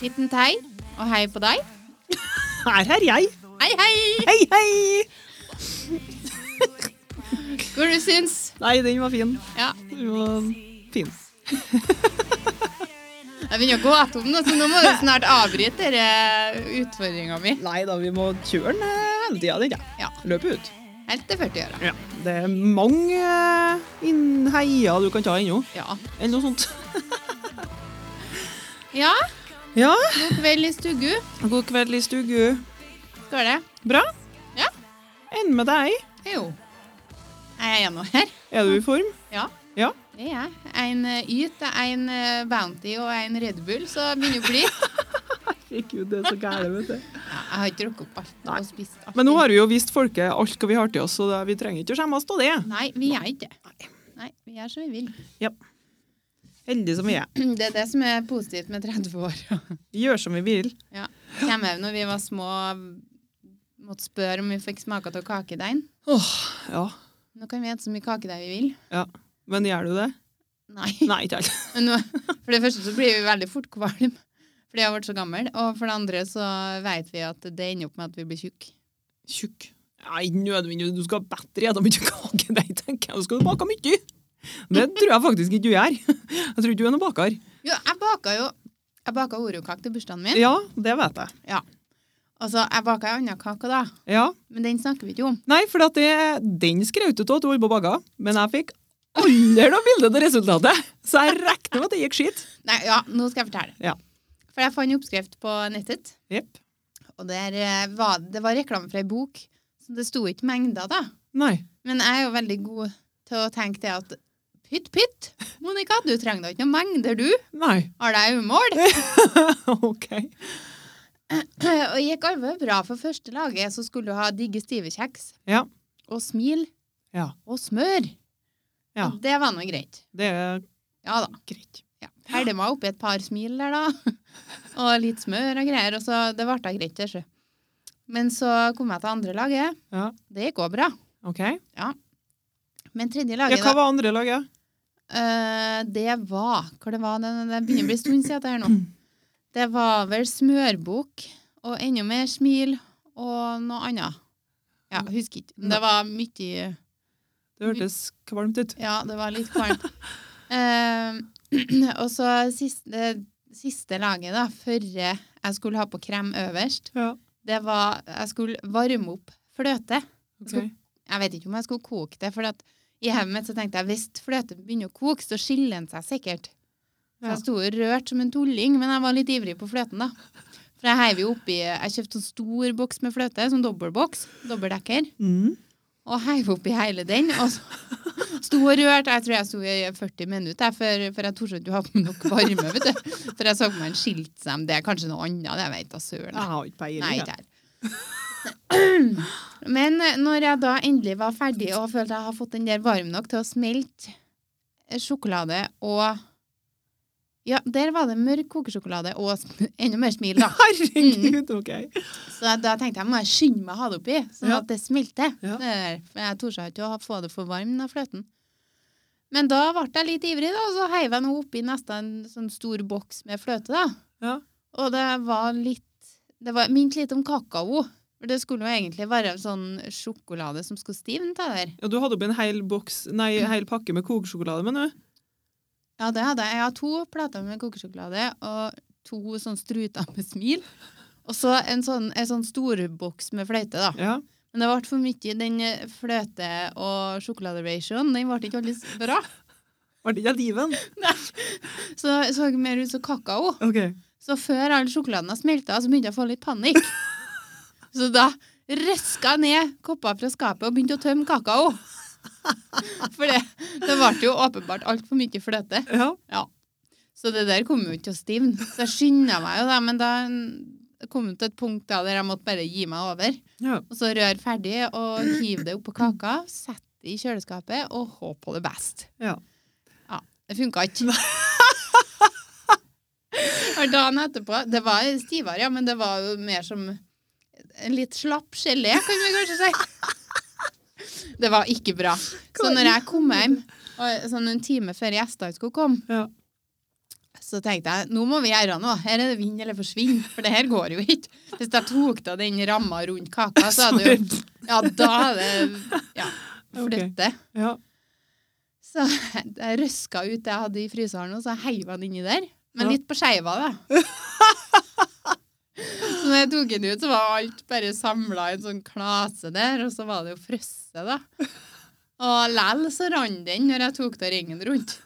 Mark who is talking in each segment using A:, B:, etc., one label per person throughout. A: Liten tei, og hei på deg.
B: Her er jeg.
A: Hei, hei!
B: Hei, hei!
A: Hvor du syns.
B: Nei, den var fin.
A: Ja.
B: Den var fin.
A: Jeg begynner å gå tom, nå, så nå må du snart avbryte utfordringa mi.
B: Nei da, vi må kjøre den eh, hele tida, den.
A: Ja.
B: Løpe ut.
A: Helt til 40-åra.
B: Ja. Det er mange eh, inn- heier du kan ta ennå.
A: Ja.
B: Eller noe sånt.
A: ja.
B: Ja.
A: God kveld i stugu.
B: God kveld i stugu.
A: Går det?
B: Bra?
A: Ja.
B: Enn med deg?
A: Jo. Er jeg gjennom her?
B: Er du i form?
A: Ja.
B: Ja.
A: Det er jeg. En eh, Yt, en eh, Bounty og en Red Bull, så jeg begynner å bli. Ja,
B: Herregud, det er så gærent, vet du.
A: Jeg har ikke drukket opp alt
B: Nei.
A: og spist alt.
B: Men nå har vi jo vist folket alt hva vi har til oss, så da- vi trenger ikke å skjemme oss av det.
A: Nei, vi er ikke det. Nei, vi er som vi vil.
B: Heldige som vi er.
A: Det er det som er positivt med 30-åra.
B: Vi gjør som vi vil.
A: Kjem òg når vi var små, måtte spørre om vi fikk smake av kakedeigen.
B: Ja.
A: Nå kan vi spise så mye kakedeig vi vil.
B: Men gjør du det?
A: Nei.
B: Nei, ikke helt.
A: Men nå, for det første så blir vi veldig fort kvalm fordi jeg har vært så gammel. Og for det andre så vet vi at det ender opp med at vi blir tjukke.
B: Tjukk. Nei, nødvendigvis. Du skal ha bedre spise mye kake, nei, tenker jeg. Du skal bake mye. Det tror jeg faktisk ikke du gjør. Jeg tror ikke du er noen baker.
A: Jo, jeg baka jo Jeg baka oreokake til bursdagen min.
B: Ja, det vet jeg.
A: Og så jeg baka ei anna kake da,
B: Ja.
A: men den snakker vi ikke om.
B: Nei, for at det, den skrøt du av at du holdt på å bake, men jeg fikk aldri noe bilde av resultatet. Så jeg regner med at det gikk skit.
A: Nei, ja, nå skal jeg fortelle.
B: Ja.
A: For jeg fant en oppskrift på nettet,
B: Jepp.
A: og der eh, var, det var reklame fra ei bok. Så det sto ikke mengder, da.
B: Nei.
A: Men jeg er jo veldig god til å tenke det at pytt, pytt, Monica, du trenger da ikke noen mengder, du.
B: Nei.
A: Har deg umål.
B: OK.
A: Og gikk alve bra for første laget, så skulle du ha digge stive kjeks.
B: Ja.
A: Og smil.
B: Ja.
A: Og smør.
B: Ja.
A: Og det var nå greit.
B: Det er
A: Ja da.
B: greit.
A: Ja. Herdet meg oppi et par smil der, da. Og litt smør og greier. Og så det ble da greit, det, sjø. Men så kom jeg til andre laget.
B: Ja.
A: Det gikk òg bra.
B: OK.
A: Men tredje
B: Ja,
A: laget,
B: hva
A: da,
B: var andre laget?
A: eh, det var Hva det var det, det begynner å bli en stund siden det her nå. Det var vel smørbok og enda mer smil og noe annet. Ja, husker ikke. Men det var mye
B: Det hørtes kvalmt ut.
A: Ja, det var litt kvalmt. Ehm, og så siste, siste laget, da, før jeg skulle ha på krem øverst,
B: Ja.
A: det var Jeg skulle varme opp fløte.
B: ok.
A: Jeg vet ikke om jeg skulle koke det, for at i hodet mitt så tenkte jeg hvis fløten begynner å koke, så skiller den seg sikkert. Så
B: Ja.
A: jeg sto og rørte som en tulling, men jeg var litt ivrig på fløten, da. For jeg heiv jo oppi Jeg kjøpte sånn stor boks med fløte, sånn dobbeltboks, dobbeltdekker,
B: Mm.
A: og heiv oppi hele den. Og så sto og rørte. Jeg tror jeg sto i 40 minutter, jeg, for, for jeg torde ikke å ha på meg nok varme, vet du. For jeg så på meg en skiltsem, det er kanskje noe annet, det vet da søren.
B: Jeg har ikke peiling.
A: Nei,
B: jeg.
A: ikke her. Men eh, når jeg da endelig var ferdig og følte jeg har fått den der varm nok til å smelte eh, sjokolade og Ja, der var det mørk kokesjokolade og sm- enda mer smil, da.
B: Herregud, OK.
A: Så jeg- da tenkte jeg må jeg skynde meg å ha det oppi, sånn
B: Ja.
A: at det smelter.
B: Ja.
A: Det der. For jeg torde seg ikke å ha- få det for varm, den fløten. Men da ble jeg litt ivrig, da, og så heiv jeg nå oppi nesten en sånn stor boks med fløte, da.
B: Ja.
A: Og det var litt Det var minnet litt om kakao. For det skulle jo egentlig være en sånn sjokolade som skulle stivne til der.
B: Ja, du hadde oppi en hel, boks, nei, en hel pakke med kokesjokolade, men du?
A: Ja, det hadde jeg. Jeg har to plater med kokesjokolade og to sånn struter med smil. Og så en sånn, en sånn storboks med fløyte, da.
B: Ja.
A: Men det ble for mye den eh, fløte- og sjokoladeratioen. Den ble ikke veldig s- bra.
B: Var det ikke liven?
A: Så det så mer ut som kakao.
B: OK.
A: Så før all sjokoladen har smelta, så begynte jeg å få litt panikk. Så da røska jeg ned kopper fra skapet og begynte å tømme kakao. For det, det ble jo åpenbart altfor mye fløte.
B: Ja.
A: Så det der kom jo ikke til å stivne. Så jeg skynda meg jo, da, men da kom jeg til et punkt da der jeg måtte bare gi meg over.
B: ja.
A: Og så rør ferdig og hiv det oppå kaka, sett det i kjøleskapet og håp på det best.
B: Ja.
A: Ja, det funka ikke. Og dagen etterpå Det var stivere, ja, men det var jo mer som en litt slapp gelé, kan vi kanskje si. Det var ikke bra. Så når jeg kom hjem, og sånn en time før gjestene skulle komme,
B: Ja.
A: Så tenkte jeg nå må vi gjøre noe. Her er det vinn eller forsvinn, for det her går jo ikke. Hvis jeg tok av den ramma rundt kaka, så hadde jo Ja, da er det Ja, flytte.
B: Ja.
A: Så jeg røska ut det jeg hadde i fryseren, og så heiva den inni der. Men
B: Ja.
A: litt på skeiva, da. så når jeg tok den ut, så var alt bare samla i en sånn klase der, og så var det jo frosset, da. Og lell så rant den når jeg tok da ringen rundt.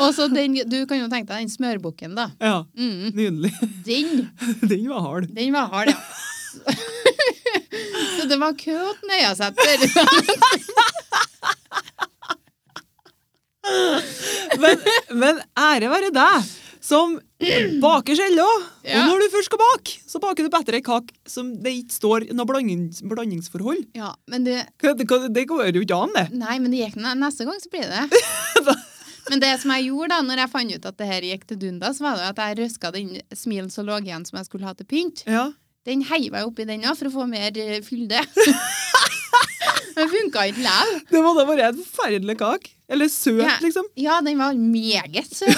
A: Og så den, Du kan jo tenke deg den smørbukken, da.
B: ja.
A: Mm,
B: Nydelig.
A: den
B: Den var hard.
A: den var hard, ja. Så det var kø å nøye seg etter.
B: Men, men ære være deg som baker selv òg.
A: Ja.
B: Og når du først skal bake, så baker du bedre ei kake som det ikke står noe blandings, blandingsforhold.
A: Ja, men det,
B: Hva- Det, hva- det går jo ikke an, det.
A: nei, men det gikk ne- neste gang, så blir det. Men det som jeg gjorde da, når jeg fant ut at det her gikk til dundas, var det jo at jeg røska den smilen som lå igjen som jeg skulle ha til pynt.
B: Ja.
A: Den heiva jeg oppi den òg for å få mer eh, fylde. Men funka ikke likevel.
B: Det må da være en forferdelig kake. Eller søt,
A: Ja.
B: liksom.
A: Ja, den var meget søt.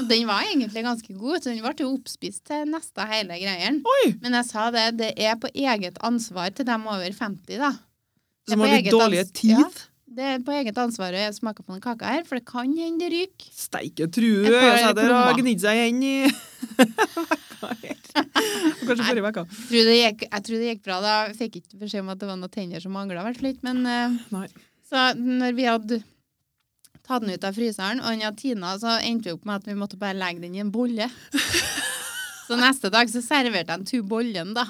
A: Og den var egentlig ganske god, så den ble jo oppspist til neste hele greien.
B: Oi!
A: Men jeg sa det, det er på eget ansvar til dem over 50, da. Det er
B: Som
A: på
B: har litt
A: eget ans-
B: dårlig tid.
A: Ja, det er på eget ansvar å smake på den kaka her, for det kan hende det ryker.
B: Steike true, altså,
A: Et par
B: jeg sitter og
A: plommer.
B: gnidd seg igjen i Hva er det? Kanskje forrige uke.
A: Jeg tror det gikk, jeg tror det gikk bra da. Jeg fikk ikke beskjed om at det var noen tenner som mangla, hvert fall, men eh,
B: Nei.
A: Så når vi hadde tatt den ut av fryseren, og den hadde tina, så endte vi opp med at vi måtte bare legge den i en bolle. Så neste dag så serverte jeg den to bollen, da.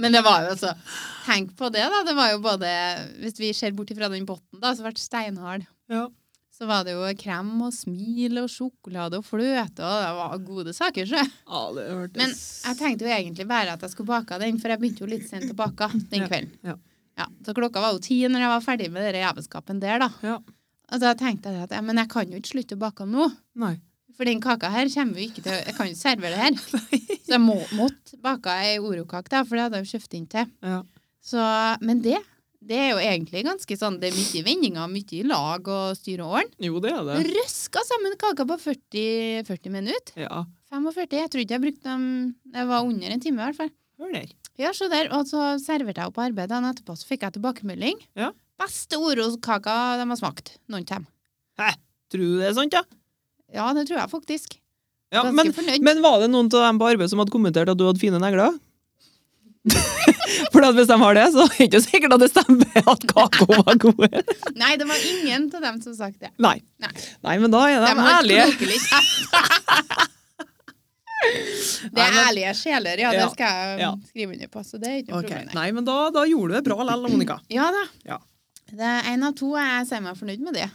A: Men det var jo altså Tenk på det, da. Det var jo både Hvis vi ser bort ifra den bunnen, da, så ble det steinhard.
B: Ja.
A: Så var det jo krem og smil og sjokolade og fløte, og det var gode saker, sjø.
B: Ja, det hørtes
A: Men jeg tenkte jo egentlig bare at jeg skulle bake av den, for jeg begynte jo litt sent å bake den
B: Ja,
A: kvelden.
B: ja.
A: Ja, så klokka var jo ti når jeg var ferdig med den jævelskapen der, da.
B: Ja.
A: Og da tenkte jeg at ja, men jeg kan jo ikke slutte å bake nå,
B: Nei.
A: for den kaka her kommer jo ikke til Jeg kan jo ikke servere det her. Så jeg må, måtte bake ei Orokake, da, for det hadde jeg jo kjøpt inn til.
B: Ja.
A: Så, men det det er jo egentlig ganske sånn, det er mye vendinger, mye i lag og styre og ordne.
B: Jo, det er det.
A: Røska sammen kaka på 40, 40 minutter.
B: Ja.
A: 45, jeg tror ikke jeg brukte dem, det var under en time i hvert fall.
B: Hør der.
A: Ja, så der, og så serverte jeg opp arbeidet, og etterpå så fikk jeg tilbakemelding.
B: Ja.
A: Beste Oroskaka de har smakt, noen av dem.
B: Tror du det er sant, ja?
A: Ja, det tror jeg faktisk.
B: ja
A: Ganske
B: men,
A: fornøyd.
B: men var det noen av dem på arbeid som hadde kommentert at du hadde fine negler? For at hvis de har det, så er det ikke sikkert at det stemmer at kaka var god.
A: Nei, det var ingen av dem som sagt det.
B: Nei.
A: Nei.
B: Nei, men da er de,
A: De har
B: ærlige.
A: klokelig kjeft. Det
B: Nei,
A: er
B: men-
A: ærlige sjeler, ja,
B: Ja,
A: det skal jeg mm,
B: ja.
A: skrive under på, så det er ikke noe
B: Ok,
A: problem. nei.
B: Nei, men da, da gjorde du det bra likevel, Monica.
A: Ja da.
B: Ja.
A: Det er en av to, jeg sier meg fornøyd med det.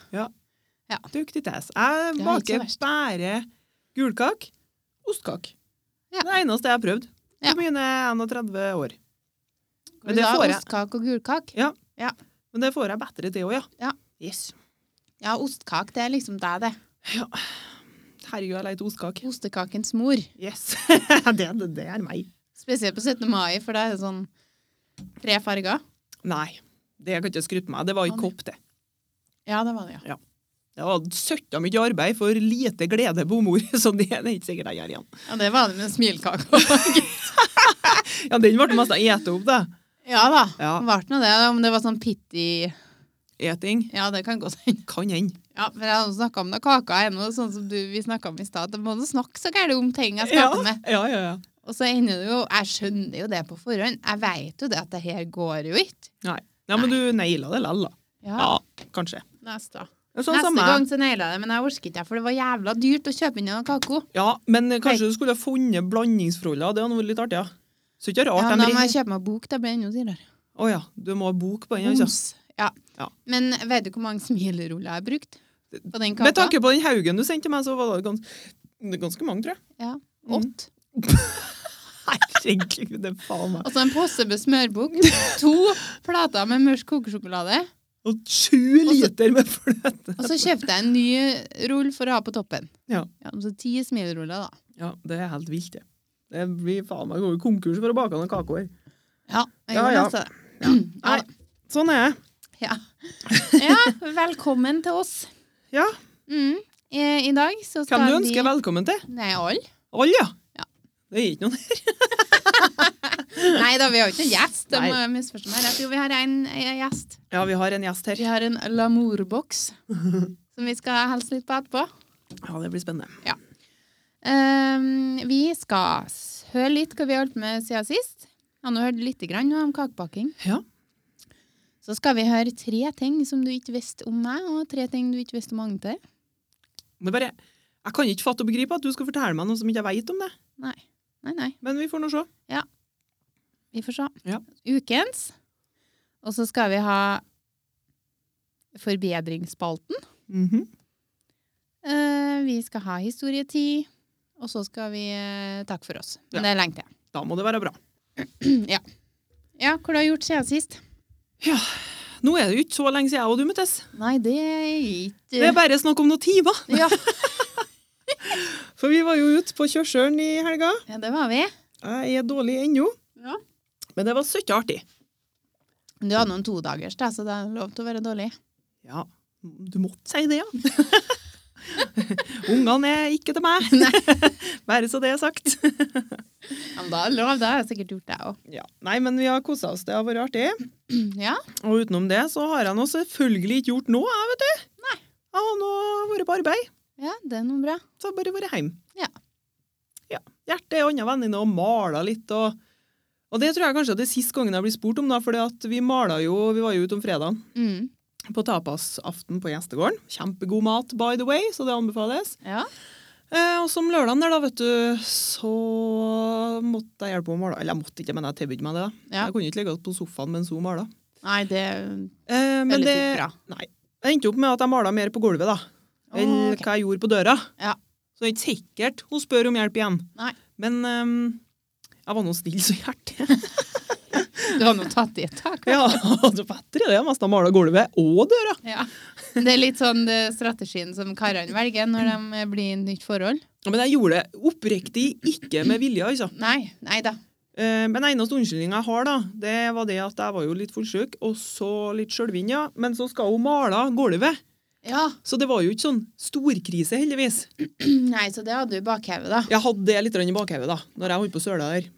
B: Duktig tess. Jeg
A: ikke så
B: baker
A: verst.
B: bare gulkake, ostkake.
A: Ja.
B: Det eneste jeg har prøvd. På
A: Ja.
B: mine 31 år. Men
A: Vi
B: det
A: sa
B: får jeg.
A: Ostkak og gulkak.
B: Men det får jeg bedre til òg, ja.
A: Ja.
B: Yes.
A: Ja, ostkak, det er liksom deg det.
B: Herregud, jeg leter ostkake.
A: Ostekakens mor.
B: Yes. det, det, det er meg.
A: Spesielt på 17. mai, for da er det sånn tre farger.
B: Nei. Det kan jeg ikke skryte på meg. Det var i
A: Å, nei.
B: kopp, det.
A: Ja, det var det, ja.
B: Det var søtta mye arbeid for lite glede på mor, så det det er ikke sikkert jeg gjør igjen.
A: Ja, det var det med smilkaka.
B: Ja, Den ble mest ete opp, da.
A: ja da.
B: Ja.
A: Ble nå det, da, om det var sånn pitty
B: Eting
A: Ja, det kan godt hende.
B: kan hende.
A: Ja, for jeg har snakka om noe kaka ennå, sånn som du, vi snakka om i stad. Det må du snakke så gærent om ting jeg
B: Ja,
A: skaper med.
B: ja, ja, ja.
A: Og så ender det jo Jeg skjønner jo det på forhånd. Jeg veit jo det at det her går jo ikke.
B: Ja, men du naila det lell, da.
A: Ja,
B: Ja, kanskje.
A: neste.
B: Sånn
A: Neste
B: som jeg.
A: gang så naila jeg det, men jeg orker ikke, for det var jævla dyrt å kjøpe inn noe kako.
B: Ja, men kanskje du skulle ha funnet blandingsforholdene. Det hadde vært litt artig, ja. Så ikke rart
A: Ja, men da
B: de
A: må
B: ringer.
A: jeg kjøpe meg bok, da blir det enda dyrere.
B: Å ja, du må ha bok på den. Altså.
A: Moms. Ja.
B: Ja.
A: Men vet du hvor mange smileruller jeg har brukt på den kaka?
B: Med tanke på den haugen du sendte til meg, så var det ganske, det er ganske mange, tror jeg.
A: Ja,
B: Mm.
A: Åtte.
B: Herregud, det er faen meg.
A: Og så Altså, en pose med smørbukk. To plater med mørk kokesjokolade.
B: Og sju
A: så-
B: liter med fløte.
A: Og så kjøpte jeg en ny rull for å ha på toppen.
B: Ja.
A: så ti smileruller, da.
B: Ja, det er helt vilt, det. Det blir faen meg går i konkurs for å bake noen kaker.
A: Ja, jeg
B: Ja,
A: gjorde
B: ja.
A: nesten det.
B: Nei, sånn er jeg.
A: Ja. ja, velkommen til oss.
B: Ja.
A: Mm. I, i dag så skal
B: Hvem du
A: vi-
B: ønsker velkommen til?
A: Nei, alle.
B: Alle, ja.
A: Ja.
B: Det er ikke noen
A: Nei da, vi har jo ikke en gjest. Det
B: Nei.
A: må jeg misforstå meg rett. Jo, vi har en eh, gjest.
B: Ja, vi har en gjest her.
A: Vi har en Lamour-boks som vi skal hilse litt på etterpå.
B: Ja, det blir spennende.
A: Ehm, vi skal s- høre litt hva vi har holdt med siden sist. Han har hørt litt grann om kakepakking.
B: Ja.
A: Så skal vi høre tre ting som du ikke visste om meg, og tre ting du ikke visste om Agnete.
B: Men bare, jeg kan ikke fatte og begripe at du skal fortelle meg noe som ikke jeg vet om det.
A: Nei, nei, nei.
B: Men vi får nå se.
A: Vi får se.
B: Ja.
A: Ukens. Og så skal vi ha forbedringsspalten. Eh, vi skal ha historietid. Og så skal vi eh, takke for oss. Men
B: Ja.
A: det er lenge til.
B: Da må det være bra.
A: ja. ja, hva du har gjort siden sist?
B: Nå er det jo ikke så lenge siden jeg og du møttes.
A: Nei, det er ikke
B: Det er bare snakk om noen timer.
A: ja.
B: For vi var jo ute på kjørselen i helga.
A: ja, det var vi.
B: Jeg er dårlig ennå,
A: Ja.
B: men det var søtt artig.
A: Du hadde noen todagers, da, så det er lov til å være dårlig.
B: Ja, du måtte si det, ja. Ungene er ikke til meg. Bare så det er sagt.
A: Ja, men da er det lov, da har jeg sikkert gjort det òg.
B: Ja. Nei, men vi har kosa oss. Det har vært artig.
A: Ja.
B: Og utenom det så har jeg nå selvfølgelig ikke gjort noe, jeg, vet du. Nei. Jeg har nå vært på arbeid.
A: ja, det er noe bra.
B: Så har jeg bare vært hjemme.
A: Ja.
B: ja. Hjertet er andre venninne og mala litt. Og, og det tror jeg kanskje at det er sist gangen jeg blir spurt om, da, for vi mala jo Vi var jo ute om fredagen
A: Mm.
B: på tapasaften på gjestegården. Kjempegod mat, by the way, så det anbefales.
A: Ja.
B: Eh, og som lørdagen der, da, vet du, så måtte jeg hjelpe henne å male. Eller jeg måtte ikke, men jeg tilbød meg det. da.
A: Ja.
B: Jeg kunne ikke ligge på sofaen mens hun mala.
A: Nei, det
B: Eh, men
A: Veldig
B: det
A: fort bra.
B: Nei. Jeg endte opp med at jeg mala mer på gulvet da, enn
A: Å, ok.
B: hva jeg gjorde på døra.
A: Ja.
B: Så det er ikke sikkert hun spør om hjelp igjen.
A: Nei.
B: Men eh, jeg var nå snill så hjertelig.
A: Du har nå tatt i et tak.
B: ja, det var bedre det. Jeg mest har mala gulvet og døra.
A: Ja. Det er litt sånn det, strategien som karene velger når de blir i et nytt forhold.
B: Ja, Men jeg gjorde det oppriktig ikke med vilje, altså.
A: Nei, nei da.
B: Eh, Men eneste unnskyldninga jeg har, da, det var det at jeg var jo litt fullsjuk, og så litt sjølvind, ja. Men så skal hun male gulvet.
A: Ja,
B: Så det var jo ikke sånn storkrise, heldigvis.
A: nei, så det hadde du i bakhevet, da.
B: Jeg hadde det litt grann i bakhodet da når jeg holdt på å søle der.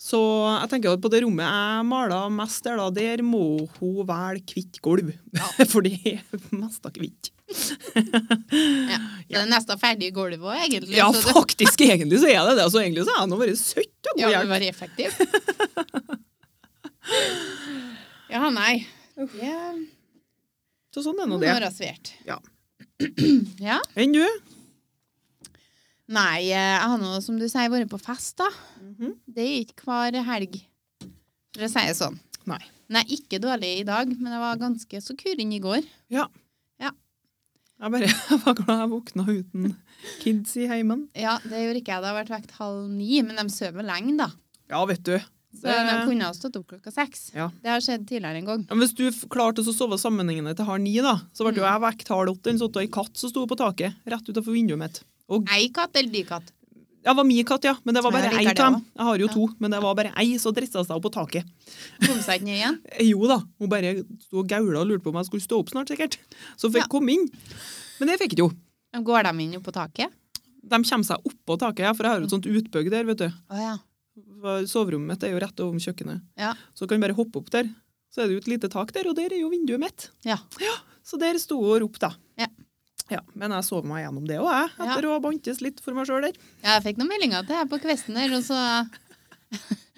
B: Så jeg tenker at på det rommet jeg mala mest der, da, der må hun velge kvitt gulv. For det er mest av kvitt.
A: Så Det er nesten ferdig gulvet òg, egentlig.
B: Ja,
A: så det,
B: faktisk, egentlig så er det det. Altså, egentlig så har jeg nå vært søtt og
A: ja,
B: god
A: det
B: hjelp.
A: var effektiv. Ja, nei. Det
B: Så sånn er nå
A: må
B: det.
A: være svært.
B: Ja.
A: ja.
B: Enn du?
A: Nei, eh, jeg har nå, som du sier, vært på fest, da.
B: Mhm.
A: Det er ikke hver helg, for å si det sånn.
B: Nei.
A: Nei, ikke dårlig i dag, men jeg var ganske så kuren i går.
B: Jeg bare jeg var glad jeg våkna uten kids i heimen.
A: Ja, det gjorde ikke jeg. Det har vært vekt halv ni, men de sover lenge, da.
B: Ja, vet du.
A: Så
B: Det-
A: de kunne ha stått opp klokka seks.
B: Ja.
A: Det har skjedd tidligere en gang.
B: Ja, men hvis du f- klarte å sove sammenhengende til halv ni, da, så ble jo
A: Mm.
B: jeg vekt halv åtte. Den satt da ei katt som sto på taket rett utenfor vinduet mitt. Og
A: Ei katt eller de katt?
B: ja, det var min katt, ja, men det var
A: Ja,
B: bare
A: jeg
B: ei
A: liker
B: av
A: det
B: dem.
A: også.
B: Jeg har jo to, men det var bare ei som drissa seg opp på taket.
A: Kom seg ikke ned igjen?
B: Eh, Jo da, hun bare sto og gaula og lurte på om jeg skulle stå opp snart, sikkert. Så fikk
A: Ja.
B: komme inn. Men det fikk jeg jo.
A: De Går de inn jo på taket?
B: De kommer seg oppå taket, ja, for jeg har jo et sånt utbygg der, vet du.
A: Å ja.
B: For Soverommet mitt er jo rett over kjøkkenet.
A: Ja.
B: Så kan du bare hoppe opp der. Så er det jo et lite tak der, og der er jo vinduet mitt.
A: Ja.
B: Så der sto hun og ropte, da.
A: Ja.
B: Ja, men jeg sov meg gjennom det òg, jeg. Etter å ha bantes litt for meg sjøl der.
A: ja jeg fikk noen meldinger til her på kvesten der, og så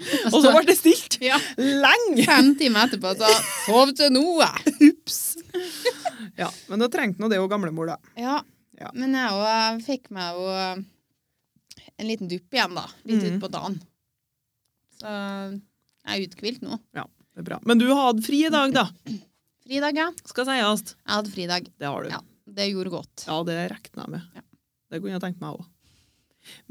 B: Og så ble det stilt!
A: Ja.
B: Lenge!
A: Fem timer etterpå så Sov til nå, jeg!
B: Ups! Ja, men da trengte nå det og gamlemor, da.
A: Ja.
B: Ja.
A: Men jeg òg fikk meg jo eh, en liten dupp igjen, da. Litt
B: Mhm.
A: utpå dagen. Så jeg er uthvilt nå.
B: Det er bra. Men du hadde fri i dag, da.
A: Fridag, ja.
B: Skal sies.
A: Jeg hadde fridag.
B: Det har du.
A: Ja. Det gjorde godt.
B: Ja, det regner jeg med.
A: Ja.
B: Det kunne jeg tenkt meg òg.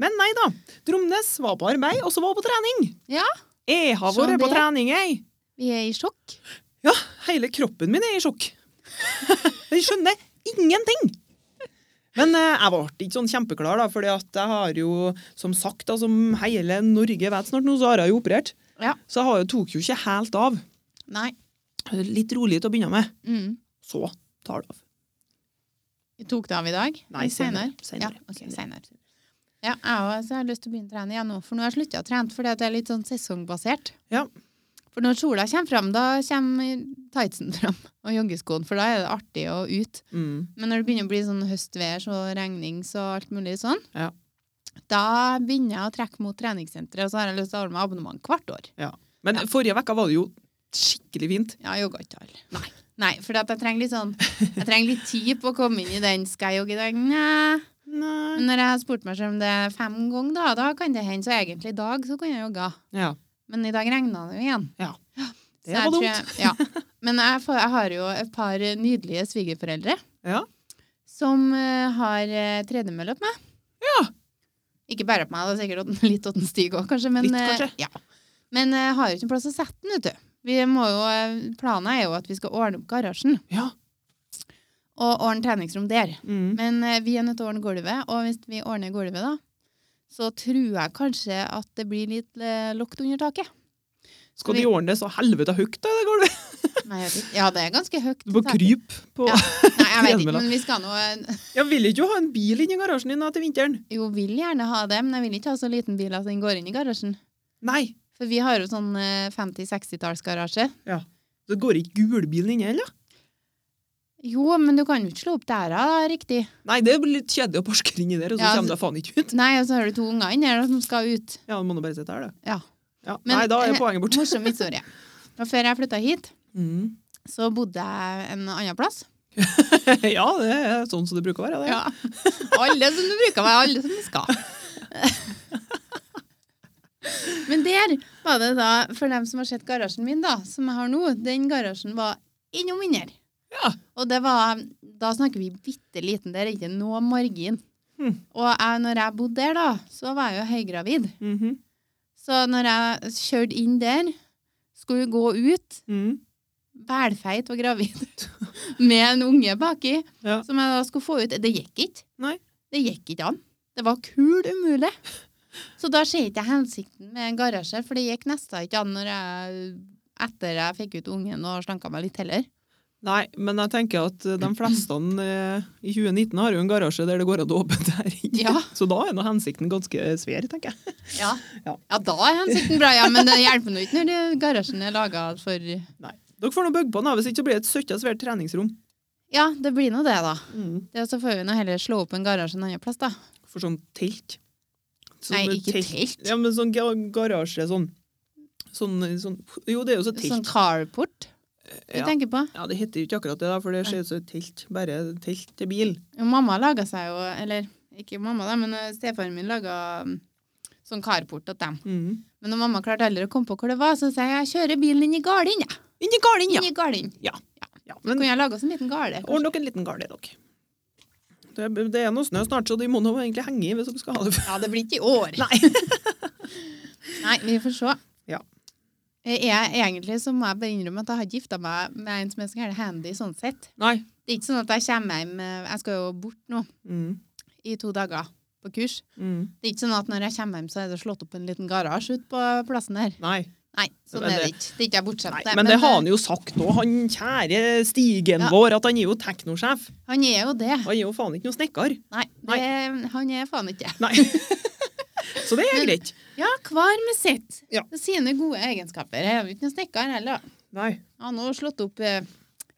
B: Men nei da. Dromnes var på arbeid, og så var hun på trening.
A: Ja.
B: Jeg har
A: Sånn
B: vært på
A: det.
B: trening, jeg.
A: Vi er i sjokk.
B: Ja, hele kroppen min er i sjokk. Jeg skjønner ingenting. Men eh, jeg ble ikke sånn kjempeklar, da, fordi at jeg har jo, som sagt, da, som hele Norge vet snart nå, så har jeg jo operert.
A: Ja.
B: Så jeg har jo, tok jo ikke helt av.
A: Nei.
B: Litt rolig til å begynne med.
A: Mm.
B: Så tar det av.
A: Vi tok det av i dag?
B: Nei, senere.
A: Ja,
B: Senere.
A: ok, senere. Ja, jeg også, så jeg har lyst til å begynne å trene igjen nå, for nå har jeg slutta å trene fordi at det er litt sånn sesongbasert.
B: Ja.
A: For når sola kommer fram, da kommer tightsen fram og joggeskoen, for da er det artig å ut.
B: Mm.
A: Men når det begynner å bli sånn høstvær og regnings og alt mulig sånn,
B: Ja.
A: da begynner jeg å trekke mot treningssenteret, og så har jeg lyst til å holde meg abonnement hvert år.
B: Men forrige uke var det jo skikkelig fint.
A: Ja, jeg jogga ikke alle. Nei. Nei, for at jeg trenger litt sånn Jeg trenger litt tid på å komme inn i den. Skal jeg jogge i dag? Nei. Men
B: Nei.
A: når jeg har spurt meg selv om det er fem ganger, da, da kan det hende. Så egentlig i dag så kan jeg jogge.
B: Ja.
A: Men i dag regna det jo igjen.
B: Ja.
A: Så
B: Det
A: jeg
B: var
A: tror jeg- Ja. Men jeg, får, jeg har jo et par nydelige svigerforeldre
B: Ja.
A: som eh, har uh, tredemølle opp meg.
B: Ja.
A: Ikke bare opp meg, det er sikkert åt- litt åt en stig òg, kanskje. Men,
B: Litt, kanskje.
A: eh, ja. men jeg har jo ikke noen plass å sette den, vet du. Vi må jo, eh, planen er jo at vi skal ordne opp garasjen
B: Ja.
A: og ordne treningsrom der.
B: Mm.
A: Men eh, vi er nødt til å ordne gulvet, og hvis vi ordner gulvet, da, så tror jeg kanskje at det blir litt eh, lukt under taket.
B: Skal de ordne det så helvete høyt, da? Det går det.
A: Nei, jeg vet ikke. Ja, det er ganske høyt.
B: Du må
A: tak.
B: krype på
A: Ja. Nei, jeg vet ikke,
B: Tredemølla.
A: men vi skal nå eh,
B: Jeg vil ikke ha en bil inni garasjen din da til vinteren.
A: Jo, vil gjerne ha det, men jeg vil ikke ha så liten bil at den går inn i garasjen.
B: Nei.
A: For vi har jo sånn eh, 50-60-tallsgarasje.
B: Det går ikke gulbilen inni heller.
A: Jo, men du kan jo ikke slå opp dæra, da, riktig.
B: Nei, det blir litt kjedelig å parske inni der, og så
A: Ja,
B: kommer det faen ikke ut.
A: Nei, og så har du to unger inni der som skal ut.
B: Ja, du må nå bare sitte her, da.
A: Ja.
B: Ja.
A: Men-
B: Nei, da er poenget borte.
A: Morsom historie. Og før jeg flytta hit,
B: Mm.
A: så bodde jeg en annen plass.
B: ja, det er sånn som det bruker å være. Det.
A: Ja. Alle som du bruker meg, alle som du skal. Men der var det da, for dem som har sett garasjen min da, som jeg har nå, den garasjen var innom mindre.
B: Ja.
A: Og det var, da snakker vi bitte liten, der er ikke noe margin.
B: Hmm.
A: Og jeg, når jeg bodde der da, så var jeg jo høygravid.
B: Mhm.
A: Så når jeg kjørte inn der, skulle gå ut,
B: Mm.
A: velfeit og gravid med en unge baki,
B: Ja.
A: som jeg da skulle få ut. Det gikk ikke.
B: Nei.
A: Det gikk ikke an. Det var kul umulig. Så da ser ikke jeg hensikten med en garasje, for det gikk nesten ikke an når jeg, etter jeg fikk ut ungen og slanka meg litt heller.
B: Nei, men jeg tenker at eh, de fleste eh, i 2019 har jo en garasje der det går an å åpne der inne.
A: Ja.
B: Så da er nå hensikten ganske svær, tenker jeg.
A: Ja.
B: Ja.
A: da er hensikten bra, ja, men det hjelper nå ikke når det- garasjen er laga for
B: Dere får nå bygge på den, da, hvis ikke så blir det et søkka svært treningsrom.
A: Ja, det blir nå det, da. Det så får vi nå heller slå opp en garasje en annen plass, da.
B: For sånn telt. Sånn
A: Nei,
B: med
A: ikke telt.
B: Ja, men sånn ga- garasje, sånn. Sånn, sånn Jo, det er jo så
A: Sånn
B: telt.
A: carport du
B: Eh, Ja.
A: tenker på.
B: Ja, Det heter jo ikke akkurat det, da, for det ser ut som et telt. Bare telt til bil.
A: Jo, mamma laga seg jo, eller ikke mamma da, men eh, stefaren min laga mm, sånn carport til dem.
B: Mm.
A: Men når mamma klarte aldri å komme på hvor det var, så sa jeg jeg kjører bilen inn i garden, jeg.
B: Inni garden,
A: Inn i garden.
B: ja
A: Så
B: men
A: kunne jeg laga oss en liten garde.
B: ordn dere en liten garde, dere. Det, det er noe snø snart, så de må nå egentlig henge i hvis dere skal ha det.
A: Ja, det blir ikke i år.
B: Nei.
A: Nei, vi får se.
B: Ja.
A: Eh, Jeg, egentlig så må jeg bare innrømme at jeg har ikke gifta meg med en som er så gæren handy sånn sett.
B: Nei.
A: Det er ikke sånn at jeg kommer hjem eh, Jeg skal jo bort nå
B: Mm.
A: i to dager på kurs.
B: Mm.
A: Det er ikke sånn at når jeg kommer hjem, så er det slått opp en liten garasje ute på plassen her.
B: Nei.
A: Nei, sånn
B: Men
A: er det
B: det-
A: ikke. Det er ikke jeg bortsett
B: Nei,
A: fra.
B: men det har han
A: eh,
B: jo sagt nå, han kjære Stigen
A: Ja.
B: vår, at han er jo teknosjef.
A: han er jo det.
B: Han er jo faen ikke noe snekker.
A: Nei, det, han er faen ikke det.
B: Nei. Så det er
A: Men-
B: greit.
A: Ja, hver med sitt.
B: Ja.
A: Og Sine gode egenskaper. Jeg er jo ikke noen snekker heller.
B: Nei.
A: Han har nå slått opp eh,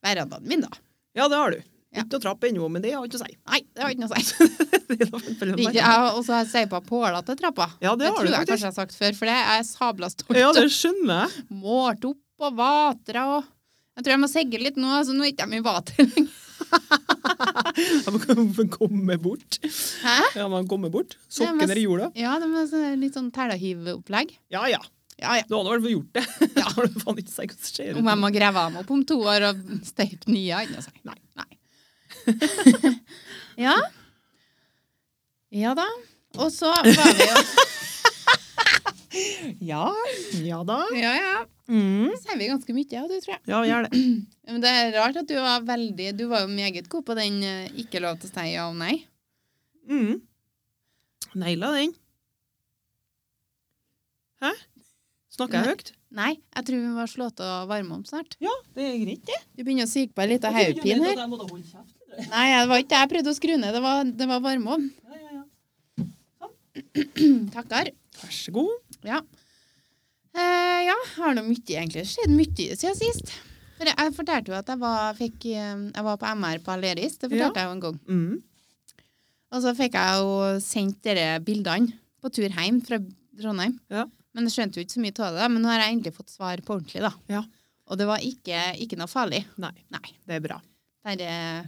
A: verandaen min, da.
B: Ja, det har du.
A: Ja.
B: Ikke å trappe ennå, men det har ikke å si.
A: Nei, det har ikke noe å si.
B: Det er da veldig
A: Det er ikke-
B: bra.
A: jeg- Og så har jeg steipa påla til trappa.
B: Ja, det har
A: tror
B: du
A: jeg kanskje
B: faktisk.
A: jeg har sagt før, for det er jeg sabla stolt
B: Ja,
A: av.
B: det skjønner jeg.
A: Målt opp og vatra og Jeg tror jeg må segge litt nå, så nå er ikke jeg mye vater.
B: Jeg må komme- komme bort.
A: Hæ?
B: Ja, man kommer bort. Sokken
A: men-
B: er i jorda.
A: Ja, det er sånn- litt sånn tælahiv-opplegg.
B: Ja, ja.
A: Ja, ja.
B: Du har nå i hvert fall gjort det. Ja. har du faen ikke sagt hva som skjer.
A: Om jeg må grave dem opp om to år og støype nye inn og si nei. nei. ja. Ja da. Og så var vi jo
B: Ja, ja da.
A: Ja, ja.
B: Mm.
A: Så er vi ganske mye, ja, du, tror jeg.
B: Ja, gjør det.
A: Men det er rart at du var veldig Du var jo meget god på den eh, ikke lov til å si ja og nei.
B: Mm. Neila den. Hæ? Snakker jeg høyt?
A: Nei, jeg tror vi må slå til å varme om snart.
B: Ja, det er greit, det.
A: Du begynner å syke på en liten
B: Jeg trodde jo
A: hodepine
B: litt
A: her.
B: at jeg måtte holde kjeft.
A: Nei, det var ikke det jeg prøvde å skru ned. Det var, det var varme om.
B: Ja, ja, ja.
A: Takkar.
B: Vær så god.
A: Ja. Eh, ja, har nå mye egentlig skjedd mye siden sist. For jeg- jeg fortalte jo at jeg var, fikk, eh, jeg var på MR på Aleris. Det
B: Ja.
A: fortalte jeg jo en gang.
B: Mm.
A: Og så fikk jeg jo sendt dere bildene på tur hjem fra Trondheim.
B: Ja.
A: Men jeg skjønte jo ikke så mye av det, da. men nå har jeg endelig fått svar på ordentlig. da.
B: Ja.
A: Og det var ikke, ikke noe farlig.
B: Nei,
A: Nei.
B: det er bra.
A: Det er, eh,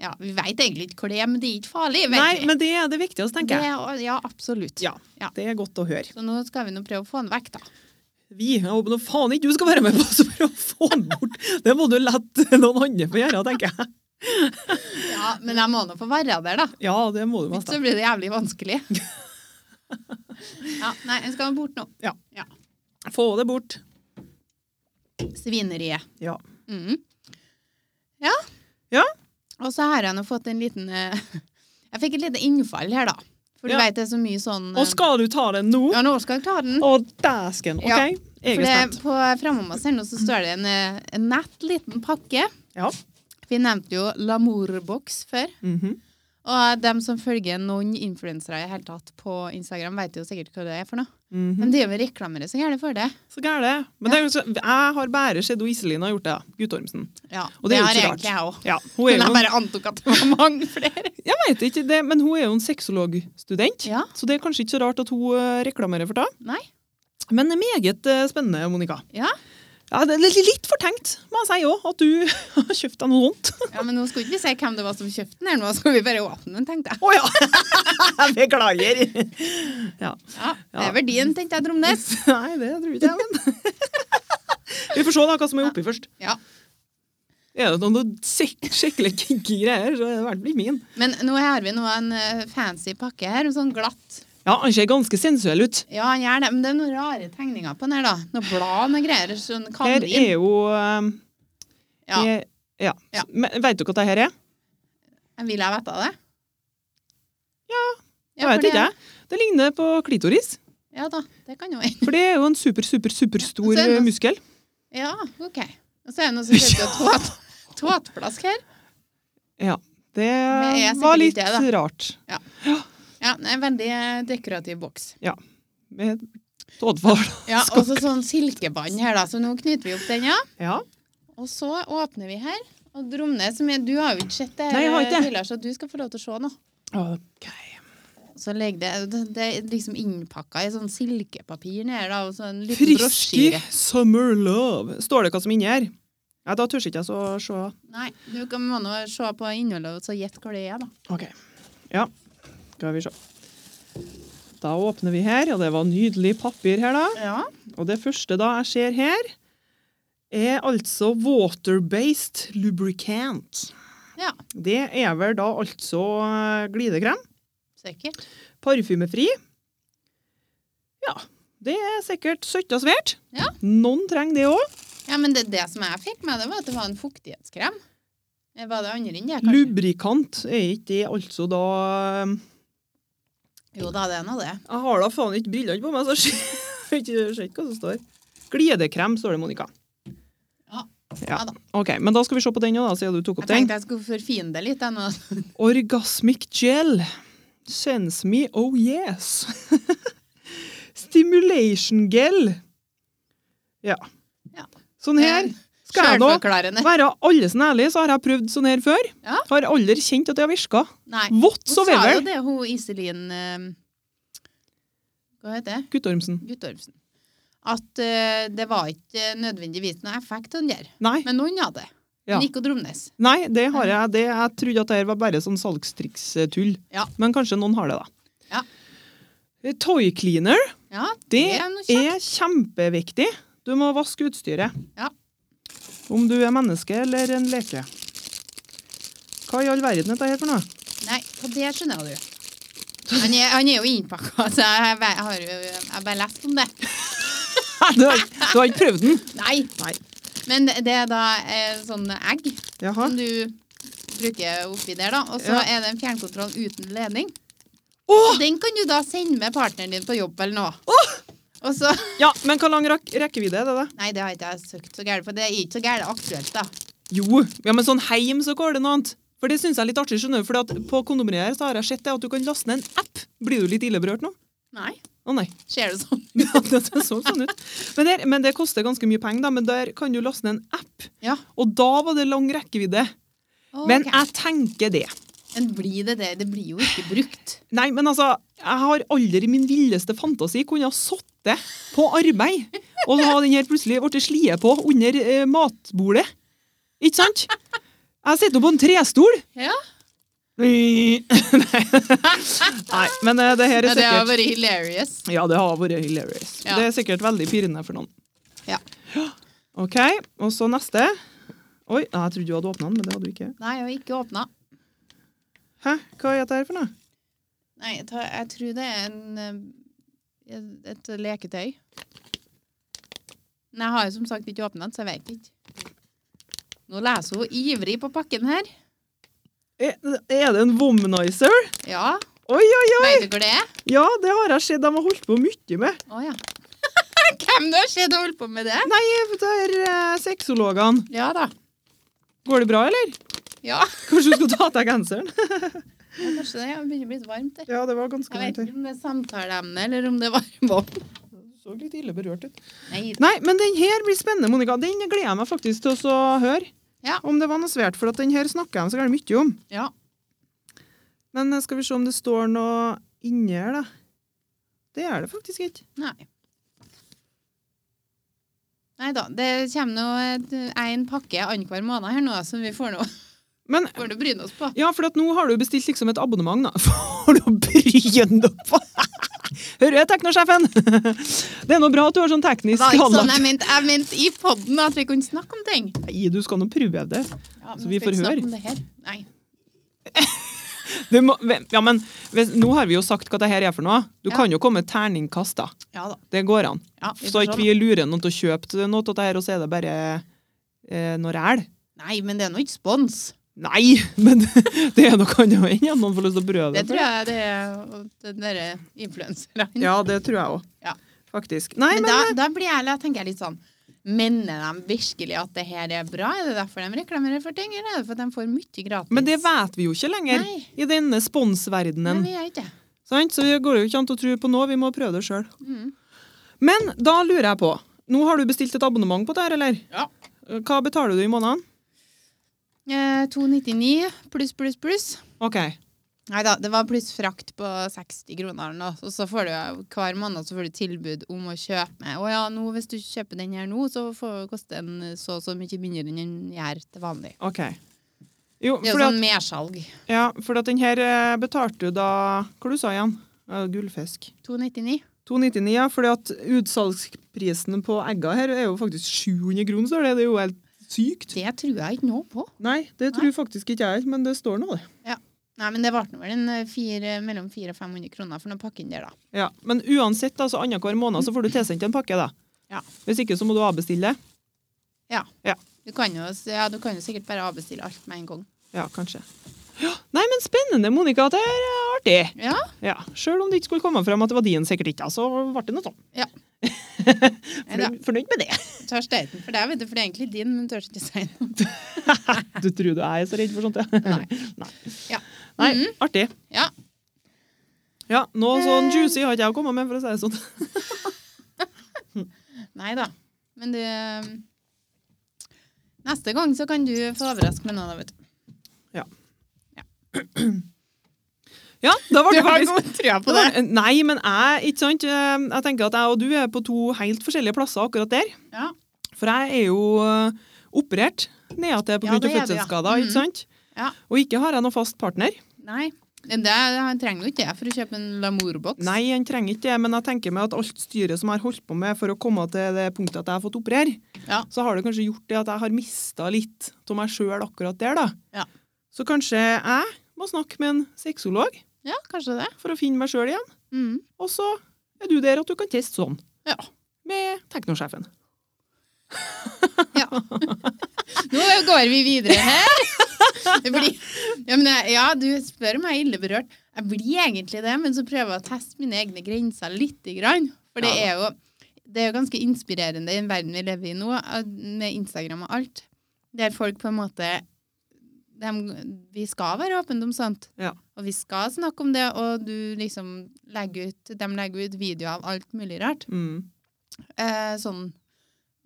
A: ja, vi veit egentlig ikke hvor det er, men det er ikke farlig. vet
B: Nei,
A: vi.
B: men det er det viktigste,
A: det,
B: tenker jeg.
A: ja, absolutt.
B: Ja. Det er godt å høre.
A: Så nå skal vi nå prøve å få den vekk, da.
B: Vi jeg håper nå faen ikke du skal være med på oss for å få den bort. Det må du la noen andre få gjøre, tenker jeg.
A: Ja, Men jeg må nå få være der, da.
B: Ja, det må du altså.
A: Hvis
B: mest.
A: så blir det jævlig vanskelig. ja, nei, jeg skal bort nå.
B: Få det bort.
A: Svineriet.
B: Ja.
A: Mhm. Ja.
B: Ja.
A: Og så har jeg nå fått en liten eh, Jeg fikk et lite innfall her, da. For du
B: Ja.
A: vet det er så mye sånn eh,
B: Og skal du ta den nå?
A: Ja, nå skal jeg ta den.
B: Å, dæsken. OK,
A: Ja.
B: jeg
A: For
B: er
A: det,
B: spent.
A: på eh, framommas her nå så står det en, eh, en nett liten pakke.
B: Ja.
A: Vi nevnte jo Lamour-boks før.
B: Mhm.
A: Og dem som følger noen influensere i hele tatt på Instagram, vet jo sikkert hva det er for noe.
B: Mhm.
A: Men de driver og reklamerer så gærent for det.
B: Så gæle. Men det er, jo så- jeg har bare sett hun Iselin har gjort det, da. Guttormsen.
A: Ja,
B: Og det er jo
A: har
B: ikke så
A: egentlig jeg òg.
B: Ja, hun
A: Men
B: er jo
A: jeg bare antok at det var mange flere.
B: Jeg vet ikke det, men hun er jo en sexologstudent,
A: Ja.
B: så det er kanskje ikke så rart at hun eh, reklamerer for det.
A: Nei.
B: Men det er meget eh, spennende, Monica.
A: Ja.
B: Ja, det er litt- litt fortenkt, må jeg si òg, at du har kjøpt deg noe vondt.
A: Ja, men nå skulle ikke vi se hvem det var som kjøpte den her nå, skal vi bare åpne den, tenkte jeg.
B: Å ja! Beklager. Ja.
A: Ja, Det
B: Ja.
A: er verdien, tenkte jeg, Tromnes.
B: Nei, det tror ikke jeg, men Vi får se da hva som er oppi først.
A: Ja.
B: Er det noen sek- skikkelig kinky greier, så er det i hvert fall ikke min.
A: Men nå har vi nå en eh, fancy pakke her, en sånn glatt.
B: Ja, han ser ganske sensuell ut.
A: Ja, han gjør det, men det er noen rare tegninger på den her, da. Noen blad, noen greier, sånn
B: Her
A: kanin.
B: er jo eh,
A: Ja,
B: Jeg, ja.
A: Ja.
B: Men Vet du hva det her er?
A: jeg vil jeg vite av det?
B: Jeg
A: for
B: vet ikke. jeg. Det ligner på klitoris.
A: Ja da, det kan jo være.
B: For det er jo en super, super,
A: Ja, og
B: superstor
A: så er det
B: eh,
A: noe-
B: muskel.
A: Ja, ok. Og så er det noe som heter tåt, tåtplask her.
B: Ja. Det
A: Men jeg er
B: var
A: sikkert
B: litt
A: ikke det,
B: rart.
A: Ja, det er en veldig eh, dekorativ boks.
B: Med tådfall.
A: Ja, og så sånn silkebånd her, da. Så nå knyter vi opp den, ja.
B: Ja.
A: Og så åpner vi her. Og Dromne, som er, du har jo ikke sett det her
B: Nei, jeg har ikke.
A: tidligere, så du skal få lov til å se nå.
B: Ok.
A: Så legg det, det, det er liksom innpakka i sånn silkepapir nede, da, og så en liten
B: Frisky
A: brosjyre.
B: summer love. Står det hva som er inni her? Ja, da tør ikke jeg så se.
A: Nei, du kan, må nå se på innholdet og så gjette hva det er, da.
B: Ok. Ja. Skal vi se. Da åpner vi her. Ja, det var nydelig papir her, da.
A: Ja.
B: Og det første da jeg ser her, er altså water-based lubricant.
A: Ja.
B: Det er vel da altså eh, glidekrem,
A: Sikkert.
B: parfymefri. Ja, det er sikkert søtt og svært.
A: Ja.
B: Noen trenger det òg.
A: Ja, men det, det som jeg fikk med det, var at det var en fuktighetskrem. Det var det andre enn det, kanskje?
B: Lubrikant er ikke det altså da
A: Jo da, det er nå det.
B: Jeg har da faen ikke brillene på meg, så jeg ser ikke ser ikke hva som står. Glidekrem, står det, Monica.
A: Ja.
B: Ja.
A: Ja da.
B: OK, men da skal vi se på den òg, siden du tok
A: Jeg
B: opp den.
A: tenkte jeg skulle forfine det litt, jeg nå.
B: Orgasmic gel. Sense me, oh yes. Stimulation gel. Ja.
A: Ja. Eh,
B: Sånn her. Skal jeg nå
A: Sjølforklarende.
B: være alle sånn ærlig, så har jeg prøvd sånn her før.
A: Ja.
B: Har aldri kjent at det har virka.
A: Nei. Hun sa jo
B: Whatsoever.
A: det, hun Iselin eh, Hva heter det?
B: Guttormsen.
A: Guttormsen. At eh, det var ikke nødvendigvis noe effekt av den der.
B: Nei.
A: Men noen hadde det.
B: Ja.
A: Nico Dromnes.
B: Nei, det har jeg. Det, jeg trodde at det her var bare sånn salgstrikstull.
A: Ja.
B: Men kanskje noen har det, da.
A: Ja.
B: Toy cleaner.
A: Ja,
B: Det
A: er noe kjekt.
B: er kjempeviktig. Du må vaske utstyret.
A: Ja.
B: Om du er menneske eller en leke. Hva i all verden er dette her for noe?
A: Nei, på det skjønner jeg du. Han er, han er jo innpakka, så jeg, jeg, har, jo- jeg har bare lest om det.
B: Du har, du har ikke prøvd den?
A: Nei.
B: Nei.
A: Men det er da eh, sånn egg
B: Jaha.
A: som du bruker oppi der, da. Og så
B: Ja.
A: er det en fjernkontroll uten ledning.
B: Å!
A: Den kan du da sende med partneren din på jobb eller noe. Og så
B: Ja, men hvor lang rak rekkevidde er det, da?
A: Nei, det har ikke jeg søkt så gærent, for det er ikke så gærent aktuelt, da.
B: Jo, ja, men sånn heim så går det noe annet. For det syns jeg er litt artig, skjønner du. For på kondomeriet her så har jeg sett det at du kan laste ned en app. Blir du litt ille berørt nå?
A: Nei.
B: Å nei.
A: Ser det sånn?
B: Ja, det så sånn ut. Men, der, men det koster ganske mye penger, da. Men der kan du laste ned en app.
A: Ja.
B: Og da var det lang rekkevidde.
A: Å,
B: Men
A: ok.
B: jeg tenker det.
A: Men blir det det? Det blir jo ikke brukt.
B: Nei, men altså, jeg har aldri i min villeste fantasi kunne ha sittet på arbeid og så har den her plutselig blitt sliet på under eh, matbordet. Ikke sant? Jeg sitter jo på en trestol.
A: Ja.
B: Nei, Nei, men eh, det her
A: Ja,
B: er
A: det har
B: sikkert
A: vært hilarious.
B: Ja, det har vært hilarious.
A: Ja.
B: Det er sikkert veldig pirrende for noen.
A: Ja.
B: OK, og så neste. Oi, jeg trodde du hadde åpna den, men det hadde du ikke.
A: Nei, jeg har ikke åpna.
B: Hæ, hva er dette her for noe?
A: Nei, jeg, tar, jeg tror det er en, eh, et leketøy. Men jeg har jo som sagt ikke åpna den, så jeg vet ikke. Nå leser hun ivrig på pakken her.
B: Er, er det en womanizer?
A: Ja,
B: Oi, oi, oi!
A: vet du hvor det er?
B: Ja, det har jeg sett de har holdt på mye med.
A: Å ja. Hvem du har sett og holdt på med det?
B: Nei, det er eh, sexologene.
A: Ja da.
B: Går det bra, eller?
A: Ja.
B: Kanskje du skal ta av deg genseren?
A: Kanskje det ja, det begynner å bli litt varmt der.
B: Ja, det var ganske
A: Jeg vet
B: langt her.
A: ikke om det er samtaleemne, eller om det er varmvann.
B: Du så litt ille berørt ut.
A: Nei,
B: Nei, men den her blir spennende, Monica. Den gleder jeg meg faktisk til å så høre.
A: Ja.
B: Om det var noe svært, for at den her snakker jeg så gærent mye om.
A: ja.
B: Men eh, skal vi se om det står noe inni her, da. Det er det faktisk ikke.
A: Nei. Nei da. Det kommer nå et- en pakke annenhver måned her nå, som vi får nå,
B: Men
A: får nå bryne oss på.
B: ja, for at nå har du bestilt liksom et abonnement, da. For å bryne deg på! Hører du, teknosjefen? Det er nå bra at du har sånn
A: Det
B: teknisk
A: var ikke
B: anlagt
A: sånn jeg mente. Jeg mente i podden at vi kunne snakke om ting.
B: Nei, du skal nå prøve det.
A: Ja, men
B: Så vi
A: skal
B: får
A: ikke
B: høre.
A: snakke om det her. Nei.
B: det må, ja, men hvis, Nå har vi jo sagt hva det her er for noe. Du
A: Ja.
B: kan jo komme med terningkast, da.
A: Ja da.
B: Det går an.
A: Ja, vi
B: Så
A: får
B: ikke
A: se da.
B: vi lurer noen til å kjøpe noe av det her, og så er det bare eh, noe ræl.
A: Nei, men det er nå ikke spons.
B: Nei, men det er noe annet enn at noen får lyst til å prøve
A: Det tror jeg det er og den derre influenseren.
B: Ja, det tror jeg òg.
A: Ja.
B: Faktisk. Nei,
A: Men
B: men,
A: da, da blir jeg, da tenker jeg litt sånn Mener de virkelig at det her er bra? Er det derfor de reklamerer for ting, eller er det for at de får mye gratis?
B: men det vet vi jo ikke lenger
A: Nei.
B: i denne
A: Nei,
B: sponsverdenen.
A: vi gjør ikke det.
B: Sant? Så det går jo ikke an å tro på noe. Vi må prøve det sjøl.
A: Mm.
B: Men da lurer jeg på Nå har du bestilt et abonnement på det her, eller?
A: Ja.
B: Hva betaler du i måneden?
A: Eh, 299 pluss, pluss, pluss.
B: OK.
A: Nei da, det var pluss frakt på 60 kroner. eller noe. Og så får du hver måned så får du tilbud om å kjøpe med. Å ja, nå, hvis du kjøper den her nå, så får, koster den så og så mye mindre enn den gjør til vanlig.
B: ok. Jo,
A: Det er
B: for,
A: jo
B: at,
A: sånn mersalg.
B: ja, for at den her eh, betalte du da Hva du sa igjen? Eh, Gullfisk.
A: 299.
B: 299, ja. fordi at utsalgsprisen på egga her er jo faktisk 700 kroner, står det. Det er jo helt sykt.
A: Det tror jeg ikke noe på.
B: Nei, det tror faktisk ikke jeg, men det står nå, det.
A: Nei, men det ble nå vel en eh, fire, mellom 400 og 500 kroner for noen pakke inn der, da.
B: Ja, Men uansett, altså annenhver måned så får du tilsendt en pakke, da.
A: Ja.
B: Hvis ikke så må du avbestille.
A: Du kan jo, s- ja, du kan jo sikkert bare avbestille alt med en gang.
B: Ja, kanskje. Ja, Nei, men spennende, Monica. Det er eh, artig.
A: Ja,
B: Ja, Sjøl om det ikke skulle komme fram at det var din, sikkert ikke, så ble det noe sånn.
A: nei da.
B: Fornøyd, fornøyd med det.
A: Tør støyten for deg, vet du, for det er egentlig din, men tør ikke si noe.
B: Du tror du er så redd for sånt, ja?
A: Nei.
B: Nei.
A: Ja.
B: Nei,
A: Mhm.
B: Artig.
A: Ja.
B: Ja, Noe sånn
A: Eh.
B: juicy har ikke jeg kommet med, for å si det sånn.
A: Nei da. Men du Neste gang så kan du få overraske med noe, da, vet du.
B: Ja, da ble det faktisk...
A: god trua
B: Nei, men jeg, ikke sant? eh, jeg tenker at jeg og du er på to helt forskjellige plasser akkurat der.
A: Ja.
B: For jeg er jo eh, operert nedatil
A: Ja,
B: pga.
A: det
B: Ja,
A: er du, ja.
B: fødselsskader,
A: Mhm.
B: ikke sant?
A: Ja.
B: Og ikke har jeg noen fast partner.
A: Nei. Men det han trenger jo ikke jeg for å kjøpe en Lamour-boks.
B: Nei, en trenger ikke det, men jeg tenker meg at alt styret som jeg har holdt på med for å komme til det punktet at jeg har fått operere,
A: Ja.
B: så har det kanskje gjort det at jeg har mista litt av meg sjøl akkurat der, da.
A: Ja.
B: Så kanskje jeg må snakke med en sexolog
A: Ja, kanskje det.
B: for å finne meg sjøl igjen.
A: Mm.
B: Og så er du der at du kan teste sånn.
A: Ja.
B: Med teknosjefen.
A: Nå går vi videre her. Det blir, ja, men jeg, ja, du spør om jeg er ille berørt. Jeg blir egentlig det, men så prøver jeg å teste mine egne grenser lite grann. For det
B: Ja
A: er jo det er jo ganske inspirerende i den verden vi lever i nå, at- med Instagram og alt. Der folk på en måte dem- Vi skal være åpne om sånt.
B: Ja.
A: Og vi skal snakke om det, og du liksom legger ut, de legger ut videoer av alt mulig rart.
B: Mm.
A: Eh, sånn,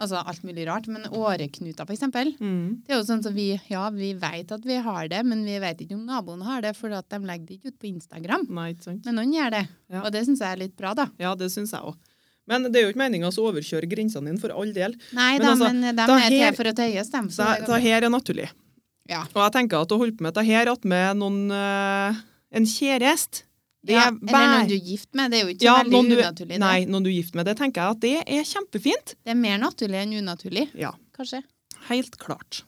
A: altså alt mulig rart, men åreknuter, for eksempel.
B: Mm.
A: Det er jo sånn som vi, ja, vi vet at vi har det, men vi vet ikke om naboen har det, for at de legger det ikke ut på Instagram.
B: Nei, ikke sant.
A: Men noen gjør det,
B: Ja.
A: og det syns jeg er litt bra, da.
B: Ja, det syns jeg òg. Men det er jo ikke meninga å overkjøre grensene dine, for all del.
A: Nei
B: Men
A: da,
B: altså,
A: men de
B: da
A: er til
B: her-
A: for å tøyes, dem.
B: Så
A: Så det går
B: det, det
A: bra.
B: her er naturlig.
A: Ja.
B: Og jeg tenker at å holde på med dette her attmed noen eh, en kjæreste det
A: ja,
B: er
A: eller noen
B: vær-
A: du er gift med. Det er jo ikke
B: Ja,
A: så
B: noen
A: veldig
B: du-
A: unaturlig.
B: Nei,
A: Det.
B: noen du er gift med. Det tenker jeg at det er kjempefint.
A: det er mer naturlig enn unaturlig,
B: Ja,
A: kanskje.
B: helt klart.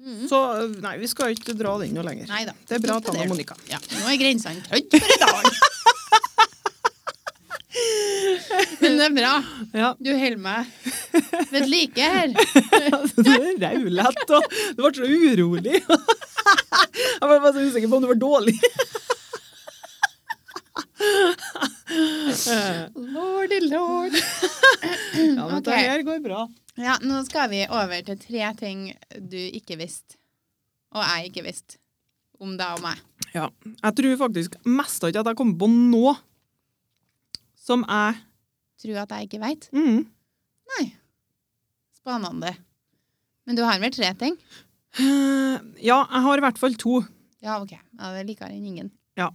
A: Mm.
B: Så eh, nei, vi skal ikke dra den noe lenger.
A: Nei da.
B: Det er bra,
A: Slutt på
B: Tanna
A: det.
B: Monica.
A: Ja, nå er grensene tødd for i dag. Men det er bra.
B: Ja.
A: Du holder meg ved like her.
B: Du er raulett og du ble så urolig. Jeg var bare så usikker på om du var dårlig. Ja,
A: Lordy lord.
B: men
A: Ok.
B: det her går bra.
A: Ja, nå skal vi over til tre ting du ikke visste, og jeg ikke visste, om deg og meg.
B: Jeg tror faktisk mest av ikke at jeg kommer på nå som jeg
A: Tror at jeg ikke veit.
B: mm,
A: Spennende. Men du har vel tre ting?
B: Ja, jeg har i hvert fall to.
A: Ja, OK. Ja, det er likere enn ingen.
B: Ja.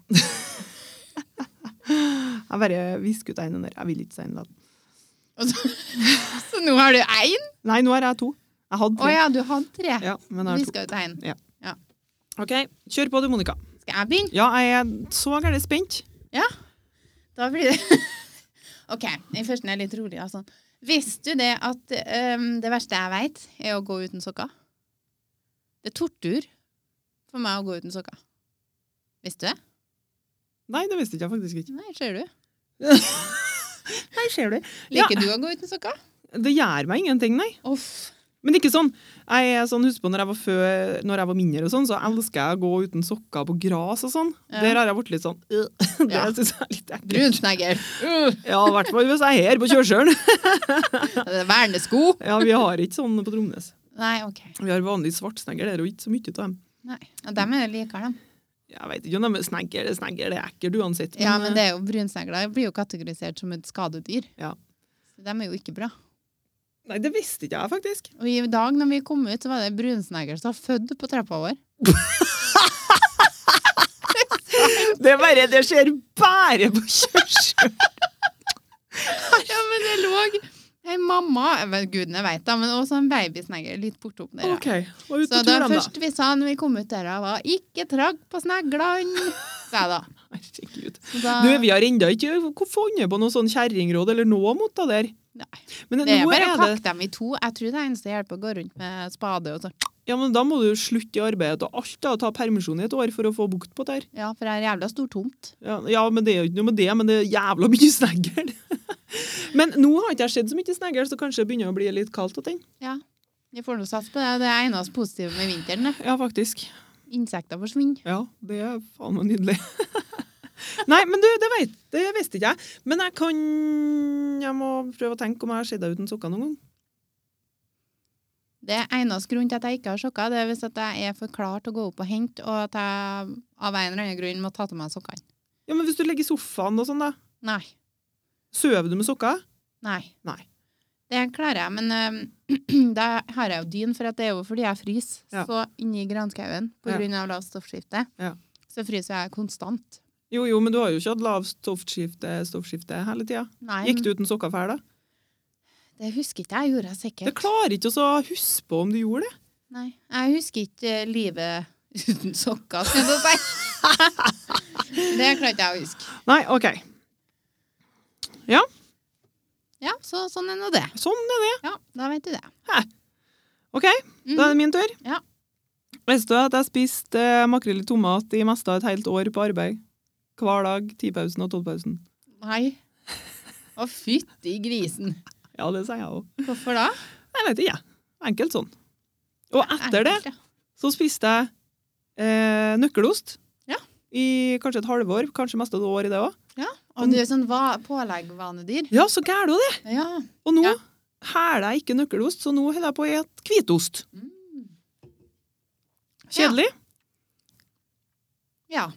B: Jeg bare visker ut en under. Jeg vil ikke si en ladd.
A: Og så, så nå har du én?
B: Nei, nå har jeg to. Jeg hadde
A: Å
B: tre.
A: ja, du hadde tre.
B: Ja, men
A: vi
B: jeg har to.
A: skal ut én.
B: OK, kjør på du, Monica.
A: Skal jeg begynne?
B: Ja, jeg er så gærent spent.
A: Da blir det OK. Den første er litt rolig. Altså. Visste du det at ehm, det verste jeg veit, er å gå uten sokker? Det er tortur for meg å gå uten sokker. Visste du det?
B: Nei, det visste ikke jeg faktisk ikke.
A: Nei, ser du.
B: Nei, ser du. Ja.
A: Liker du å gå uten sokker?
B: Det gjør meg ingenting, nei.
A: Uff.
B: Men ikke sånn. Jeg er sånn, husk på når jeg var, før, når jeg var mindre, og sånn, så elsker jeg å gå uten sokker på gras og sånn.
A: Ja.
B: Der har jeg vært litt sånn øh. Det
A: Ja.
B: synes jeg er litt ekkelt.
A: Brunsnegger. Uh,
B: Ja, i hvert fall hvis jeg er her på kjørselen.
A: det er Vernesko.
B: Ja, vi har ikke sånn på Tromnes.
A: Nei, OK.
B: Vi har vanlig svartsnegger, det er jo ikke så mye av dem.
A: Nei. Ja, dem er jo likere, dem.
B: Jeg vet ikke om de er snegger, det er snegger, det er ekkelt uansett.
A: Ja, men det er jo brunsnegler blir jo kategorisert som et skadedyr.
B: Mm. Ja.
A: Så de er jo ikke bra.
B: Nei, det visste ikke jeg faktisk.
A: Og i dag når vi kom ut, så var det en brunsnegler som var født på trappa vår.
B: Det er bare, det skjer bare på kjørselen.
A: Ja, men det lå ei mamma jeg vet, Gudene veit, da, men også en babysnegler litt bortom der.
B: Ok, og ut
A: Så
B: på
A: det
B: turen da.
A: første vi sa når vi kom ut der, var 'ikke tragg på sneglene', sa jeg da.
B: Herregud.
A: Så da
B: Du, vi har enda ikke funnet på noe sånn kjerringråd eller noe mot det der.
A: Nei.
B: Men
A: Det er
B: nå
A: bare å
B: er det,
A: pakke dem i to. Jeg tror det eneste hjelper å gå rundt med spade og sånn.
B: ja, men da må du slutte i arbeidet og alt da, og ta permisjon i et år for å få bukt på det her.
A: Ja, for det er jævla stor tomt.
B: Ja, ja, men det er jo ikke noe med det, men det er jævla mye snegger. men nå har ikke jeg sett så mye snegger, så kanskje det begynner å bli litt kaldt og ting.
A: Ja. Vi får nå satse på det. Det er eneste positive med vinteren. det.
B: Ja, faktisk.
A: Insekter forsvinner.
B: Ja, det er faen meg nydelig. Nei, men du, det, vet, det visste ikke jeg. Men jeg kan Jeg må prøve å tenke om jeg har sett deg uten sokker noen gang.
A: Det eneste grunnen til at jeg ikke har sokker, det er hvis at jeg er for klar til å gå opp og hente, og at jeg av en eller annen grunn må ta til meg sokkene.
B: Ja, men Hvis du ligger i sofaen og sånn, da.
A: Nei.
B: Sover du med sokker?
A: Nei.
B: Nei.
A: Det klarer jeg, men øhm, da har jeg jo dyn, for at det er jo fordi jeg fryser
B: Ja.
A: så inni granskauen
B: Ja.
A: pga. av lavt stoffskifte.
B: Ja.
A: Så fryser jeg konstant.
B: Jo, jo, men du har jo ikke hatt lavt stoffskifte, stoffskifte hele tida.
A: Nei,
B: Gikk du uten sokker før, da?
A: det husker ikke jeg. Gjorde jeg sikkert.
B: Jeg klarer ikke å huske på om du gjorde det.
A: Nei, jeg husker ikke eh, livet uten sokker, skal jeg si. det klarte jeg å huske.
B: Nei, OK.
A: Ja, så sånn er nå det.
B: Sånn er det.
A: Ja, da vet du det.
B: OK,
A: Mhm.
B: da er det min tur.
A: Ja.
B: Visste du at jeg spiste eh, makrell i tomat i meste av et helt år på arbeid? Hver dag, tipausen og tolvpausen.
A: Nei. Å, fytti grisen.
B: Ja, det sier jeg òg.
A: Hvorfor da?
B: Jeg vet ikke, jeg. Enkelt sånn. Og etter det
A: Enkelt, ja.
B: så spiste jeg eh, nøkkelost
A: Ja.
B: i kanskje et halvår, kanskje mest av et år i det òg.
A: Ja, Og du er sånn va påleggvanedyr.
B: Ja, så gæren du det!
A: Ja.
B: Og nå
A: Ja.
B: hæler jeg ikke nøkkelost, så nå holder jeg på å spise hvitost.
A: Mm.
B: Kjedelig.
A: Ja.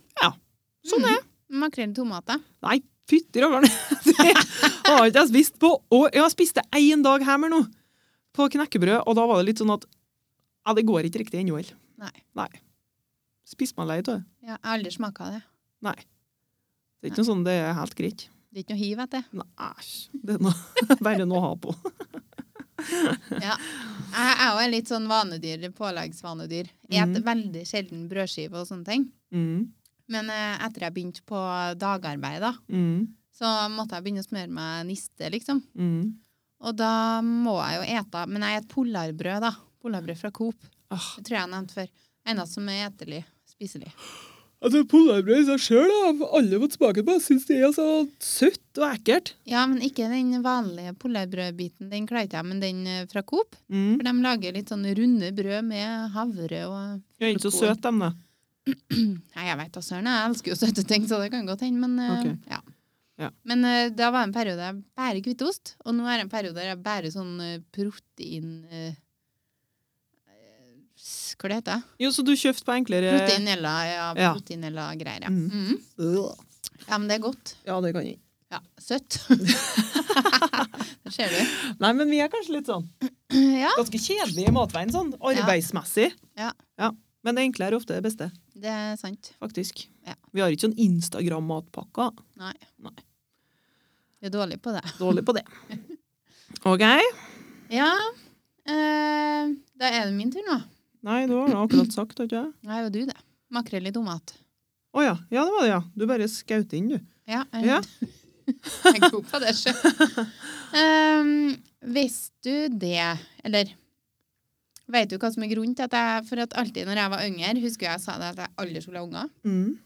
B: Sånn er det.
A: Makrell i tomater.
B: Nei, fytti rakkeren. Det har ikke jeg spist på år. Jeg spiste én dag hjemme nå, på knekkebrød, og da var det litt sånn at Ja, det går ikke riktig ennå, heller.
A: Nei.
B: Spiser meg lei av det.
A: Ja, jeg har aldri smaka det.
B: Det er ikke noe sånn det er helt greit.
A: Det er ikke noe hiv etter.
B: Nei, æsj. Det er noe, bare noe å ha på.
A: Jeg er jo en litt sånn vanedyr, påleggsvanedyr. Et
B: Mhm.
A: veldig sjelden brødskive og sånne ting.
B: Mm,
A: Men eh, etter jeg begynte på dagarbeid, da,
B: mm,
A: så måtte jeg begynne å smøre meg niste, liksom.
B: mm.
A: Og da må jeg jo ete Men jeg spiser polarbrød, da. Polarbrød fra Coop.
B: Ah,
A: Det tror jeg jeg nevnte før. Eneste som er etelig. Spiselig.
B: altså, Polarbrød i seg sjøl har alle fått smake på. Jeg syns det er altså så søtt og ekkelt.
A: Ja, men ikke den vanlige polarbrødbiten. Den klarer ikke jeg, men den eh, fra Coop.
B: Mm.
A: For de lager litt sånn runde brød med havre og
B: Jeg er ikke så søt, dem, da.
A: Nei, jeg veit da søren. Jeg elsker jo søte ting, så det kan godt hende, men eh,
B: Ok.
A: ja.
B: Ja.
A: Men eh, da var det en periode jeg bærer hvitost, og nå er det en periode der jeg bærer sånn eh, protein... eh, eh, s- Hva det heter det?
B: Jo, så du kjøpte på enklere
A: Proteinella, ja,
B: Eh, Ja.
A: proteinella greier, ja.
B: Mm.
A: Mhm.
B: Øh.
A: Ja, men det er godt.
B: Ja, det kan jeg.
A: Ja, søtt. det ser du.
B: Nei, men vi er kanskje litt sånn.
A: Ja,
B: ganske kjedelig i matveien, sånn arbeidsmessig.
A: Ja.
B: Men det enkle er ofte det beste,
A: det er sant.
B: faktisk.
A: Ja.
B: Vi har ikke sånn Instagram-matpakka.
A: Nei.
B: Nei.
A: Vi er dårlige på det.
B: Dårlig på det. OK.
A: Ja, eh, da er det min tur nå.
B: Nei, du har da akkurat sagt, har ikke jeg?
A: Nei, og du det. Makrell i tomat.
B: Å ja. Ja, det var det, ja. Du bare skaut inn, du.
A: Ja, jeg
B: Ja.
A: er jeg er god på det sjøl. Um, visste du det, eller Vet du hva som er grunnen til at jeg For at alltid når jeg var yngre, husker jeg sa det at jeg aldri skulle ha unger.
B: Mm.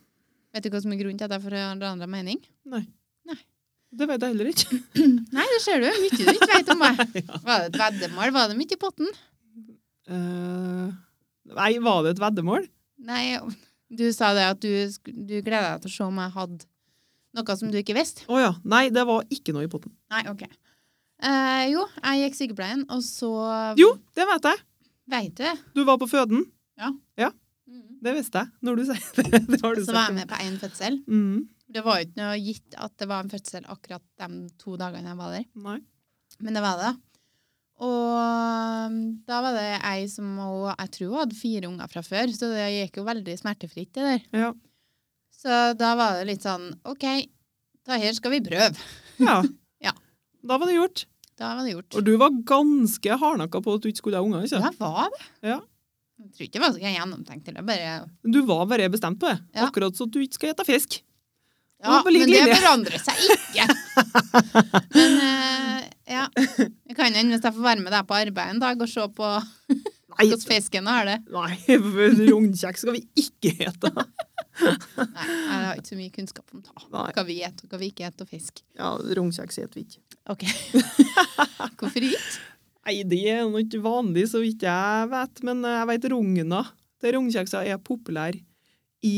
A: Vet du hva som er grunnen til at jeg forandra mening?
B: Det vet jeg heller ikke.
A: Nei, det ser du. Mye du ikke vet om meg. Var det et veddemål? Var det mye i potten?
B: Eh, nei, var det et veddemål?
A: Nei, du sa det at du, sk- du gleda deg til å se om jeg hadde noe som du ikke visste.
B: Å ja. Nei, det var ikke noe i potten.
A: Nei, OK. Eh, jo, jeg gikk sykepleien, og så
B: Jo, det vet jeg.
A: Veit du det?
B: Du var på føden.
A: Mhm.
B: Det visste jeg. Når du sier det. det har du
A: Så
B: sagt.
A: var jeg med på én fødsel.
B: Mm.
A: Det var jo ikke noe gitt at det var en fødsel akkurat de to dagene jeg var der.
B: Nei.
A: Men det var det. Og um, da var det ei som hun- Jeg tror hun hadde fire unger fra før, så det gikk jo veldig smertefritt, det der.
B: Ja.
A: Så da var det litt sånn OK, da her skal vi prøve.
B: Ja.
A: Ja.
B: Da var det gjort.
A: Da var det gjort.
B: Og du var ganske hardnakka på at du ikke skulle ha unger. ikke?
A: Ja, var det?
B: Ja.
A: Jeg tror ikke det var så gjennomtenkt. Det bare
B: Du var bare bestemt på det.
A: Ja.
B: Akkurat så at du ikke skal gjette fisk.
A: Ja,
B: var på lik
A: men det
B: linje.
A: forandrer seg ikke. Men eh, ja. Det kan hende hvis jeg får være med deg på arbeid en dag og se på
B: Nei,
A: hvordan fisken har det.
B: nei rognkjeks skal vi ikke hete.
A: Nei, jeg har ikke så mye kunnskap om ta.
B: Nei.
A: hva vi spiser og hva vi ikke spiser, og fisk.
B: Ja, rognkjeks heter vi ikke.
A: Ok. Hvorfor ikke?
B: Nei, det er nå ikke vanlig, så vidt jeg vet, men eh, jeg vet rogna. Det rognkjeksa er populær i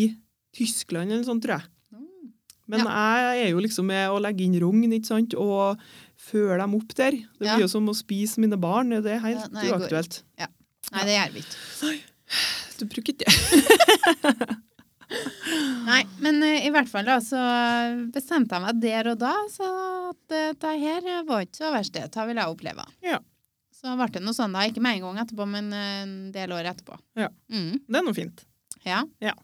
B: Tyskland eller sånn, tror jeg.
A: Mm.
B: Men jeg er jo liksom med å legge inn rogn, ikke sant, og føre dem opp der. Det
A: Ja.
B: blir jo som å spise mine barn, det er
A: Ja,
B: helt
A: nei, det går
B: uaktuelt.
A: Nei, det gjør vi ikke.
B: Du bruker ikke det.
A: Nei, men eh, i hvert fall da, så bestemte jeg meg der og da, så at eh, det her var ikke så verst det. Det ville jeg oppleve.
B: Ja.
A: Så ble det noe sånn da, ikke med en gang etterpå, men eh, en del år etterpå.
B: Ja.
A: Mm.
B: Det er noe fint.
A: Ja.
B: Ja.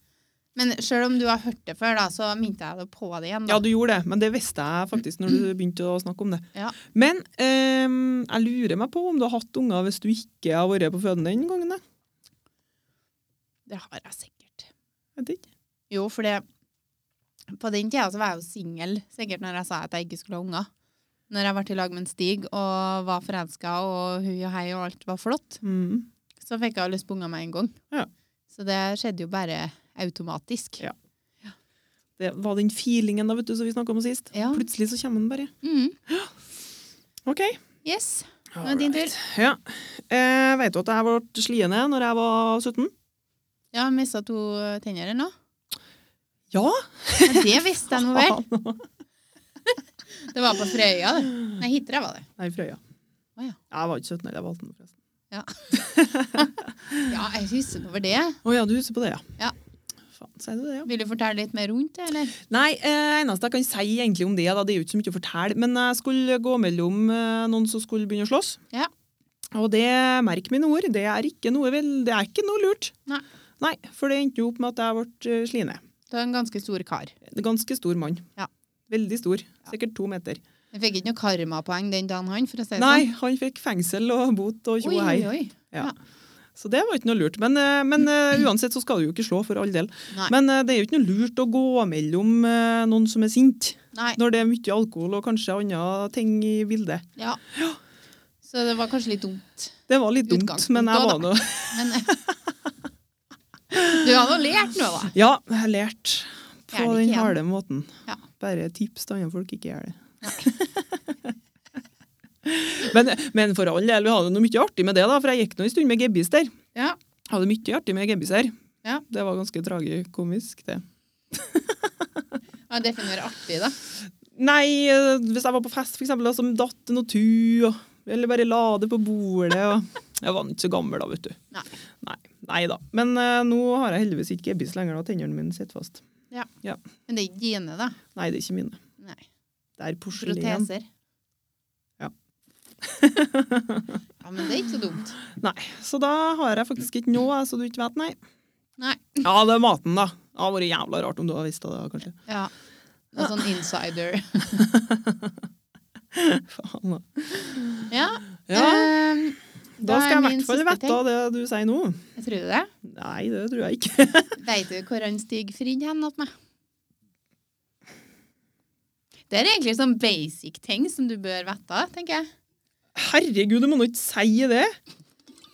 A: Men sjøl om du har hørt det før, da, så minte jeg det på det igjen.
B: Ja,
A: Da.
B: du gjorde det, men det visste jeg faktisk når du begynte å snakke om det.
A: Mm. Ja.
B: Men ehm, jeg lurer meg på om du har hatt unger hvis du ikke har vært på føden den gangen. da.
A: Det har jeg sikkert.
B: Jeg vet ikke.
A: Jo, for det På den tida så var jeg jo singel, sikkert når jeg sa at jeg ikke skulle ha unger. Når jeg var i lag med en Stig og var forelska og hui og hei og alt var flott,
B: Mm.
A: så fikk jeg jo lyst på unger med en gang.
B: Ja.
A: Så det skjedde jo bare automatisk.
B: Ja. Det var den feelingen da, vet du, som vi snakka om sist.
A: Ja.
B: Plutselig så kommer den bare.
A: Mm.
B: OK.
A: Yes. Nå er din tur.
B: Ja. Eh, vet du at jeg ble sliende når jeg var 17?
A: Ja, mista to tenner eller noe?
B: Ja.
A: Ja, det visste jeg nå vel.
B: Faen.
A: Det var på Frøya, det. Nei, Hitra var det.
B: Nei, Frøya.
A: Å, ja.
B: Jeg var ikke 17 år, jeg var 18 år, forresten.
A: Ja, jeg husker over det.
B: Å ja, du husker på det, ja.
A: Ja.
B: Faen, sier du det, ja.
A: Vil du fortelle litt mer rundt det, eller?
B: Nei, eh, eneste jeg kan si egentlig om det, da, det er jo ikke så mye å fortelle, men jeg skulle gå mellom eh, noen som skulle begynne å slåss.
A: Ja.
B: Og det, merk mine ord, det er ikke noe, vel, det er ikke noe lurt.
A: Nei.
B: Nei, for det endte jo opp med at jeg ble eh, slått ned.
A: Du er en ganske stor kar.
B: En Ganske stor mann.
A: Ja.
B: Veldig stor. Sikkert to meter.
A: Jeg fikk ikke noe karmapoeng den dagen han, for å si det
B: Nei,
A: sånn.
B: han fikk fengsel og bot og tjo og hei.
A: Oi, oi, oi.
B: Ja. Så det var ikke noe lurt. Men, eh, men eh, uansett så skal du jo ikke slå, for all del.
A: Nei.
B: Men eh, det er jo ikke noe lurt å gå mellom eh, noen som er sint,
A: Nei.
B: når det er mye alkohol og kanskje andre ting i bildet.
A: Ja. Så det var kanskje litt dumt.
B: Det var litt dumt,
A: Utgangspunkt
B: men jeg
A: også,
B: var nå
A: Men du har nå lært noe, da.
B: Ja, jeg har lært på
A: Gjerne ikke
B: den
A: igjen.
B: harde måten.
A: Ja.
B: Bare tips til andre folk, ikke gjør det. men, men for all del, vi hadde noe mye artig med det, da, for jeg gikk nå en stund med gebbis der.
A: Ja.
B: Hadde mye artig med gebbis her.
A: Ja.
B: Det var ganske tragikomisk, det.
A: ja Definere artig, da.
B: Nei, eh, hvis jeg var på fest, for eksempel, da, som datt noe tu, og, eller bare la det på bordet. Og, jeg var ikke så gammel da, vet du.
A: Nei.
B: Nei, nei da. Men eh, nå har jeg heldigvis ikke gebbis lenger, da tennene mine sitter fast.
A: Men det er ikke dine, da.
B: Nei, det er ikke mine.
A: Nei.
B: Det er porselen.
A: Proteser.
B: Ja.
A: ja, men det er ikke så dumt.
B: Nei, så da har jeg faktisk ikke noe, så du ikke vet, nei.
A: Nei.
B: Ja, det er maten, da. Det hadde vært jævla rart om du hadde visst det, da, kanskje.
A: Ja. Det er sånn insider.
B: Faen, da.
A: Ja.
B: Ja,
A: ehm,
B: da skal jeg i
A: min
B: hvert fall
A: siste
B: vite det du sier nå.
A: ting. Tror du det?
B: Nei, det tror jeg ikke.
A: Veit du hvor han Stig Frid hen åt meg? Det er egentlig sånn basic ting som du bør vite, tenker jeg.
B: Herregud, du må nå ikke si det!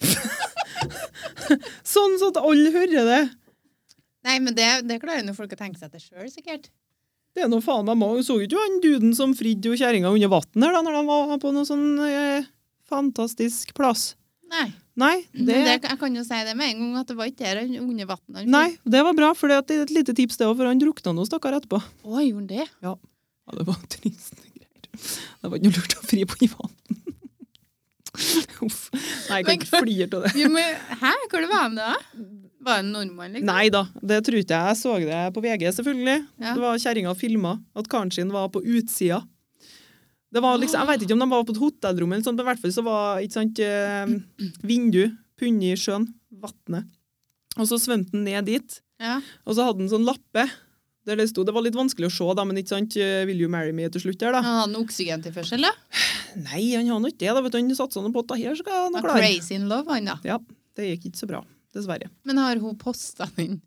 B: sånn sånn at alle hører det.
A: Nei, men det, det klarer jo folk å tenke seg til sjøl, sikkert.
B: Det er noe faen meg mange. Så ikke du han duden som fridde jo kjerringa under vann her, da, når de var på noe sånn eh, fantastisk plass?
A: Nei.
B: Nei,
A: Det...
B: det
A: Mm, Det, jeg kan jo si det med en gang, at det var ikke der han under vannet.
B: Nei, det var bra, for det er et lite tips det òg, for han drukna nå, stakkar, etterpå.
A: Å, gjorde han det?
B: Ja, det var triste greier. Det var ikke noe lurt å fri på Ivan. Uff. Nei, jeg kan ikke flire av det.
A: Vi må, hæ? Hvor var han da? Var han nordmann, liksom?
B: Nei da, det tror ikke jeg. Jeg så det på VG, selvfølgelig.
A: Ja.
B: Det var kjerringa filma at karen sin var på utsida. Det var liksom, Jeg vet ikke om de var på et hotellrom, eller sånt, men i hvert fall så var ikke sant, eh, vindu punnet i sjøen, vannet. Og så svømte han ned dit.
A: Ja.
B: Og så hadde han sånn lappe der det sto Det var litt vanskelig å se, da, men ikke sant, eh, Will you marry me til slutt der, da?
A: Han hadde noe oksygentilførsel, da?
B: Nei, han har nå ikke det. da, vet du, Han satsa nå på at her skal han
A: Han
B: klare.
A: crazy in love, han da.
B: Ja, det gikk ikke så bra, dessverre.
A: Men har hun posta den,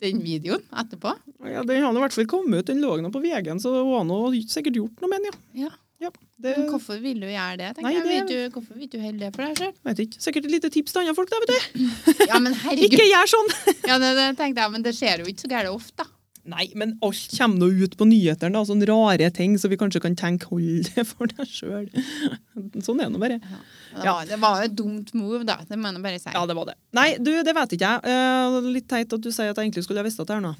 A: den videoen etterpå?
B: Ja, Den har nå i hvert fall kommet ut, den lå nå på VG-en, så hun har nå sikkert gjort noe med den,
A: Ja.
B: ja. ja det
A: Men hvorfor vil du gjøre det? tenker
B: Eh, Nei,
A: jeg.
B: det-
A: Vet du, hvorfor vil du holde det for deg sjøl?
B: vet ikke. Sikkert et lite tips til andre folk, da, vet du.
A: Ja, men herregud.
B: Ikke gjør sånn!
A: Ja, det, det tenkte jeg, men det skjer jo ikke så gærent ofte. da.
B: Nei, men alt kommer nå ut på nyhetene, da. Sånne rare ting, så vi kanskje kan tenke hold det for deg sjøl. Sånn er det nå bare.
A: Men Det,
B: Ja.
A: var, det var jo et dumt move, da. Det må jeg nå bare si.
B: Ja, det var det. Nei, du, det vet ikke jeg. Eh, litt teit at du sier at jeg egentlig skulle ha visst at det er noe.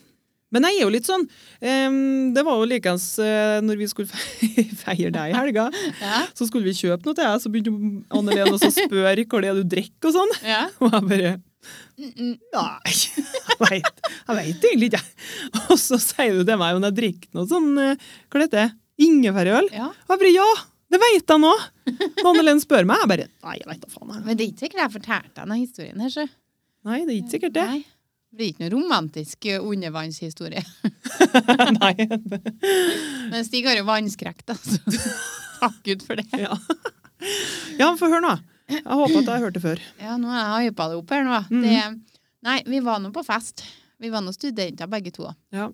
B: Men jeg er jo litt sånn ehm, Det var jo likens uh, når vi skulle fe- feire deg i helga.
A: Ja.
B: Så skulle vi kjøpe noe til deg, så begynte jo Anne Lene også å spørre hva det er du drikker og sånn.
A: Ja.
B: Og jeg bare
A: Mm, mm.
B: Nei, jeg vet, jeg vet egentlig ikke. jeg». Og så sier du til meg om jeg drikker noe sånn eh, Hva det heter det? Ingefærøl?
A: ja.
B: Og jeg bare Ja, det vet jeg nå! Og Anne Lene spør meg, jeg bare Nei, jeg vet da faen. Jeg.
A: Men det er ikke sikkert jeg fortalte denne historien her, så.
B: Nei, det er ikke sikkert det.
A: Nei. Det blir ikke noe romantisk eh, undervannshistorie.
B: Nei,
A: Men Stig har jo vannskrekk, da, så takk Gud for det.
B: Ja. ja, men få høre nå. Jeg håper at jeg har hørt det før.
A: Ja, nå har jeg hypa det opp her nå. Det, nei, vi var nå på fest. Vi var nå studenter begge to.
B: Ja.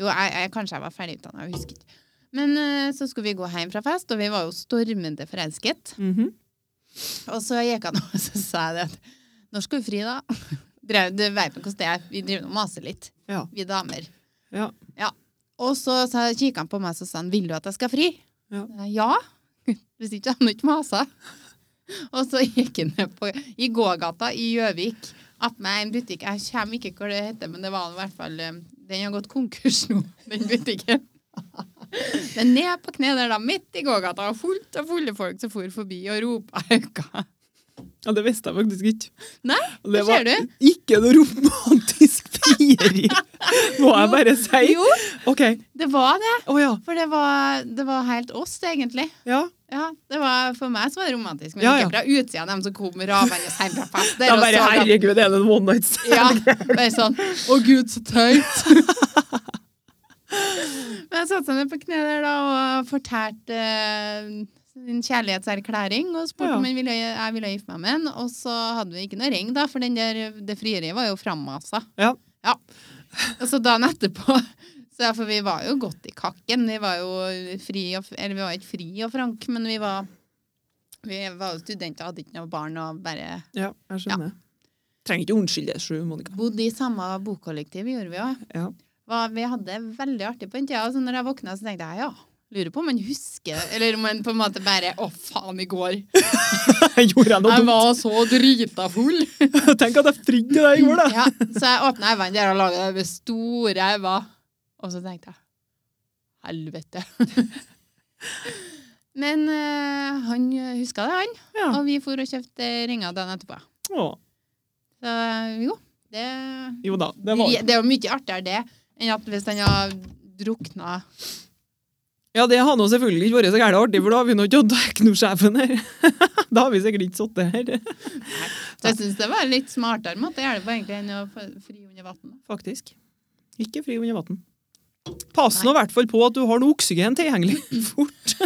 A: Jo, jeg, jeg, kanskje jeg var ferdigutdanna, jeg husker ikke. Men eh, så skulle vi gå hjem fra fest, og vi var jo stormende forelsket.
B: Mhm.
A: Og så gikk han og så sa jeg det at når skal du fri, da? Drev, du vet nå hvordan det er, vi driver nå og maser litt,
B: Ja.
A: vi damer.
B: Ja.
A: Og så, så kikket han på meg og sa han, vil du at jeg skal fri?
B: Ja.
A: Eh, ja. Hvis ikke hadde han ikke masa. Og så gikk han ned på, i gågata i Gjøvik. Att meg en butikk. Jeg kommer ikke hva det heter, men det var i hvert fall eh, Den har gått konkurs nå, den butikken. Men ned på kne der, da, midt i gågata, og fullt av fulle folk som for forbi og ropa hauka.
B: Ja, det visste jeg faktisk ikke.
A: Nei,
B: Og det
A: hva
B: var
A: ser du?
B: ikke noe romantisk frieri, må jeg bare si.
A: Jo,
B: OK.
A: det var det.
B: Å ja.
A: For det var, det var helt oss, egentlig.
B: ja.
A: Ja, det var, For meg så var det romantisk, men
B: Ja,
A: ikke fra utsida, dem som kom ravende hjem fra fest.
B: Det
A: der
B: er
A: og
B: bare
A: så sånn at-
B: herregud, er det en one night stand?
A: Ja, bare sånn Å gud, så tøyt! Men jeg satte meg på kne der da og fortalte eh, sin kjærlighetserklæring og spurte om
B: Ja.
A: jeg ville, jeg ville gifte meg med han. Og så hadde vi ikke noe ring, da, for den der, det frieriet var jo frammasa.
B: Ja.
A: Og så Altså, dagen etterpå så ja, For vi var jo godt i kakken. Vi var jo fri og, eller vi var ikke fri og frank, men vi var, vi var jo studenter og hadde ikke noe barn og bare
B: Ja, jeg skjønner. Trenger ikke unnskylde deg, sju, Monica.
A: bodde i samme bokollektiv, gjorde vi òg.
B: Ja.
A: var, vi hadde det veldig artig på den tida. og Så når jeg våkna, så tenkte jeg ja, lurer på om han husker Eller om han på en måte bare Å, faen, i går.
B: Gjorde jeg noe
A: Jeg
B: dumt?
A: var så drita full.
B: Tenk at jeg fridde til deg i går, da!
A: Ja, så jeg åpna øynene der og laga de store øyne. Og så tenkte jeg helvete. Men eh, han huska det, han.
B: Ja.
A: Og vi for og kjøpte ringer dagen etterpå.
B: Å,
A: Så jo, det
B: jo da, det var
A: Det er jo mye artigere det enn at hvis han har drukna
B: Ja, det har nå selvfølgelig ikke vært så gærent artig, for da har vi nå ikke hatt Tekno-sjefen her. da har vi sikkert ikke sittet her.
A: Så jeg syns det var en litt smartere måte å gjøre det på egentlig enn å få fri under vann.
B: Faktisk. Ikke fri under vann. Pass nå i hvert fall på at du har noe oksygen tilgjengelig fort.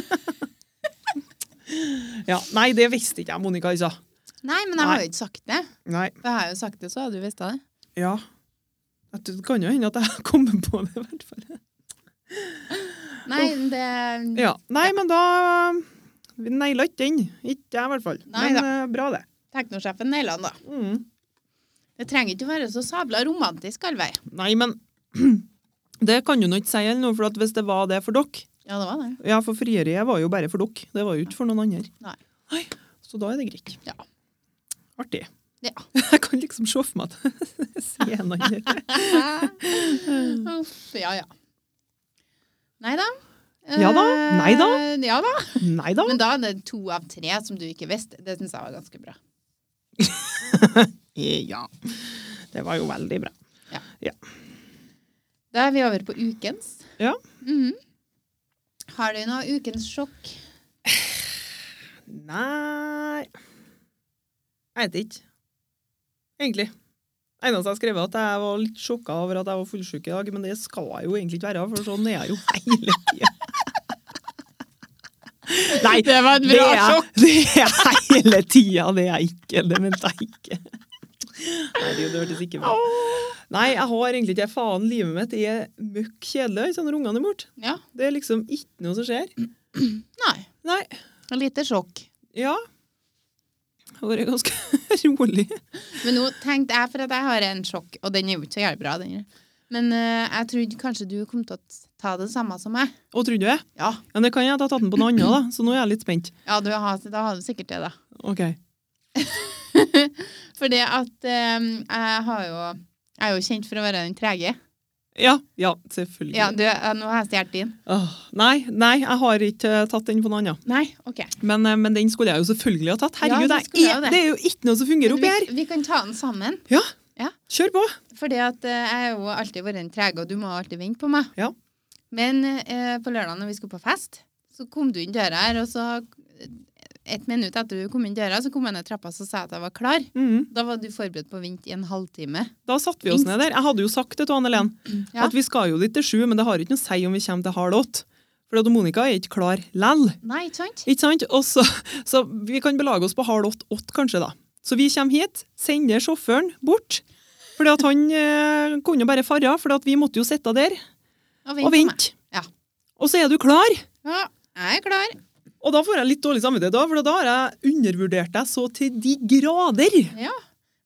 B: ja, nei, det visste ikke jeg, Monica, altså.
A: Nei, men jeg har jo ikke sagt det.
B: Nei.
A: For jeg har jo sagt det, så hadde du visst det.
B: Ja. At Det kan jo hende at jeg kommer på det, i hvert fall.
A: Nei, det
B: Ja. Nei, men da Vi naila ikke den. Ikke jeg, i hvert fall.
A: Nei
B: men eh, bra, det.
A: Teknosjefen naila den, da.
B: Mm.
A: Det trenger ikke å være så sabla romantisk all vei.
B: Nei, men det kan du nå ikke si, eller noe, for at hvis det var det for dere
A: Ja, det var det.
B: Ja, for frieriet var jo bare for dere. Det var jo ikke for noen andre.
A: Nei.
B: Nei, Så da er det greit.
A: Ja.
B: Artig.
A: Ja.
B: Jeg kan liksom se for meg at jeg sier en annen.
A: Uff, ja, ja. Nei da.
B: Ja da, nei da.
A: Eh, Ja da.
B: Nei da.
A: Men da er det to av tre som du ikke visste. Det syns jeg var ganske bra.
B: Eh, Ja. Det var jo veldig bra.
A: Da er vi over på ukens.
B: Ja.
A: Mhm. Har du noe ukens sjokk?
B: Nei Jeg vet ikke. Egentlig. Eneste jeg har skrevet, er at jeg var litt sjokka over at jeg var fullsjuk i dag, men det skal jeg jo egentlig ikke være, for sånn er jeg jo hele tida. Nei,
A: Det var et bra sjokk.
B: det er hele tida, det er jeg ikke. Det mente jeg ikke. Herregud, det hørtes ikke bra Nei, jeg har egentlig ikke faen. Livet mitt er møkk kjedelig ikke sant, når ungene er borte.
A: Ja.
B: Det er liksom ikke noe som skjer.
A: Nei.
B: Nei.
A: Et lite sjokk.
B: Ja. Det har vært ganske rolig.
A: Men nå tenkte jeg, for at jeg har en sjokk, og den er jo ikke så jævlig bra, den. her. Men eh, jeg trodde kanskje du kom til å ta det samme som meg.
B: Og trodde jeg.
A: Ja.
B: Men det kan jeg at jeg har tatt den på noe annet, da. så nå er jeg litt spent.
A: Ja, du har, da har du sikkert det, da.
B: Ok.
A: For det at eh, jeg har jo Jeg er jo kjent for å være den trege.
B: Ja, ja, selvfølgelig.
A: Ja, du, ja, nå har jeg stjålet din.
B: Åh, nei, nei, jeg har ikke eh, tatt den på noe annet.
A: Nei, OK.
B: Men, eh, men den skulle jeg jo selvfølgelig ha tatt. Herregud,
A: Ja, den
B: det,
A: skulle jeg
B: er,
A: jo det.
B: det er jo ikke noe som fungerer oppi
A: vi,
B: her.
A: vi kan ta den sammen.
B: Kjør på.
A: Fordi at eh, jeg har jo alltid vært en trege, og du må alltid vente på meg.
B: Ja.
A: Men eh, på lørdag når vi skulle på fest, så kom du inn døra her, og så eh, et minutt etter du kom inn døra, så kom jeg ned trappa og sa jeg at jeg var klar.
B: Mhm.
A: Da var du forberedt på å vente i en halvtime.
B: Da satte vi oss ned der. Jeg hadde jo sagt det til Anne Len,
A: Mm. Ja.
B: at vi skal jo dit til sju, men det har ikke noe å si om vi kommer til halv åtte. For at Monica er ikke klar lell.
A: Nei, ikke sant?
B: Ikke sant? Og så, så vi kan belage oss på halv åtte, åtte kanskje da. Så vi kommer hit, sender sjåføren bort, fordi at han eh, kunne jo bare farre, fordi at vi måtte jo sitte der
A: Og
B: og
A: på meg.
B: vente.
A: Ja.
B: Og så er du klar,
A: Ja, jeg er klar.
B: og da får jeg litt dårlig samvittighet da, for da har jeg undervurdert deg så til de grader.
A: Ja.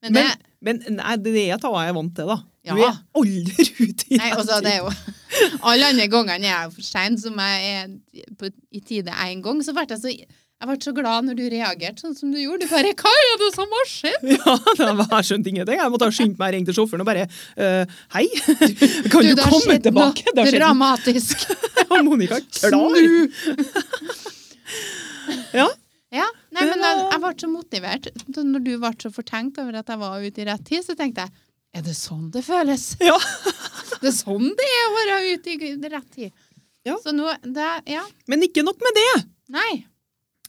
A: Men det,
B: Men, men nei, det er jeg jeg er vant til da.
A: Ja.
B: Du er aldri ute i
A: nei, også, altså, det er jo Alle andre gangene jeg er for sein, som jeg er på, i tide én gang, så ble jeg så jeg ble så glad når du reagerte sånn som du gjorde. Du bare 'Hva er det som har skjedd?'
B: Ja, det var, jeg skjønte ingenting. Jeg måtte ha skyndt meg og ringt til sjåføren og bare eh, Hei, kan du,
A: det har
B: komme
A: skjedd
B: tilbake?
A: noe
B: Det har skjedd
A: dramatisk.
B: noe. Og Monica klar.
A: Snu!
B: Ja.
A: Ja, nei, men
B: Ja.
A: jeg, jeg ble så motivert. Så Når du ble så fortenkt over at jeg var ute i rett tid, så tenkte jeg er det sånn det føles?
B: Ja.
A: Det er sånn det er å være ute i gu- rett tid.
B: Ja.
A: Så nå det, Ja.
B: Men ikke nok med det.
A: Nei.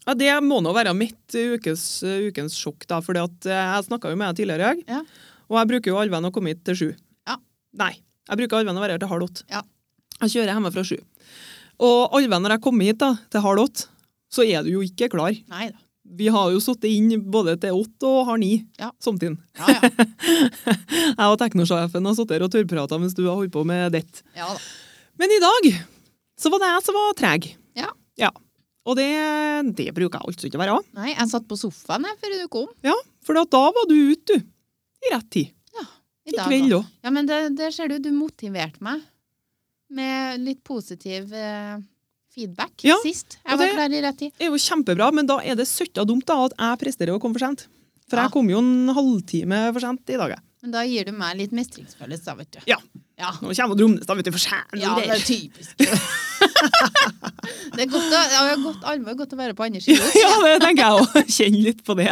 B: Ja, det må nå være mitt eh, ukes, eh, ukens sjokk, da. For jeg snakka jo med deg tidligere i dag,
A: Ja.
B: og jeg bruker jo allvenn å komme hit til sju.
A: Ja.
B: Nei. Jeg bruker allvenn å være her til halv åtte.
A: Ja.
B: Jeg kjører hjemme fra sju. Og allvenn når jeg kommer hit da, til halv åtte, så er du jo ikke klar.
A: Nei da.
B: Vi har jo sittet inn både til åtte og halv ni
A: Ja.
B: samtidig.
A: Ja, ja.
B: Jeg og teknosjefen har sittet her og tørrprata mens du har holdt på med ditt.
A: ja da.
B: Men i dag så var det jeg som var treg.
A: Ja.
B: Og det, det bruker jeg altså ikke å være.
A: Nei, jeg satt på sofaen jeg, før du kom.
B: For da var du ute, du. I rett tid.
A: I
B: I
A: dag
B: kveld
A: også.
B: òg.
A: Ja, men det, det ser du, du motiverte meg med litt positiv eh, feedback
B: Ja,
A: sist.
B: og
A: Jeg var
B: det-
A: klar i rett tid.
B: Det er jo kjempebra, men da er det søtta dumt da at jeg presterer å komme for sent. For
A: Ja.
B: jeg kom jo en halvtime for sent i dag. jeg.
A: Men da gir du meg litt mestringsfølelse, da, vet du.
B: Ja.
A: Ja,
B: Nå kommer Dromnestad vet du, for sent. og
A: ja det
B: greier.
A: er typisk. det er godt å, ja, godt, alvor, godt å være på andre siden.
B: ja, det tenker jeg òg. Kjenn litt på det.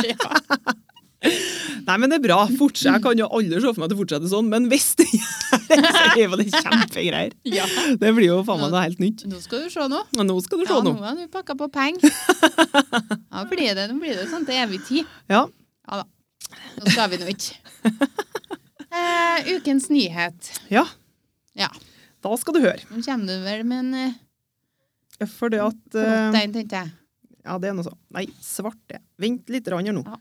B: Nei, men det er bra. Fortsett. Jeg kan jo aldri se for meg at det fortsetter sånn, men hvis det gjør det, så er jo det kjempegreier.
A: Ja.
B: Det blir jo faen meg noe helt nytt.
A: Nå skal du se nå.
B: Men nå skal du se
A: Ja, nå
B: noe.
A: har du pakka på penger. Ja, blir det, nå blir det sånn til evig tid.
B: Ja.
A: Ja da. Nå skal vi nå ikke. Eh, ukens nyhet.
B: ja,
A: Ja.
B: da skal du høre.
A: Nå kommer du vel med en eh,
B: For det at
A: flott
B: eh,
A: en, tenkte jeg.
B: Ja, det er noe sånn. Nei, svarte. Vent litt rann her nå.
A: Ja.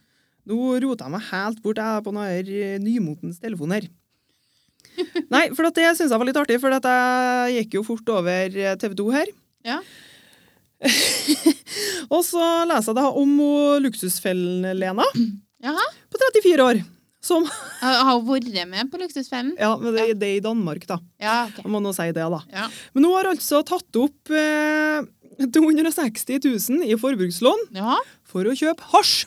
B: Nå rota jeg meg helt bort jeg, på denne her, eh, nymotens telefon her. Nei, for at det syns jeg var litt artig, for at jeg gikk jo fort over eh, TV 2 her.
A: Ja.
B: Og så leser jeg da om hun luksusfellen-Lena
A: Jaha.
B: på 34 år. Som,
A: Har har hun vært med på Luksusfellen?
B: ja, men det, det er i Danmark, da.
A: Ja, ok.
B: Jeg må nå si det, da.
A: Ja.
B: Men hun har altså tatt opp eh, 260 000 i forbrukslån
A: ja.
B: for å kjøpe hasj.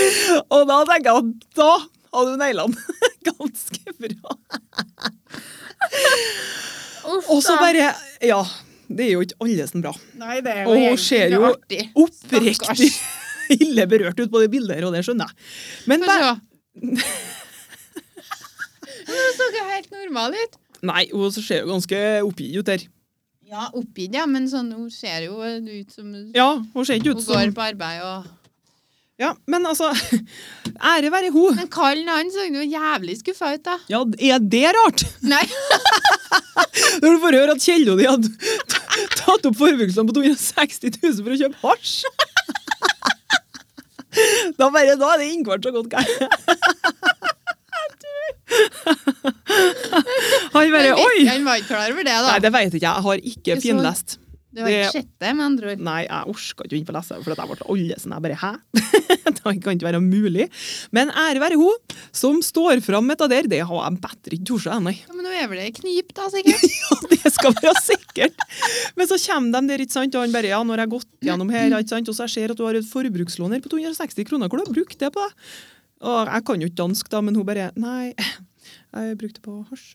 B: Og da tenker jeg at da hadde hun naila den ganske bra.
A: Uff,
B: Og så
A: da.
B: bare Ja, det er jo ikke alle som bra.
A: Nei, det er
B: Og hun
A: egentlig
B: ser jo-
A: artig.
B: Oppriktig ille berørt ut på det bildet her, og det skjønner jeg. Men
A: Få
B: det,
A: se. Hun så ikke helt normal ut.
B: nei, hun ser jo ganske oppgitt ut her.
A: Ja, oppgitt, ja, men sånn, hun ser jo ut som hun
B: Ja, hun ser ikke ut
A: går
B: som
A: på arbeid og
B: Ja, men altså Ære være hun.
A: Men Karlen han så jo jævlig skuffa ut, da.
B: Ja, er det rart?
A: Nei,
B: Når du får høre at Kjello di hadde t- tatt opp forbrukslån på 260 000 for å kjøpe hasj Da bare, da er det innkvart så godt gærent. Han bare
A: han visste-
B: Oi!
A: han var ikke klar over det, da.
B: Nei, det vet ikke jeg. Jeg har ikke
A: Det så-
B: finlest.
A: det var ikke
B: det-
A: sjette, med andre ord.
B: Nei, jeg orka ikke å inn på lese, for at jeg ble alle sånn. Jeg bare hæ? det kan ikke være mulig. Men ære være hun som står fram med det der. Det har jeg bedre ikke tort, jeg, nei.
A: Ja, men hun er vel i knip, da, sikkert.
B: det skal være sikkert. Men så kommer de der, ikke sant, og han bare ja, når jeg har gått gjennom her, ikke sant, og så jeg ser at du har et forbrukslån her på 260 kroner, hvor har du brukt det på? deg? Og jeg kan jo ikke dansk, da, men hun bare nei, jeg brukte det på hasj.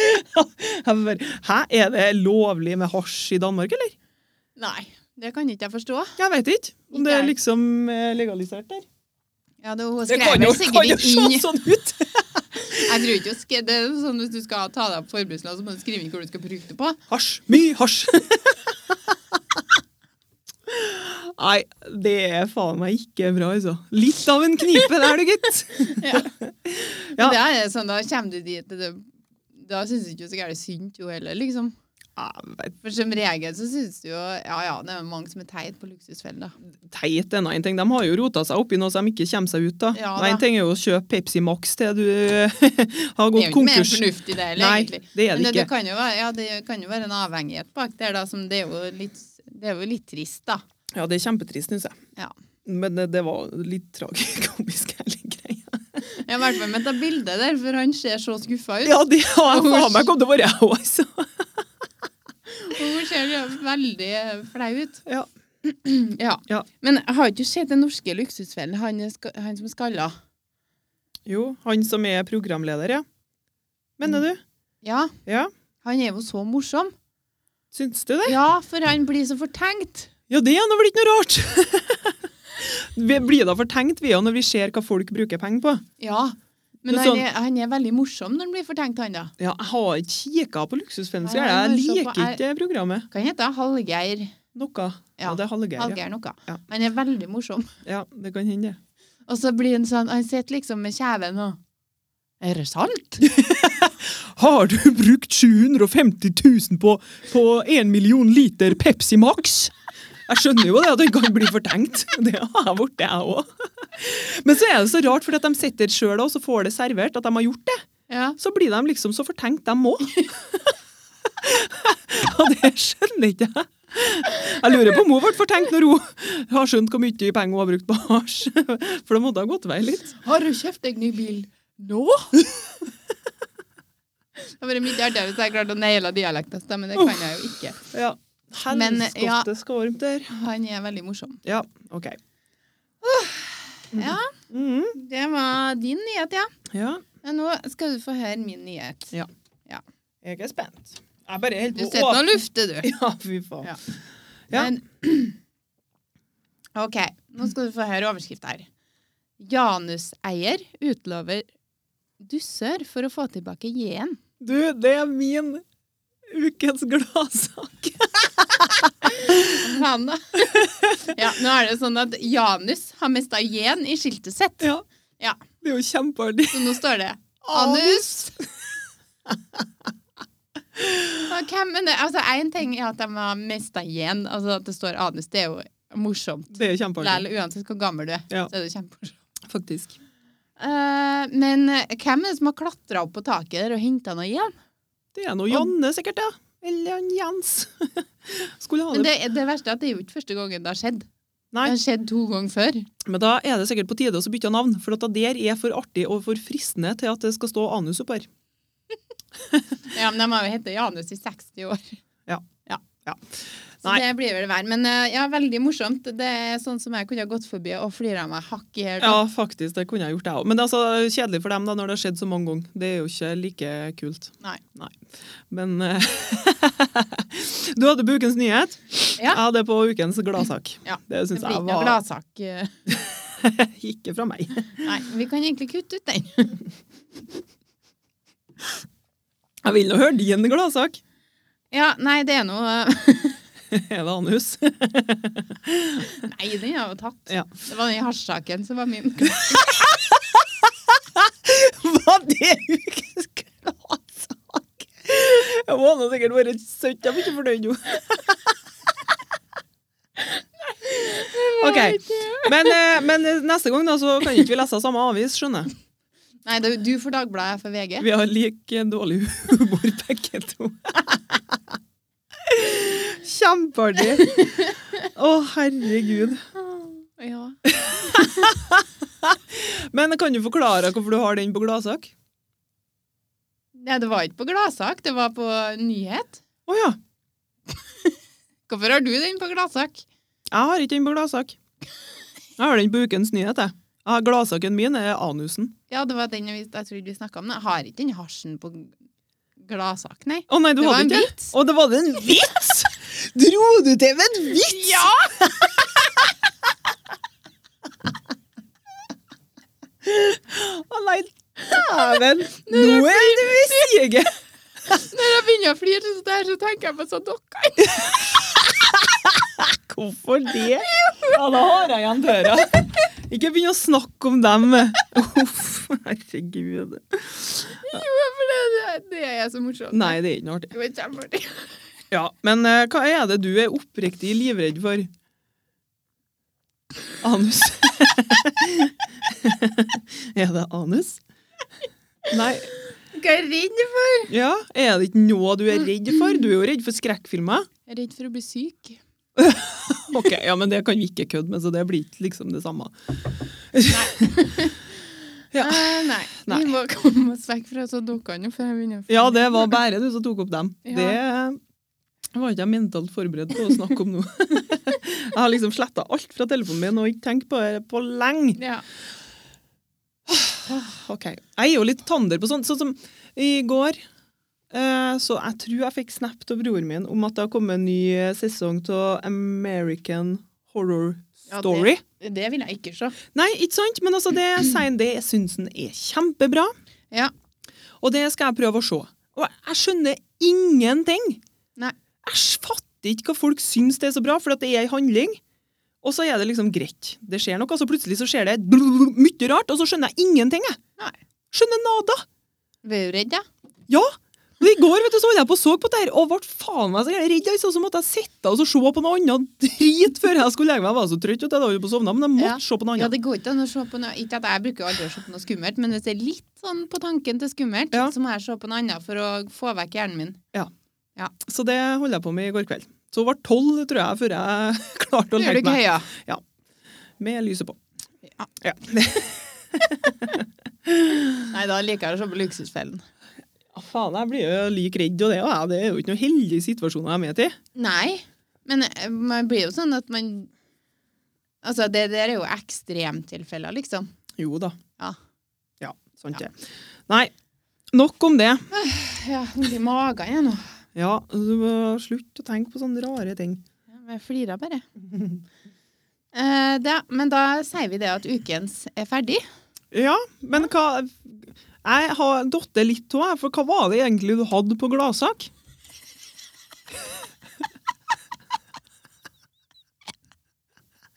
B: Jeg bare, Hæ, er det lovlig med hasj i Danmark, eller?
A: Nei, det kan ikke jeg forstå.
B: Jeg vet ikke. Om
A: Ikke
B: det er
A: jeg.
B: liksom eh, legalisert der.
A: Ja, det, hun
B: Det
A: skrev vel
B: kan jo, kan
A: sikkert
B: jo
A: ikke inn
B: se sånn ut!
A: Jeg tror ikke hun skrev det er sånn Hvis du skal ta deg opp forbrukslån, så må du skrive inn hvor du skal bruke det på.
B: Hasj. Mye hasj. Nei, det er faen meg ikke bra, altså. Litt av en knipe der, du, gitt.
A: Ja.
B: Ja.
A: Men det er sånn, da kommer du dit det, Da syns du ikke så gærent synd jo heller, liksom.
B: Ja, men
A: For som regel så syns du jo Ja ja, det er jo mange som er teit på luksusfellen, da.
B: Teit er nå en ting. De har jo rota seg opp i noe som de ikke kommer seg ut av.
A: Ja,
B: Nei,
A: da.
B: en ting er jo å kjøpe Pepsi Max til du har
A: Det er
B: gått
A: jo ikke mer
B: konkurs.
A: fornuftig det heller,
B: Nei,
A: egentlig.
B: det er
A: Men
B: det
A: det, det,
B: ikke.
A: kan jo være, ja, det kan jo være en avhengighet bak der, da, som det er jo litt, det er jo litt trist, da.
B: Ja, det er kjempetrist, syns jeg.
A: Ja.
B: Men eh, det var litt tragikomisk, hele greia.
A: Ja, I hvert fall med det bildet der, for han ser så skuffa ut.
B: Ja, det har jeg faen meg kommet til å være, jeg òg, altså.
A: Og hun ser jo veldig flau ut.
B: Ja.
A: Ja.
B: Ja.
A: Men jeg har ikke sett den norske luksusfellen, han, er ska- han som er skalla?
B: Jo, han som er programleder, ja. Mener
A: Mm.
B: du?
A: Ja,
B: Ja.
A: han er jo så morsom.
B: Syns du det?
A: Ja, for han blir så fortenkt.
B: Ja, det er nå vel ikke noe rart! vi blir da fortenkt, vi òg, når vi ser hva folk bruker penger på.
A: Ja. Men
B: Det er
A: han
B: sånn-
A: er, han er veldig morsom når han blir fortenkt, han da.
B: Ja, jeg har ikke kikka på Luksusfellen, så
A: Nei,
B: gjerne. jeg
A: jeg
B: liker
A: må se på-
B: ikke det programmet.
A: Hva heter han? Hallgeir?
B: Noe. Ja,
A: Ja,
B: det er Hallgeir. Ja.
A: Hallgeir noe.
B: Ja.
A: Men Han er veldig morsom.
B: ja, det kan hende, det.
A: Og så blir han sånn, han sitter liksom med kjeven og Er det sant?
B: Har du brukt 750 000 på, på 1 million liter Pepsi Max? Jeg skjønner jo det at det kan bli fortenkt. Det har jeg blitt, jeg òg. Men så er det så rart, for at de sitter sjøl og så får det servert at de har gjort det.
A: Ja.
B: Så blir de liksom så fortenkt, de òg. Og det skjønner ikke jeg. Jeg lurer på om hun ble fortenkt når hun har skjønt hvor mye penger hun har brukt på hasj. For det måtte ha gått vei litt.
A: Har du kjøpt deg ny bil nå? det hadde vært mye artigere hvis jeg klarte å naile dialekten, da, men det kan jeg jo ikke.
B: Ja.
A: Men, ja.
B: Helskotte skormt der.
A: Han er veldig morsom.
B: Ja, OK.
A: Ja,
B: Mhm.
A: det var din nyhet, ja.
B: Ja,
A: Men nå skal du få høre min nyhet.
B: Ja. jeg er spent. Jeg bare helt
A: Du sitter nå og lufter, du.
B: Ja, fy faen.
A: Ja.
B: Ja.
A: Men, OK, nå skal du få høre overskrift her. Januseier utlover dusør for å få tilbake J-en.
B: Du, det er min ukens gladsak.
A: Han, da. ja, nå er det sånn at Janus har mista J-en i skiltet sitt.
B: Ja.
A: Ja.
B: Det er jo kjempeartig.
A: Så nå står det Anus. Ok, men det, altså Én ting er at de har mista J-en. Altså at det står anus. Det er jo morsomt.
B: Det er jo kjempeartig,
A: Lell, uansett hvor gammel du er.
B: Ja.
A: Så er det kjempemorsomt.
B: faktisk.
A: Eh, men eh, hvem er det som har klatra opp på taket der og henta noe igjen?
B: Det er noe Janne sikkert, ja. Eller han Jens. Skulle ha
A: Men
B: det.
A: det, det verste er at det er jo ikke første gangen det har skjedd.
B: Nei.
A: Det har skjedd to ganger før.
B: Men da er det sikkert på tide å så bytte navn, for at det der er for artig og for fristende til at det skal stå anus opp her.
A: Ja, Men de har jo hett Janus i 60 år.
B: Ja.
A: ja.
B: Ja.
A: Så
B: Nei.
A: det blir vel verre. Men eh, ja, veldig morsomt. Det er sånn som jeg kunne ha gått forbi og flira meg hakk i hæl.
B: Ja, faktisk, det kunne jeg gjort, jeg òg. Men altså, kjedelig for dem da, når det har skjedd så mange ganger. Det er jo ikke like kult.
A: Nei.
B: Men eh, Du hadde på ukens nyhet.
A: Ja.
B: Jeg hadde på ukens gladsak.
A: Ja,
B: Det
A: Det
B: syns
A: blir
B: jeg
A: ikke noe
B: var
A: gladsak. eh.
B: ikke fra meg.
A: Nei, vi kan egentlig kutte ut den.
B: Jeg vil nå høre din gladsak.
A: Ja, nei, det er noe
B: Er det anus?
A: Nei, den er jo tatt.
B: Ja.
A: Det var den hasjsaken som var min.
B: Var det ukens gladsak? Jeg må nå sikkert være søt. Jeg blir ikke fornøyd nå. OK. Men, eh, men neste gang da, så kan ikke vi lese samme avis, skjønner jeg.
A: Nei, det er jo du for Dagbladet, jeg for VG.
B: Vi har lik eh, dårlig humor, begge to. Kjempeartig! Å, herregud.
A: Ja.
B: Men kan du forklare hvorfor du har den på gladsak?
A: Nei, det var ikke på gladsak, det var på nyhet.
B: Å ja.
A: Hvorfor har du den på gladsak?
B: Jeg har ikke den på gladsak. Jeg har den på ukens nyhet, jeg. jeg har gladsaken min er anusen.
A: Ja, det var den jeg, visste- jeg trodde vi snakka om. det. Jeg har ikke den hasjen på gladsak, nei.
B: Å nei, du
A: Det var
B: hadde
A: en
B: ikke?
A: vits.
B: Å, det var en vits! Dro du til med en vits?!
A: Ja!
B: Å nei, dæven! Nå er du i siget!
A: Når jeg begynner å flire sånn der, så tenker jeg på sånn dokker.
B: Hvorfor det? Ja, da har jeg igjen døra. Ikke begynn å snakke om dem. Uff, herregud.
A: Jo, for det, det, det er så morsomt.
B: Nei, det er ikke noe artig.
A: Det var kjempeartig.
B: Ja, Men eh, hva er det du er oppriktig livredd for? Anus. er det anus? Nei.
A: Hva er jeg redd for?
B: Ja, er det ikke noe du er redd for? Du er jo redd for skrekkfilmer.
A: Jeg er redd for å bli syk.
B: Ok, ja, men det kan vi ikke kødde med, så det blir ikke liksom det samme. Ja.
A: Eh, nei.
B: Nei.
A: Vi må komme oss vekk fra så dukkene før jeg begynner. å-
B: Ja, det var bare du som tok opp dem.
A: Ja.
B: Det var ikke jeg mentalt forberedt på å snakke om nå. jeg har liksom sletta alt fra telefonen min og ikke tenkt på det på lenge.
A: Ja.
B: Ah, Ok, Jeg er jo litt tander på sånt. Sånn som i går eh, så jeg tror jeg fikk snap av broren min om at det har kommet en ny eh, sesong av American Horror
A: Ja, det-
B: Story.
A: Det vil jeg ikke se.
B: Nei, ikke sant? Men altså, det sier han, det syns han er kjempebra.
A: Ja.
B: Og det skal jeg prøve å se. Og jeg skjønner ingenting.
A: Nei.
B: Jeg fatter ikke hva folk syns det er så bra, for at det er en handling. Og så er det liksom greit. Det skjer noe, og så plutselig så skjer det mye rart, og så skjønner jeg ingenting, jeg.
A: Nei.
B: Skjønner nada.
A: Vi er jo redd, ja.
B: Ja! Og I går vet du, så holdt jeg på og så på det her, og ble faen meg så jævlig redd. Altså, så måtte jeg sitte og så se på noe annet drit før jeg skulle legge meg. Jeg var så trøtt, vet du, jeg hadde holdt på å sovne, men jeg måtte
A: Ja.
B: se på noe
A: ja.
B: annet.
A: Det går ikke an å se på noe Ikke at jeg bruker jo aldri å se på noe skummelt, men hvis det er litt sånn på tanken til skummelt,
B: Ja.
A: så må jeg se på noe annet for å få vekk hjernen min.
B: Så det holdt jeg på med i går kveld. Så det var tolv, tror jeg, før jeg klarte
A: Gjør
B: å
A: du
B: legge
A: ikke
B: meg.
A: høya?
B: Med lyset på.
A: Ja.
B: Ja.
A: Nei, da liker jeg å se på Luksusfellen.
B: Ja, Ah, faen, jeg blir jo lik redd og det, og jeg, det er jo ikke noen heldige situasjoner jeg er med til.
A: Nei, men eh, man blir jo sånn at man Altså, det der er jo ekstremtilfeller, liksom.
B: Jo da.
A: Ja.
B: Ja, sant det. Nei, nok om det.
A: Ja, Vondt i magen jeg nå.
B: Ja, du må slutte å tenke på sånne rare ting.
A: Ja, men Jeg flirer bare. Eh, det, men da sier vi det at ukens er ferdig.
B: Ja, men hva Jeg har datt det litt av, for hva var det egentlig du hadde på gladsak?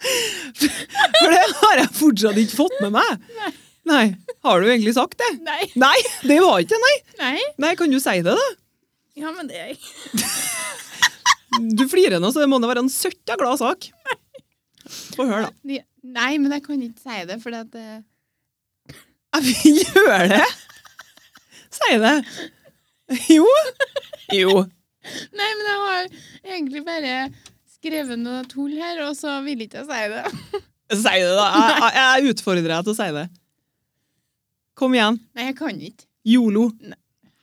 B: For det har jeg fortsatt ikke fått med meg. Nei. Har du egentlig sagt det?
A: Nei.
B: Nei, det var ikke nei.
A: Nei.
B: Nei, kan du si det, da?
A: Ja, men det er
B: Du flirer nå, så det må da være en søtta glad sak. Få høre, da.
A: Ja, Nei, men jeg kan ikke si det, for at eh,
B: Jeg vil gjøre det! Si det. Jo. Jo.
A: Nei, men jeg har egentlig bare skrevet noe tull her, og så vil ikke jeg si det.
B: Si det, da. Jeg, jeg, jeg utfordrer deg til å si det. Kom igjen.
A: Nei, jeg kan ikke.
B: Yolo.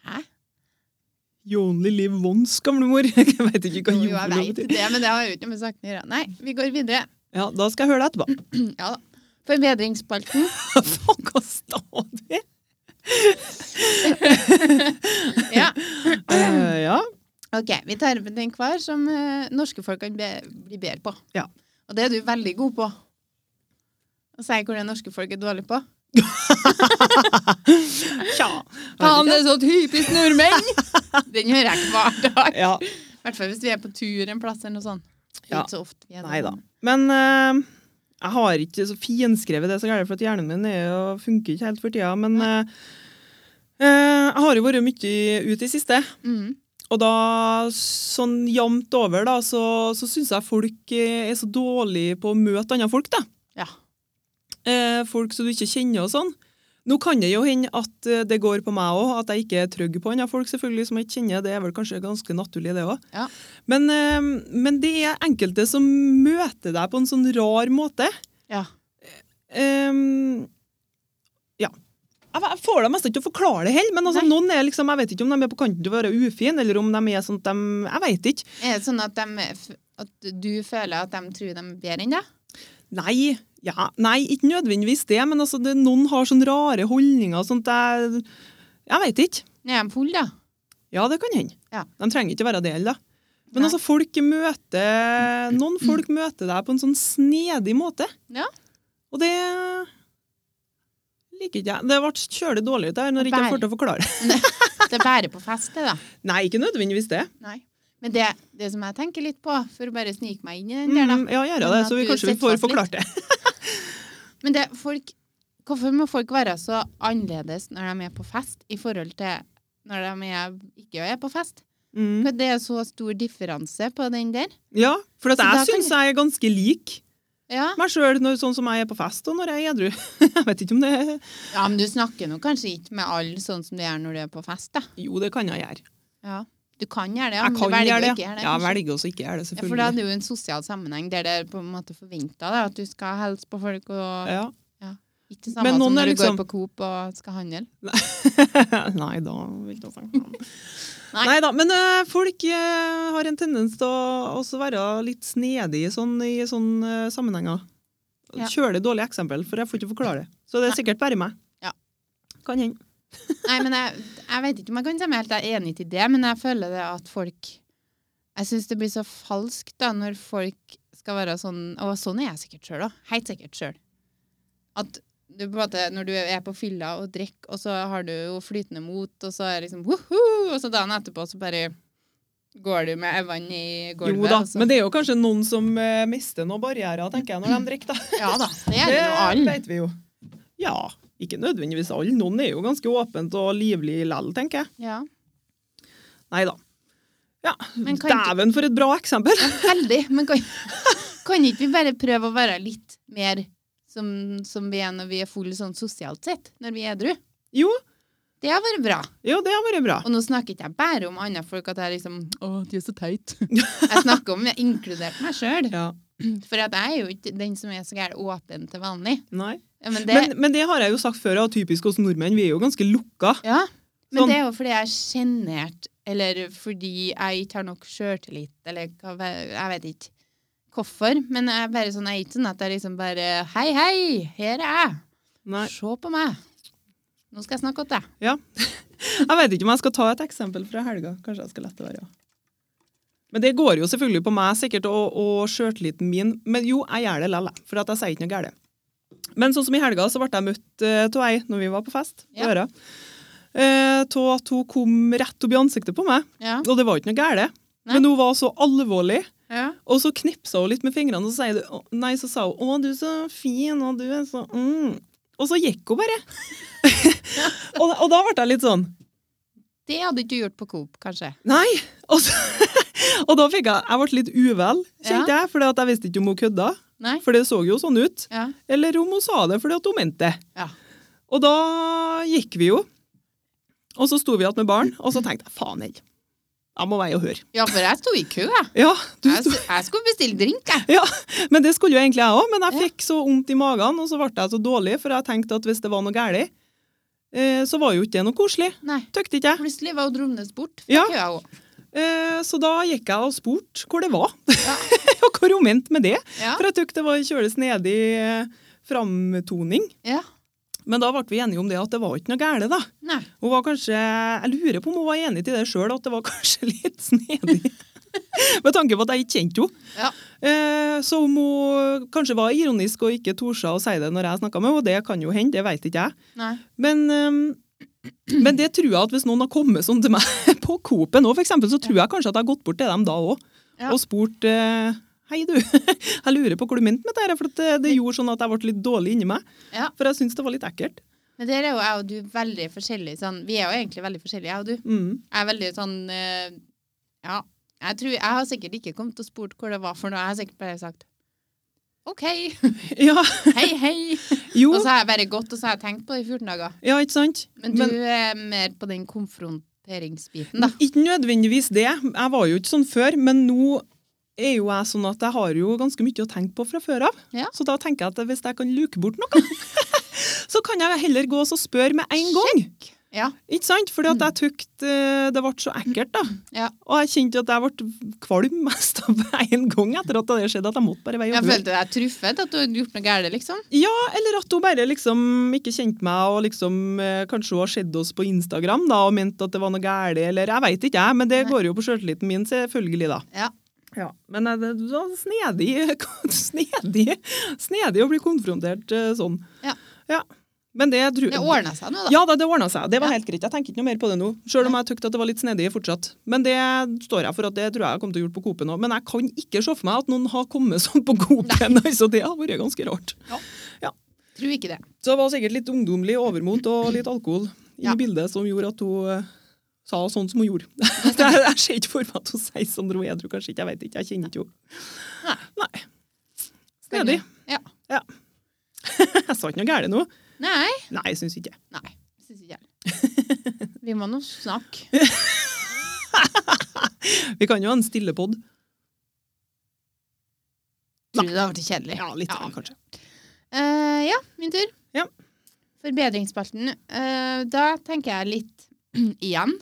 A: Hæ?
B: You only live once, gamlemor. Jeg vet ikke hva
A: Jo, jeg
B: yolo
A: vet
B: betyr.
A: det, men det har jo ikke noe med saken å gjøre. Nei, vi går videre.
B: Ja, da skal jeg høre det etterpå.
A: Ja da. Forbedringsspalten.
B: Faen, hva stadig!
A: Ja.
B: Eh, ja.
A: Ok, vi tar med den hver som eh, norske folk kan be bli bedre på.
B: Ja.
A: Og det er du veldig god på. Å si hvor det norske folk er dårlig på.
B: Tja.
A: Faen, det er så typisk nordmenn! den hører jeg ikke hver dag.
B: Ja.
A: I hvert fall hvis vi er på tur en plass eller noe sånt. Det er
B: Ja.
A: Ikke så ofte vi er
B: Nei da.
A: der.
B: Men eh, jeg har ikke så finskrevet det så gærent, for at hjernen min er jo, funker ikke helt for tida. Men eh, eh, jeg har jo vært mye ute i siste.
A: Mm.
B: Og da, sånn jevnt over, da, så, så syns jeg folk eh, er så dårlige på å møte andre folk, da.
A: Ja.
B: Eh, folk som du ikke kjenner og sånn. Nå kan det jo hende at eh, det går på meg òg, at jeg ikke er trygg på andre folk selvfølgelig, som jeg ikke kjenner. Det er vel kanskje ganske naturlig, det òg.
A: Ja.
B: Men, eh, men det er enkelte som møter deg på en sånn rar måte.
A: Ja.
B: Ehm, ja. Jeg jeg får det mest ikke til å forklare det heller, men altså,
A: Nei.
B: noen er liksom, jeg vet ikke om de er på kanten til å være ufine, eller om de er sånn at de Jeg vet ikke.
A: Er det sånn at, dem er f- at du føler at de tror de er bedre enn deg?
B: Nei, ja, nei, ikke nødvendigvis det, men altså, det, noen har sånne rare holdninger og sånt. Jeg, jeg vet ikke.
A: Nei, er de fulle, da?
B: Ja, det kan hende.
A: Ja.
B: De trenger ikke være det heller, da. Men
A: Nei.
B: altså, folk møter Noen folk møter deg på en sånn snedig måte.
A: Ja.
B: Og det liker ikke jeg. Det ble kjølig dårlig ut der når jeg ikke
A: Bare-
B: får til å forklare det.
A: Det er bare på fest, det, da.
B: Nei, ikke nødvendigvis det.
A: Nei. Men det, det som jeg tenker litt på, for å bare snike meg inn i den der, da
B: Mm, ja, gjør jeg det,
A: Men
B: så vi
A: at du
B: kanskje vi
A: setter
B: får
A: fast litt.
B: forklart det.
A: Men det, folk, hvorfor må folk være så annerledes når de er på fest, i forhold til når de er, ikke er på fest?
B: Mm.
A: For det er så stor differanse på den der.
B: Ja, for at
A: Så da
B: jeg
A: kan
B: syns jeg er ganske lik
A: Ja,
B: meg sjøl sånn som jeg er på fest og når jeg er edru. Jeg vet ikke om det
A: ja men du snakker nå kanskje ikke med alle sånn som du gjør når du er på fest, da.
B: Jo, det kan jeg gjøre.
A: Ja. Du kan gjøre det, ja,
B: Jeg
A: men du
B: kan
A: velger
B: gjøre
A: å
B: det.
A: ikke
B: Ja,
A: gjøre det.
B: jeg
A: kanskje.
B: velger også ikke å
A: ja,
B: gjøre det,
A: for da er
B: selvfølgelig.
A: det jo en sosial sammenheng der det er på en måte forventa at du skal hilse på folk og
B: Ja.
A: Ja. Ikke det samme
B: Men
A: som
B: noen
A: når
B: er
A: du
B: liksom-
A: går på Coop og skal handle.
B: Nei da, vil ikke snakke om
A: Nei.
B: Nei da, men eh, folk eh, har en tendens til å også være litt snedige sånn, i sånne eh, sammenhenger.
A: Ja.
B: Kjølig dårlig eksempel, for jeg får ikke forklare det. Så det er sikkert bare meg.
A: Ja.
B: Kan hende.
A: Nei, men jeg, jeg vet ikke om jeg kan si meg helt enig til det, men jeg føler det at folk Jeg syns det blir så falskt da, når folk skal være sånn Og sånn er jeg sikkert sjøl òg. Helt sikkert sjøl. At du på en måte, når du er på fylla og drikker, og så har du jo flytende mot, og så er det liksom woho! Og så dagen etterpå så bare går du med øynene i gulvet.
B: Jo da,
A: og så-
B: men det er jo kanskje noen som eh, mister noen barrierer, tenker jeg, når de drikker, da.
A: Ja da. Det er det jo alle.
B: vet vi jo. Ja, ikke nødvendigvis alle. Noen er jo ganske åpent og livlig lell, tenker jeg.
A: Ja.
B: Nei da. Ja,
A: Men kan ikke-
B: dæven for et bra eksempel!
A: Heldig, men kan, kan ikke vi bare prøve å være litt mer som, som vi er når vi er full sånn sosialt sett, når vi er edru?
B: Jo,
A: Det har vært bra.
B: jo, det har vært bra.
A: Og nå snakker ikke jeg bare om andre folk at jeg liksom Å, de er så teit. Jeg snakker om jeg inkluderte meg sjøl.
B: Ja.
A: For at jeg er jo ikke den som er så gæren åpen til vanlig.
B: Nei.
A: Ja, men det,
B: Men, men det har jeg jo sagt før, og typisk oss nordmenn, vi er jo ganske lukka.
A: ja, men
B: sånn-
A: det er jo fordi jeg er sjenert, eller fordi jeg ikke har nok sjøltillit, eller hva ve- Jeg vet ikke hvorfor, men jeg er bare sånn, jeg er ikke sånn at jeg liksom bare Hei, hei, her er jeg.
B: Nei.
A: Se på meg. Nå skal jeg snakke til deg.
B: Jeg vet ikke om jeg skal ta et eksempel fra helga. Kanskje jeg skal lette være, ja. Men det går jo selvfølgelig på meg sikkert, og, og sjøltilliten min. Men jo, jeg gjør det likevel, jeg, for at jeg sier ikke noe galt. Men sånn som i helga, så ble jeg møtt eh, av ei når vi var på fest.
A: Ja.
B: Ja. Eh, Av at hun kom rett opp i ansiktet på meg,
A: Ja.
B: og det var ikke noe galt.
A: Nei.
B: Men hun var så alvorlig.
A: Ja.
B: Og så knipsa hun litt med fingrene, og så, sier du, nei, så sa hun 'Å, du er så fin', og du er så mm. Og så gikk hun bare. og, og da ble jeg litt sånn
A: Det hadde ikke du gjort på Coop, kanskje.
B: Nei! Og, så, og da fikk jeg Jeg ble litt uvel, kjente jeg, for jeg visste ikke om hun kødda.
A: Nei?
B: For det så jo sånn ut.
A: Ja.
B: Eller om hun sa det fordi at hun mente det.
A: Ja.
B: Og da gikk vi jo. Og så sto vi igjen med barn, og så tenkte jeg faen heller. Jeg må veie og høre.
A: ja, for jeg sto i kø, jeg.
B: Ja, du
A: Jeg,
B: sto
A: s- jeg skulle bestille drink, jeg.
B: Ja, men det skulle jo egentlig jeg òg, men jeg
A: Ja.
B: fikk så vondt i magen, og så ble jeg så dårlig, for jeg tenkte at hvis det var noe galt, eh, så var jo ikke det noe koselig.
A: Nei.
B: Tøkte ikke jeg.
A: Plutselig var hun Dromnes bort fra
B: Ja.
A: køa òg.
B: Eh, så da gikk jeg og spurte hvor det var,
A: Ja.
B: og hvor hun mente med det.
A: Ja.
B: For jeg tykk det var kjølig snedig eh, framtoning.
A: ja.
B: Men da ble vi enige om det at det var ikke noe galt, da.
A: Nei.
B: Hun var kanskje, Jeg lurer på om hun var enig til det sjøl, at det var kanskje litt snedig. Med tanke på at jeg ikke kjente henne.
A: Ja.
B: Eh, så om hun kanskje var ironisk og ikke torde å si det når jeg snakka med henne, og det kan jo hende, det veit ikke jeg.
A: Nei.
B: Men, eh, men det tror jeg at hvis noen har kommet sånn til meg på Coop nå, for eksempel, så tror jeg kanskje at jeg har gått bort til dem da òg
A: Ja.
B: og spurt eh, Hei, du. Jeg lurer på hva du mente med dette, her, for at det, det gjorde sånn at jeg ble litt dårlig inni meg.
A: Ja.
B: For jeg syntes det var litt ekkelt.
A: Men der er jo jeg og du veldig forskjellige. Sånn. Vi er jo egentlig veldig forskjellige, jeg og du.
B: Mm.
A: Jeg er veldig sånn eh, Ja. Jeg, tror, jeg har sikkert ikke kommet og spurt hvor det var for noe. Jeg har sikkert bare sagt OK.
B: Ja,
A: Hei, hei.
B: jo.
A: Og så har jeg bare gått, og så har jeg tenkt på det i 14 dager.
B: Ja, ikke sant?
A: Men du er mer på den konfronteringsbiten, da.
B: Ikke nødvendigvis det. Jeg var jo ikke sånn før, men nå er jo jeg sånn at jeg har jo ganske mye å tenke på fra før av.
A: Ja.
B: Så da tenker jeg at hvis jeg kan luke bort noe, så kan jeg heller gå og så spørre med en gang.
A: Ja.
B: Ikke sant? Fordi at jeg tykte eh, det ble så ekkelt, da.
A: Mm. Ja.
B: Og jeg kjente jo at jeg ble kvalm mest av en gang etter at det hadde skjedd, at jeg måtte bare veie
A: Jeg
B: over.
A: følte deg truffet, at du hadde gjort noe galt, liksom.
B: Ja, eller at hun bare liksom ikke kjente meg, og liksom eh, kanskje hun har sett oss på Instagram da, og mente at det var noe galt, eller jeg veit ikke, jeg, men det
A: Nei.
B: går jo på sjøltilliten min, selvfølgelig, da.
A: Ja.
B: Ja, Men eh, det var snedig, snedig, snedig å bli konfrontert eh, sånn.
A: Ja.
B: ja. Men det tror
A: Det ordna seg nå, da.
B: Ja da, det ordna seg. Det var
A: Ja.
B: helt greit. Jeg tenker ikke noe mer på det nå. Sjøl om jeg tykte at det var litt snedig fortsatt. Men det står jeg for at det tror jeg jeg kommer til å gjøre på Coop nå. Men jeg kan ikke se for meg at noen har kommet sånn på Coop en. Altså, det har vært ganske rart.
A: Tror ikke det.
B: Så det var sikkert litt ungdomlig overmot og litt alkohol i
A: Ja.
B: bildet som gjorde at hun eh, sa sånn som hun gjorde. jeg, jeg ser ikke for meg at hun sier sånn når hun er edru, kanskje ikke. Jeg vet ikke, jeg kjenner ikke
A: Nei.
B: henne. Nei. Snedig.
A: Ja.
B: Jeg sa ikke noe galt nå.
A: Nei.
B: Nei, jeg syns ikke.
A: Nei. Syns ikke jeg. Vi må nå snakke.
B: Vi kan jo ha en stille pod.
A: Tror det hadde vært kjedelig.
B: Ja, litt,
A: Ja.
B: kanskje.
A: Eh, ja, min tur.
B: Ja.
A: Forbedringsspalten. eh, da tenker jeg litt igjen,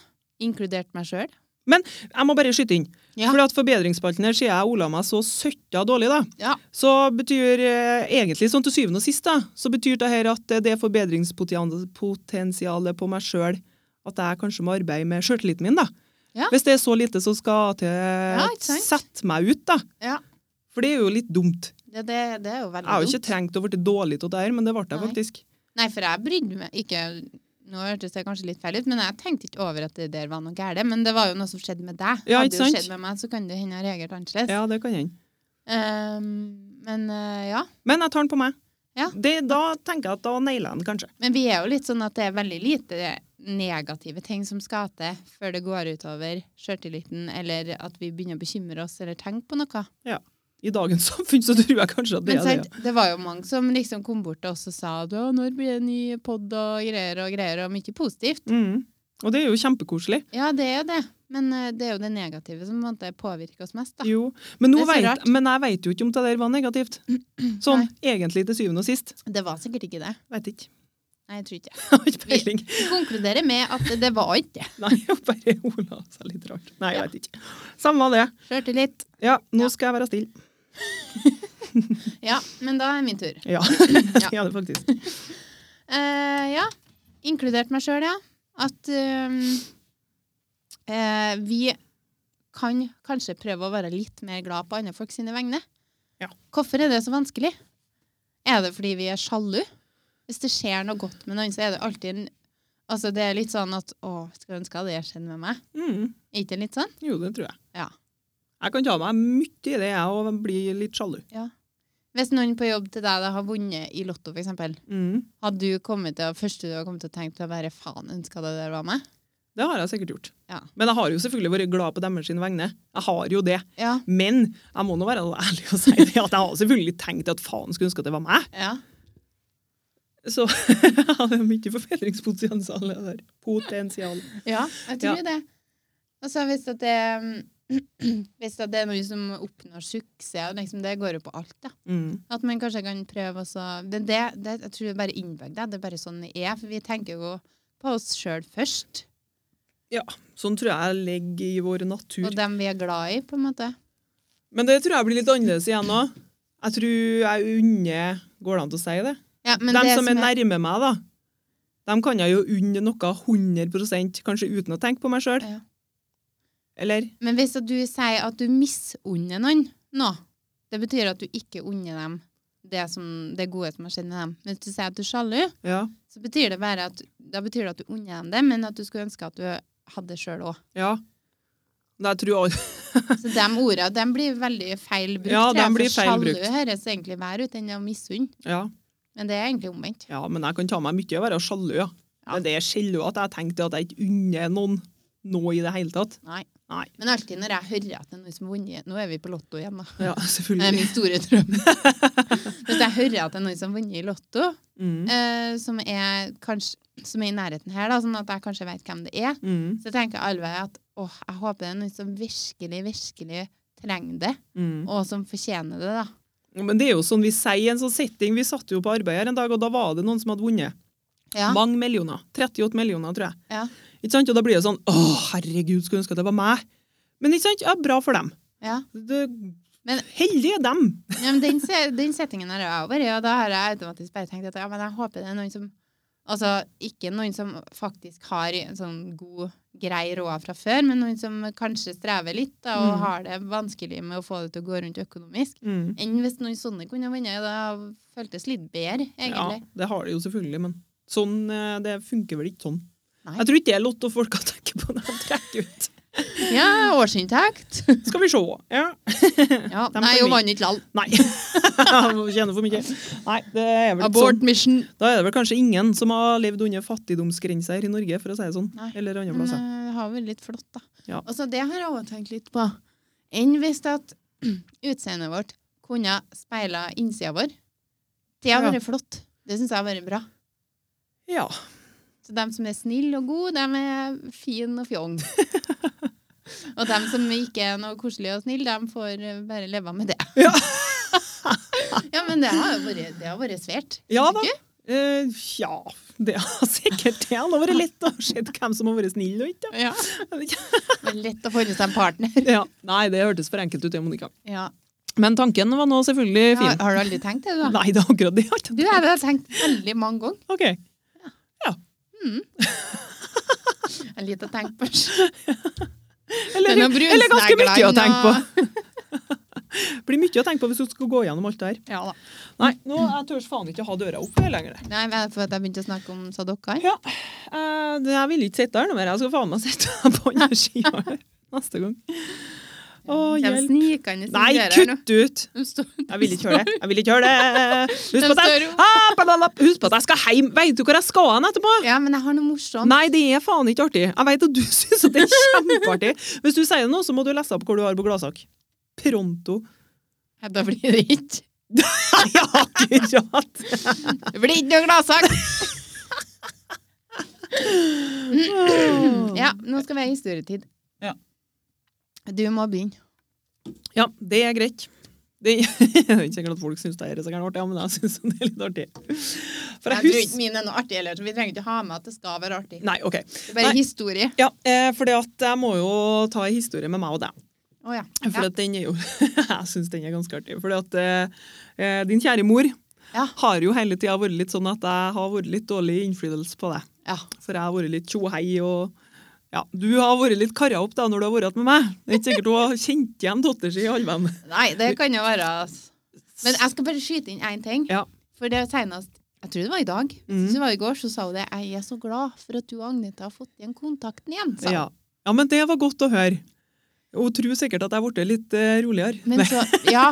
A: inkludert meg sjøl.
B: Jeg må bare skyte inn.
A: Ja.
B: Fordi at Forbedringsspalten her sier jeg Ola meg så søtta dårlig, da.
A: Ja.
B: Så betyr eh, egentlig sånn til syvende og sist, da, så betyr det her at eh, det forbedringspotensialet på meg sjøl at jeg kanskje må arbeide med sjøltilliten min, da.
A: Ja.
B: Hvis det er så lite som skal til
A: ikke sant?
B: sette meg ut, da.
A: Ja.
B: For det er jo litt dumt.
A: Det, det, det er jo veldig
B: Jeg har jo
A: dumt.
B: ikke trengt å bli dårlig til det her, men det ble jeg
A: Nei.
B: faktisk.
A: Nei, for jeg brydde meg ikke Nå hørtes det kanskje litt feil ut, men jeg tenkte ikke over at det der var noe galt. Men det var jo noe som skjedde med deg.
B: Ja,
A: Hadde
B: ikke
A: jo
B: sant?
A: skjedd med meg, så kan det hende jeg reagerte annerledes.
B: Ja, det kan hende.
A: Ehm, men eh, ja.
B: Men jeg tar den på meg.
A: Ja.
B: Det, da tenker jeg at da nailer jeg den kanskje.
A: Men vi er jo litt sånn at det er veldig lite negative ting som skal til før det går utover sjøltilliten, eller at vi begynner å bekymre oss eller tenke på noe.
B: I dagens samfunn så tror jeg kanskje at det
A: Men
B: er det.
A: sant, det var jo mange som liksom kom bort til oss og sa at «Å, når blir det ny pod og greier og greier, og mye positivt.
B: Mm. Og det er jo kjempekoselig.
A: Ja, det er jo det. Men eh, det er jo det negative som på en måte påvirker oss mest, da.
B: Jo. Men, nå
A: Det er så
B: vet,
A: rart.
B: men jeg vet jo ikke om det der var negativt. Sånn egentlig til syvende og sist.
A: Det var sikkert ikke det.
B: Vet ikke.
A: Nei, jeg tror ikke det.
B: Jeg har ikke peiling.
A: Vi konkluderer med at det var ikke det.
B: Nei, jeg bare Ola seg litt rart. Nei, jeg vet ikke. Samme det.
A: Sjøltillit.
B: Ja, nå
A: Ja.
B: skal jeg være stille.
A: Ja, men da er min tur.
B: Ja, det er det faktisk.
A: Eh, ja, inkludert meg sjøl, ja. At eh, eh, vi kan kanskje prøve å være litt mer glad på andre folk sine vegne.
B: Ja.
A: Hvorfor er det så vanskelig? Er det fordi vi er sjalu? Hvis det skjer noe godt med noen, så er det alltid en Altså, det er litt sånn at Å, skulle ønske det skjedde sånn med meg.
B: Mm.
A: Er ikke det litt sånn?
B: Jo, det tror jeg.
A: Ja.
B: Jeg kan ta meg mye i det, jeg, og bli litt sjalu.
A: Hvis noen på jobb til deg da har vunnet i Lotto, for eksempel,
B: Mm.
A: hadde du kommet til, første du har kommet til å tenke til å være faen, ønska det der var meg?
B: Det har jeg sikkert gjort.
A: Ja.
B: Men jeg har jo selvfølgelig vært glad på deres sine vegne. Jeg har jo det.
A: Ja.
B: Men jeg må nå være ærlig og si det, at jeg har selvfølgelig tenkt at faen skulle ønske at det var meg.
A: ja.
B: Så det er mye forbedringspotensial det der. Potensial.
A: Ja, jeg tror det. Og så hvis at det Hvis at det er noen som oppnår suksess, og liksom, det går jo på alt, da.
B: Mm.
A: At man kanskje kan prøve også det, det, det, Jeg tror det er bare innbygd, det. Det er bare sånn det er. For vi tenker jo på oss sjøl først.
B: Sånn tror jeg ligger i vår natur.
A: Og dem vi er glad i, på en måte.
B: Men det tror jeg blir litt annerledes igjen òg. Jeg tror jeg unner Går det an til å si det?
A: Ja, men
B: de
A: det
B: som er nærme meg, da. De kan jeg jo unne noe 100 kanskje uten å tenke på meg sjøl.
A: Ja.
B: Eller?
A: Men hvis at du sier at du misunner noen nå, det betyr at du ikke unner dem det, som, det gode som har skjedd med dem. Men hvis du sier at du er sjalu,
B: Ja.
A: så betyr det bare at, da betyr det at du unner dem det, men at du skulle ønske at du hadde det sjøl òg.
B: ja. Men Jeg tror alle
A: Så de ordene de blir veldig feil brukt.
B: Ja,
A: tror jeg,
B: dem
A: for
B: blir feil
A: sjalu
B: brukt.
A: høres egentlig verre ut enn å misunne,
B: ja.
A: men det er egentlig omvendt.
B: ja, men jeg kan ta meg mye i å være sjalu, ja.
A: Ja.
B: Men det er sjelden at jeg tenkte at jeg ikke unner noen noe i det hele tatt.
A: Nei.
B: Nei.
A: Men alltid når jeg hører at det er noen som har vunnet Nå er vi på Lotto igjen, da.
B: Ja,
A: Det er
B: selvfølgelig.
A: min store drøm. Hvis jeg hører at det er noen som har vunnet i Lotto,
B: Mm.
A: eh, som, er kanskje, som er i nærheten her, da, sånn at jeg kanskje vet hvem det er,
B: Mm.
A: så tenker jeg allveg at åh, jeg håper det er noen som virkelig, virkelig trenger det,
B: Mm.
A: og som fortjener det, da.
B: Men det er jo sånn vi sier i en sånn setting. Vi satt jo på arbeid her en dag, og da var det noen som hadde vunnet.
A: Ja.
B: Mange millioner. 38 millioner, tror jeg.
A: Ja.
B: Ikke sant? Og da blir det sånn Å, herregud, skulle ønske at det var meg. Men ikke sant? Ja, bra for dem.
A: ja.
B: Det,
A: Men-
B: heldige dem.
A: Ja, men den, se- den settingen har jeg over, og da har jeg automatisk bare tenkt at ja, men jeg håper det er noen som Altså ikke noen som faktisk har en sånn god, grei råd fra før, men noen som kanskje strever litt da, og
B: Mm.
A: har det vanskelig med å få det til å gå rundt økonomisk.
B: Mm.
A: Enn hvis noen sånne kunne ha vunnet. Da føltes det litt bedre,
B: Ja,
A: egentlig.
B: det har det jo selvfølgelig, men sånn, eh, det funker vel ikke sånn.
A: Nei.
B: Jeg tror ikke det er Lotto-folka tenker på når de trekker ut.
A: Ja, årsinntekt.
B: Skal vi se. Ja.
A: Ja,
B: De
A: nei, hun
B: kan vi-
A: vant ikke lall.
B: Nei. Må Tjene for mye. Nei, det er vel ikke sånn.
A: Abort mission.
B: Da er det vel kanskje ingen som har levd under fattigdomsgrensa her i Norge, for å si det sånn.
A: Nei.
B: Eller andre
A: Men
B: plasser.
A: eh, det har vært litt flott, da.
B: Ja.
A: Og så det har jeg også tenkt litt på. Enn hvis at utseendet vårt kunne speila innsida vår. Det har
B: Ja.
A: vært flott. Det syns jeg har vært bra.
B: Ja.
A: Så dem som er snille og gode, dem er fine og fjong. og dem som ikke er noe koselige og snille, dem får eh, bare leve med det.
B: Ja.
A: ja, men det har jo vært, det har vært svært.
B: Ja da. Eh, ja, det har sikkert det. Det har vært lett å se hvem som har vært snill og ikke.
A: Ja. Det er lett å få seg en partner.
B: Ja. Nei, det hørtes for enkelt ut, det, Monica.
A: Ja.
B: Men tanken var nå selvfølgelig
A: Ja,
B: fin.
A: har du aldri tenkt det, du? da?
B: Nei, det er akkurat det. jeg har ikke
A: Du, jeg har tenkt veldig mange ganger.
B: Ok.
A: Jeg er Litt å tenke på. Det
B: Eller,
A: er noen
B: eller ganske mye å
A: brunsneglene
B: tenke på.
A: og-
B: blir mye å tenke på hvis du skal gå gjennom alt det her.
A: Ja da.
B: Nei, nå jeg tør faen ikke å ha døra oppe lenger.
A: Nei, men det er for at jeg begynte å snakke om sadokker.
B: Ja, eh, det- jeg vil ikke sitte her noe mer. Jeg skal faen meg sitte på andre sida her neste gang. Å,
A: Kjem
B: hjelp.
A: snikende inn
B: Nei,
A: døra her nå.
B: kutt ut!
A: De står-
B: Jeg vil ikke høre det. Jeg vil ikke høre det. Husk på at
A: de
B: jeg,
A: står jo-
B: ah, palalap. Husk på at jeg skal hjem. Vet du hvor jeg skal hen etterpå?
A: Ja, men jeg har noe morsomt.
B: Nei, det er faen ikke artig. Jeg vet at du syns det er kjempeartig. Hvis du sier noe, så må du lese opp hvor du har på gladsak. Pronto.
A: Ja, Da blir det ikke
B: Ja, akkurat.
A: Det blir ikke noe gladsak! Ja, nå skal vi ha historietid.
B: Ja.
A: Du må begynne.
B: Ja, det er greit. Det, jeg er ikke sikkert at folk syns det er så gærent artig, ja, men jeg syns det er litt artig. For
A: Jeg
B: jeg
A: tror ikke
B: husker
A: min er noe artig heller, så vi trenger ikke ha med at det skal være artig.
B: Nei, OK.
A: Det er bare
B: Nei.
A: historie.
B: Ja, eh, for jeg må jo ta en historie med meg og deg.
A: Å ja.
B: For
A: ja.
B: at den er jo Jeg syns den er ganske artig. For at eh, eh, din kjære mor
A: Ja.
B: har jo hele tida vært litt sånn at jeg har vært litt dårlig innflytelse på deg.
A: ja.
B: For jeg har vært litt tjohei og ja, Du har vært litt karra opp da når du har vært med meg. Det er ikke sikkert hun har kjent igjen dattera si i alven.
A: Nei, det kan jo være altså. Men jeg skal bare skyte inn én ting.
B: Ja. Mhm.
A: For det senest Jeg tror det var i dag. Jeg synes det var i går, så sa hun det. Jeg er så glad for at du og Agnete har fått igjen kontakten igjen. Sa. hun.
B: Ja. ja, men det var godt å høre. Hun tror sikkert at jeg ble litt eh, roligere.
A: Men så, ja,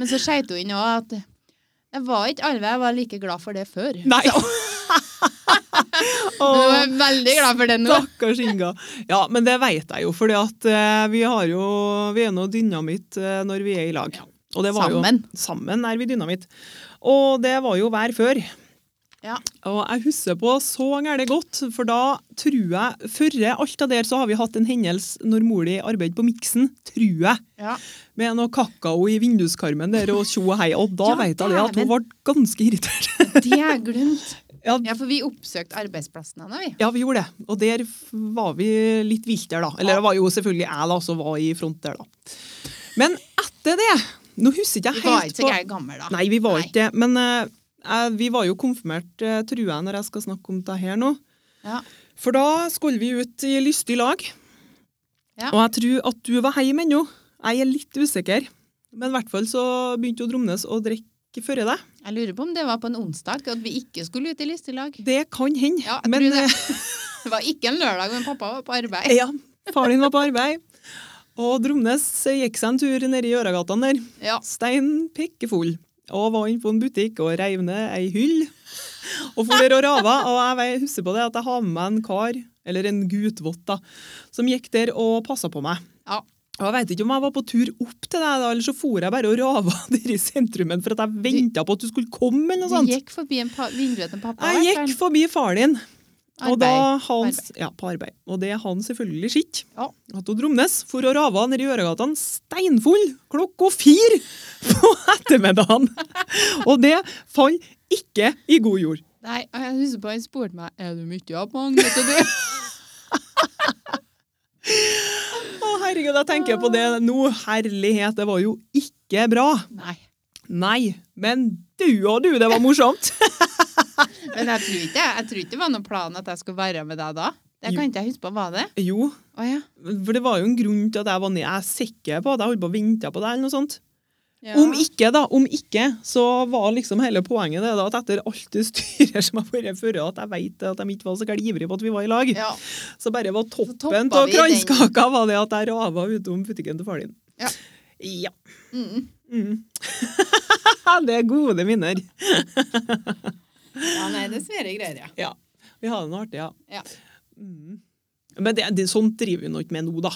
A: men så skeit hun inn òg at jeg var ikke alve, jeg var like glad for det før.
B: Nei!
A: Men jeg
B: Åh,
A: er veldig glad for det nå.
B: Stakkars Inga. Ja, men det vet jeg jo, for vi, har jo, vi er nå dynamitt eh, når vi er i lag. Og det var
A: Sammen.
B: Jo, sammen er vi dynamitt. Og det var jo hver før.
A: Ja.
B: Og jeg husker på så gærent godt, for da tror jeg Før alt det der så har vi hatt en hendelse når mor di arbeidet på Miksen, tror jeg.
A: Ja.
B: med noe kakao i vinduskarmen der og tjo og hei, og da
A: Ja,
B: vet jeg det at hun ble ganske irritert.
A: Det er glemt.
B: Ja,
A: Ja, for vi oppsøkte arbeidsplassen hennes, vi.
B: ja, vi gjorde det, og der f- var vi litt viltere da. Eller det var jo selvfølgelig jeg da, som var i front der da. Men etter det, nå husker ikke
A: Vi
B: jeg
A: var
B: helt
A: ikke så
B: på...
A: gærent gamle da.
B: Nei, vi var
A: Nei.
B: ikke det, men eh, jeg- vi var jo konfirmert, eh, tror jeg, når jeg skal snakke om det her nå.
A: Ja.
B: For da skulle vi ut i lystig lag.
A: Ja.
B: Og jeg tror at du var hjemme ennå. Jeg er litt usikker. Men i hvert fall så begynte jo Dromnes å drikke før deg.
A: Jeg lurer på om det var på en onsdag at vi ikke skulle ut i listelag.
B: Det kan hende.
A: Ja, jeg
B: men
A: tror det. Det var ikke en lørdag, men pappa var på arbeid.
B: eh, ja, far din var på arbeid. Og Dromnes eh, gikk seg en tur nedi Øragatene der.
A: Ja.
B: Stein pikkefull. Og var inne på en butikk og reiv ned ei hyll. Og for der og rava. Og jeg vei- husker på det at jeg har med meg en kar, eller en gutvott, da, som gikk der og passa på meg.
A: Ja.
B: Og Jeg vet ikke om jeg var på tur opp til deg, da, eller så for jeg bare og rava der i sentrumen for at jeg venta på at du skulle komme. eller noe
A: Vi
B: sånt.
A: gikk forbi en pa vinduet til pappa. i
B: Jeg
A: hvert
B: gikk
A: fall.
B: forbi far din, og da
A: Arbeid.
B: han, ja, på arbeid. Og det er han selvfølgelig sitt.
A: Ja.
B: At hun Dromnes for å rave ned i Øregatene steinfull klokka fire på ettermiddagen. og det falt ikke i god jord.
A: Nei, og jeg husker på han spurte meg Er du mye jobb, Agnete, du?
B: Å herregud, jeg tenker på det nå. Herlighet, det var jo ikke bra.
A: Nei.
B: Nei, men du og du, det var morsomt.
A: Men jeg tror ikke, jeg tror ikke det var noen plan at jeg skulle være med deg da. Det kan ikke jeg huske på. Var det?
B: jo,
A: Å ja.
B: for det var jo en grunn til at jeg var nede. Jeg er sikker på at jeg holdt på å vente på deg eller noe sånt.
A: ja.
B: Om ikke, da. Om ikke, så var liksom hele poenget det da, at etter alt det styret som har vært før, at jeg vet at de ikke var så gærent ivrige på at vi var i lag,
A: Ja.
B: så bare var
A: toppa
B: toppen av
A: vi den.
B: kranskaka var det at jeg rava utom butikken til far din.
A: Ja.
B: Ja.
A: Mm.
B: Mm. det er gode minner.
A: ja. Nei, det er svære greier, ja.
B: Ja. Vi har det noe artig, ja.
A: Ja.
B: Mm. Men det, det, sånt driver vi nå ikke med nå, da.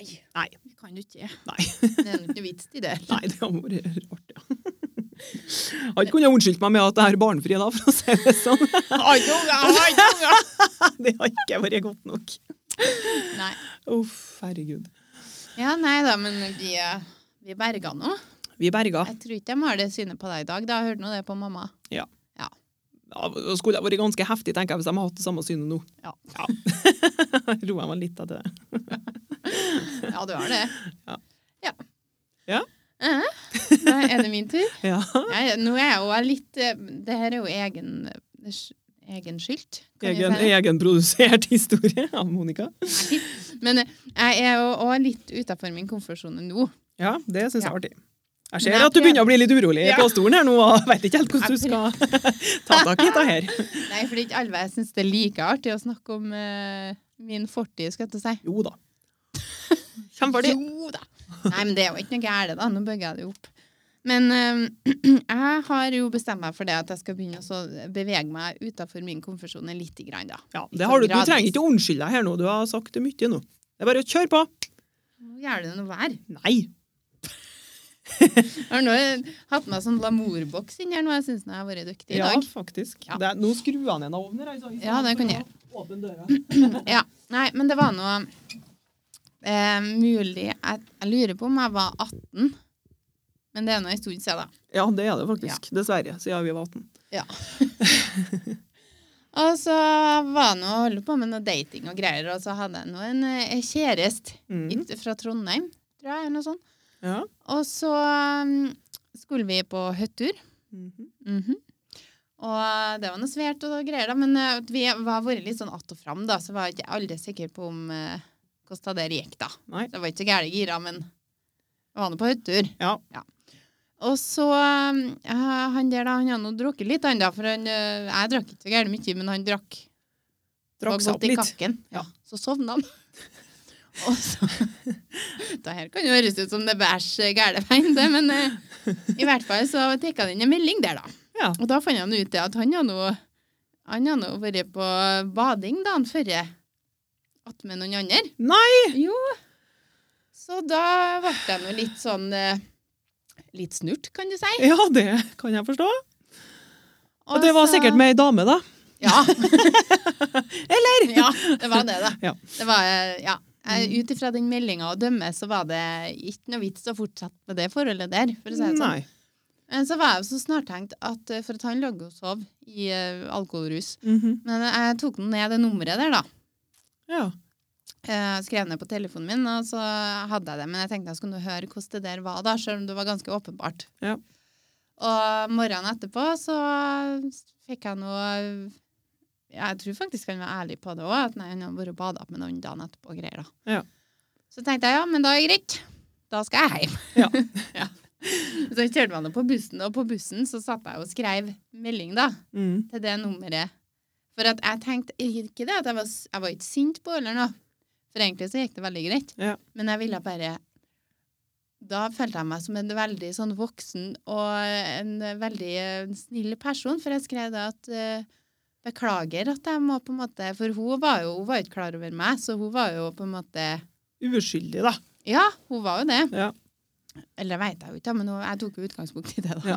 A: Nei,
B: Nei.
A: vi kan jo ikke.
B: Nei.
A: Det er jo ikke noe vits i det.
B: Nei, det hadde vært rart, ja. Jeg hadde ikke kunnet unnskyldt meg med at jeg er barnefri, da, for å si det sånn.
A: Ai, unga, ai, unga.
B: Det har ikke vært godt nok.
A: Nei.
B: Uff, herregud.
A: Ja, nei da, men vi, eh, vi berga nå.
B: Vi berga.
A: Jeg tror ikke de har det synet på deg i dag. Da hørte nå det på mamma.
B: Ja, det skulle vært ganske heftig tenker jeg, hvis de hadde hatt det samme synet nå.
A: Ja.
B: Roa meg litt etter det.
A: Ja, du har det.
B: Ja.
A: Ja.
B: Ja.
A: Eh, Nei, er det min tur?
B: Ja.
A: Nei, nå er jeg jo litt eh, Det her er jo egen, egenskyldt. kan jeg
B: Egen,
A: si det?
B: egenprodusert historie av Monica.
A: Men eh, jeg er jo også litt utafor min komfortsone nå.
B: Ja, det syns jeg
A: Ja.
B: er artig. Jeg
A: Men
B: ser
A: jeg
B: at du
A: prøver-
B: begynner å bli litt urolig
A: Ja.
B: på stolen her nå. og Vet ikke helt hvordan
A: Jeg
B: du skal ta tak i dette her.
A: Nei, for det er ikke alle jeg syns det er like artig å snakke om eh, min fortid, skal jeg til å si.
B: Jo da. Kjempeartig.
A: Jo da! Nei, men det er jo ikke noe gærent, da. Nå bygger jeg det jo opp. Men eh, jeg har jo bestemt meg for det at jeg skal begynne å så bevege meg utafor min komfortsone lite grann, da.
B: Ja, det har du, du trenger ikke å unnskylde deg her nå. Du har sagt det mye nå. Det er bare å kjøre på.
A: Nå gjør det noe vær.
B: Nei.
A: Jeg har nå hatt med sånn lamorboks inn her nå. Jeg syns jeg har vært dyktig i
B: Ja,
A: dag.
B: faktisk.
A: Ja.
B: Det er, nå skrur jeg ned en ovn her. Altså.
A: Ja, det kan jeg
B: Åpen døra.
A: Ja, nei, men det var noe eh, mulig jeg, jeg lurer på om jeg var 18. Men det er nå en stund siden, da.
B: Ja, det er det faktisk. Dessverre, siden vi var 18.
A: Og så var jeg nå og holdt på med noe dating og greier, og så hadde jeg nå en eh, kjæreste
B: Mm.
A: ikke fra Trondheim, tror jeg, eller noe sånt.
B: Ja.
A: Og så mm, skulle vi på hyttetur.
B: Mhm.
A: Mhm. Og eh, det var noe svært og greier, da. Men eh, vi var vært litt sånn att og fram, da, så var jeg ikke aldri sikker på om eh, hvordan det der gikk, da.
B: Nei.
A: Det var ikke så gære gira, men jeg var nå på hyttetur.
B: Ja.
A: Og så eh, Han der, da, han hadde nå drukket litt, han da, for han eh, Jeg drakk ikke så gære mye, men han drakk
B: Drakk
A: var
B: seg
A: godt
B: opp
A: i
B: litt.
A: kakken. Ja.
B: Ja.
A: Så sovna han. Og så Det her kan jo høres ut som det bæsj gæle veien, det, men eh, i hvert fall så tikka det inn en melding der, da.
B: Ja.
A: Og da fant han ut det at han har nå han har nå vært på bading dagen før attmed noen andre.
B: Nei!
A: Jo. Så da ble jeg nå litt sånn eh, Litt snurt, kan du si.
B: Ja, det kan jeg forstå. Og det var
A: så-
B: sikkert med ei dame, da.
A: Ja. Eller? Ja, det var det, da.
B: Ja.
A: Det var, eh, ja. Eh, Ut ifra den meldinga å dømme, så var det ikke noe vits å fortsette med det forholdet der. For å si det sånn.
B: Nei.
A: Men så var jeg jo så snartenkt at eh, for at han lå og sov i eh, alkoholrus.
B: Mhm.
A: Men jeg tok nå ned det nummeret der, da.
B: Ja.
A: Eh, skrev ned på telefonen min, og så hadde jeg det. Men jeg tenkte jeg skulle nå høre hvordan det der var, da, selv om det var ganske åpenbart.
B: Ja.
A: Og morgenen etterpå så fikk jeg noe ja, Jeg tror faktisk han var ærlig på det òg, at nei, han hadde vært og bada med noen dagen etterpå. og greier da.
B: Ja.
A: Så tenkte jeg ja, men da er det greit. Da skal jeg hjem.
B: Ja.
A: Ja. Så kjørte man det på bussen, og på bussen så satt jeg og skrev melding, da
B: Mm.
A: til det nummeret. For at jeg tenkte ikke det at jeg var, s- jeg var ikke sint på eller noe. For egentlig så gikk det veldig greit.
B: Ja.
A: Men jeg ville bare Da følte jeg meg som en veldig sånn voksen og en veldig eh, snill person, for jeg skrev da at eh, Beklager at jeg må på en måte For hun var jo hun var jo ikke klar over meg, så hun var jo på en måte
B: Uskyldig, da.
A: Ja, hun var jo det.
B: Ja.
A: Eller det veit jeg jo ikke, men hun- jeg tok jo utgangspunkt i det, da.
B: Ja.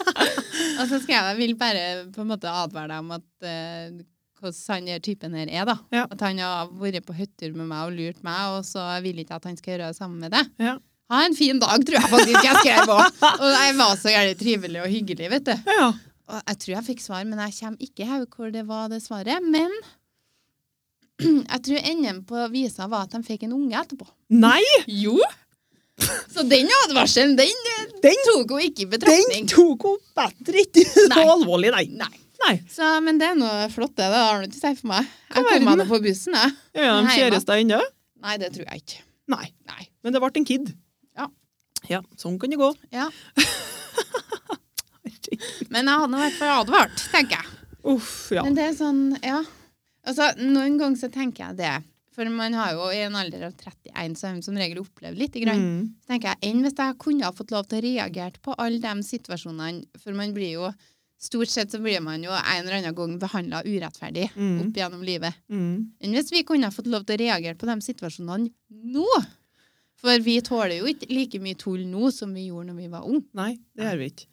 A: og så skal jeg, jeg vil bare på en måte advare deg om at eh, hvordan han her typen her er, da.
B: Ja.
A: At han har vært på hyttetur med meg og lurt meg, og så vil jeg ikke at han skal gjøre det samme med deg.
B: Ja.
A: Ha en fin dag, tror jeg faktisk jeg skrev òg. Og jeg var så gjerne trivelig og hyggelig, vet du.
B: Ja.
A: Og jeg tror jeg fikk svar, men jeg kommer ikke i hau hvor det var det svaret. Men jeg tror enden på visa var at de fikk en unge etterpå.
B: Nei!
A: Jo. Så den advarselen, den,
B: Den-
A: tok hun ikke i
B: Den
A: betraktning.
B: tok hun bedre ikke så
A: Nei.
B: alvorlig, nei.
A: Nei.
B: Nei.
A: Så, men det er noe flott, det. Det har du ikke sagt for meg.
B: Hva
A: Jeg kom meg
B: verden?
A: nå på bussen, jeg.
B: Er de
A: Nei,
B: kjærester ennå?
A: Nei, det tror jeg ikke.
B: Nei.
A: Nei.
B: Men det ble en kid.
A: Ja.
B: Ja, sånn kan det gå.
A: Ja. Men jeg hadde nå i hvert fall advart, tenker jeg.
B: Uff, ja.
A: Men det er sånn, ja. Altså, noen ganger så tenker jeg det. For man har jo i en alder av 31 så har man som regel opplevd litt. Grann.
B: Mm.
A: Så tenker jeg, Enn hvis jeg kunne ha fått lov til å reagere på alle de situasjonene. For man blir jo Stort sett så blir man jo en eller annen gang behandla urettferdig
B: Mm.
A: opp gjennom livet.
B: Mm.
A: enn hvis vi kunne ha fått lov til å reagere på de situasjonene nå. For vi tåler jo ikke like mye tull nå som vi gjorde når vi var unge.
B: Nei, det gjør vi ikke.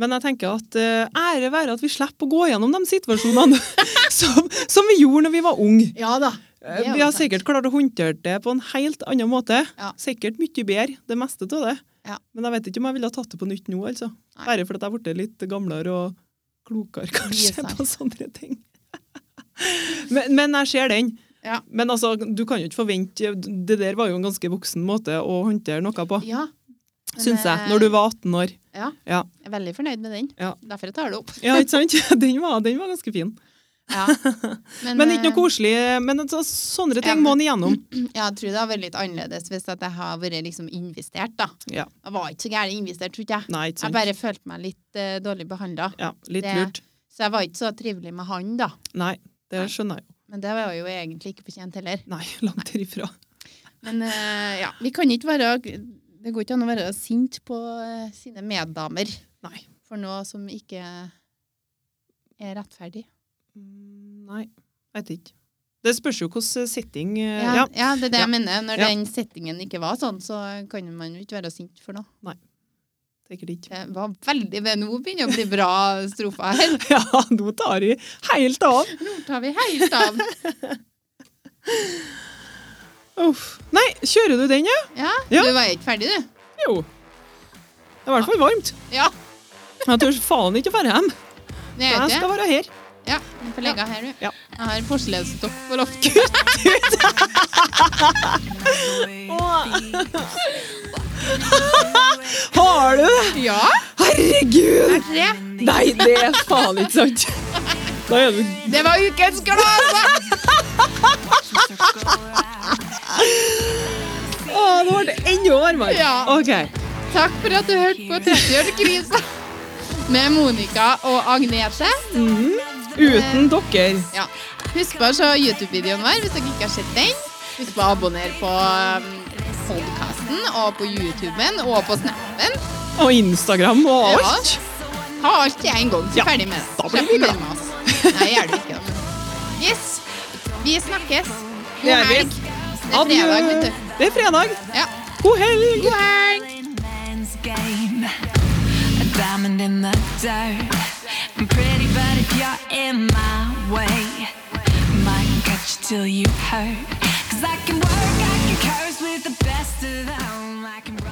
B: Men jeg tenker at eh, ære være at vi slipper å gå gjennom de situasjonene som, som vi gjorde når vi var unge.
A: Ja da.
B: Eh,
A: Det er
B: Vi
A: jo
B: har
A: sant.
B: sikkert klart å håndtere det på en helt annen måte.
A: Ja.
B: Sikkert mye bedre, det meste av det.
A: Ja.
B: Men jeg vet ikke om jeg ville ha tatt det på nytt nå, altså.
A: Nei.
B: Bare fordi jeg ble litt gamlere og klokere, kanskje,
A: Visere.
B: på sånne ting. men, men jeg ser den.
A: Ja.
B: Men altså, du kan jo ikke forvente Det der var jo en ganske voksen måte å håndtere noe på,
A: Ja. Men,
B: syns jeg,
A: eh,
B: når du var 18 år.
A: Ja.
B: Ja.
A: Jeg er veldig fornøyd med den.
B: Ja.
A: Derfor jeg tar det opp.
B: Ja, ikke sant? Den var, den var ganske fin.
A: Ja.
B: Men ikke noe
A: eh,
B: koselig. Men altså, sånne
A: Ja, men-
B: ting
A: Mm.
B: må en igjennom.
A: eh, Ja, jeg tror det har vært litt annerledes hvis at jeg har vært liksom investert, da.
B: Ja.
A: Jeg var ikke så gæren investert, tror ikke jeg.
B: Nei, ikke
A: Jeg
B: sant.
A: bare følte meg litt eh, dårlig behandla.
B: Ja, litt
A: Det-
B: lurt.
A: Så jeg var ikke så trivelig med han, da.
B: Nei, det
A: Nei.
B: skjønner jeg jo.
A: Men det var jo egentlig ikke fortjent heller.
B: Nei, langt derifra.
A: Men eh, ja, vi kan ikke være Det går ikke an å være sint på eh, sine meddamer
B: Nei.
A: for noe som ikke er rettferdig.
B: Mm, Nei, jeg vet ikke. Det spørs jo hvordan setting eh,
A: Ja,
B: Ja.
A: ja. det er det
B: Ja.
A: jeg mener. Når
B: Ja.
A: den settingen ikke var sånn, så kan man jo ikke være sint for noe.
B: Sikkert ikke.
A: Det var veldig det Nå begynner å bli bra strofer her.
B: Ja, nå tar vi helt av.
A: Nå tar vi helt av.
B: Uff. Nei, kjører du den, ja?
A: Ja,
B: Ja.
A: du var ikke ferdig, du.
B: Jo. Det er i hvert fall varmt.
A: Ja.
B: Jeg tør faen ikke å dra hjem.
A: Det er
B: Jeg
A: ikke
B: skal
A: det.
B: være her.
A: Ja, du får legge av her, du.
B: Ja.
A: Jeg har porselensstopp på loftet.
B: Har du det?
A: Ja,
B: Herregud!
A: tre.
B: Nei, det er faen ikke sant. Da er du
A: Det var ukens glade!
B: Å, nå ble det enda varmere.
A: Ja.
B: OK.
A: Takk for at du hørte på 30-årskrisa med Monica og Agnete.
B: Mhm. Uten dere.
A: Ja. Husk på å se YouTube-videoen vår hvis dere ikke har sett den. Husk på å abonnere på podkasten og på YouTuben og på Snapen.
B: Og Instagram og
A: Ja.
B: alt.
A: Ta alt i en gang, så
B: Ja,
A: er ferdig med det.
B: da blir
A: Slipp
B: vi
A: mer
B: glad.
A: med oss. Nei, gjør det ikke. da. Yes. Vi snakkes. God
B: Det gjør vi.
A: helg. Det er fredag, vet du.
B: Det er fredag.
A: Ja.
B: God helg!
A: God helg.
C: playing man's game. A diamond in the dirt. I'm pretty, but if you're in my way, might catch you till you hurt. Cause I can work, I can curse with the best of them. I can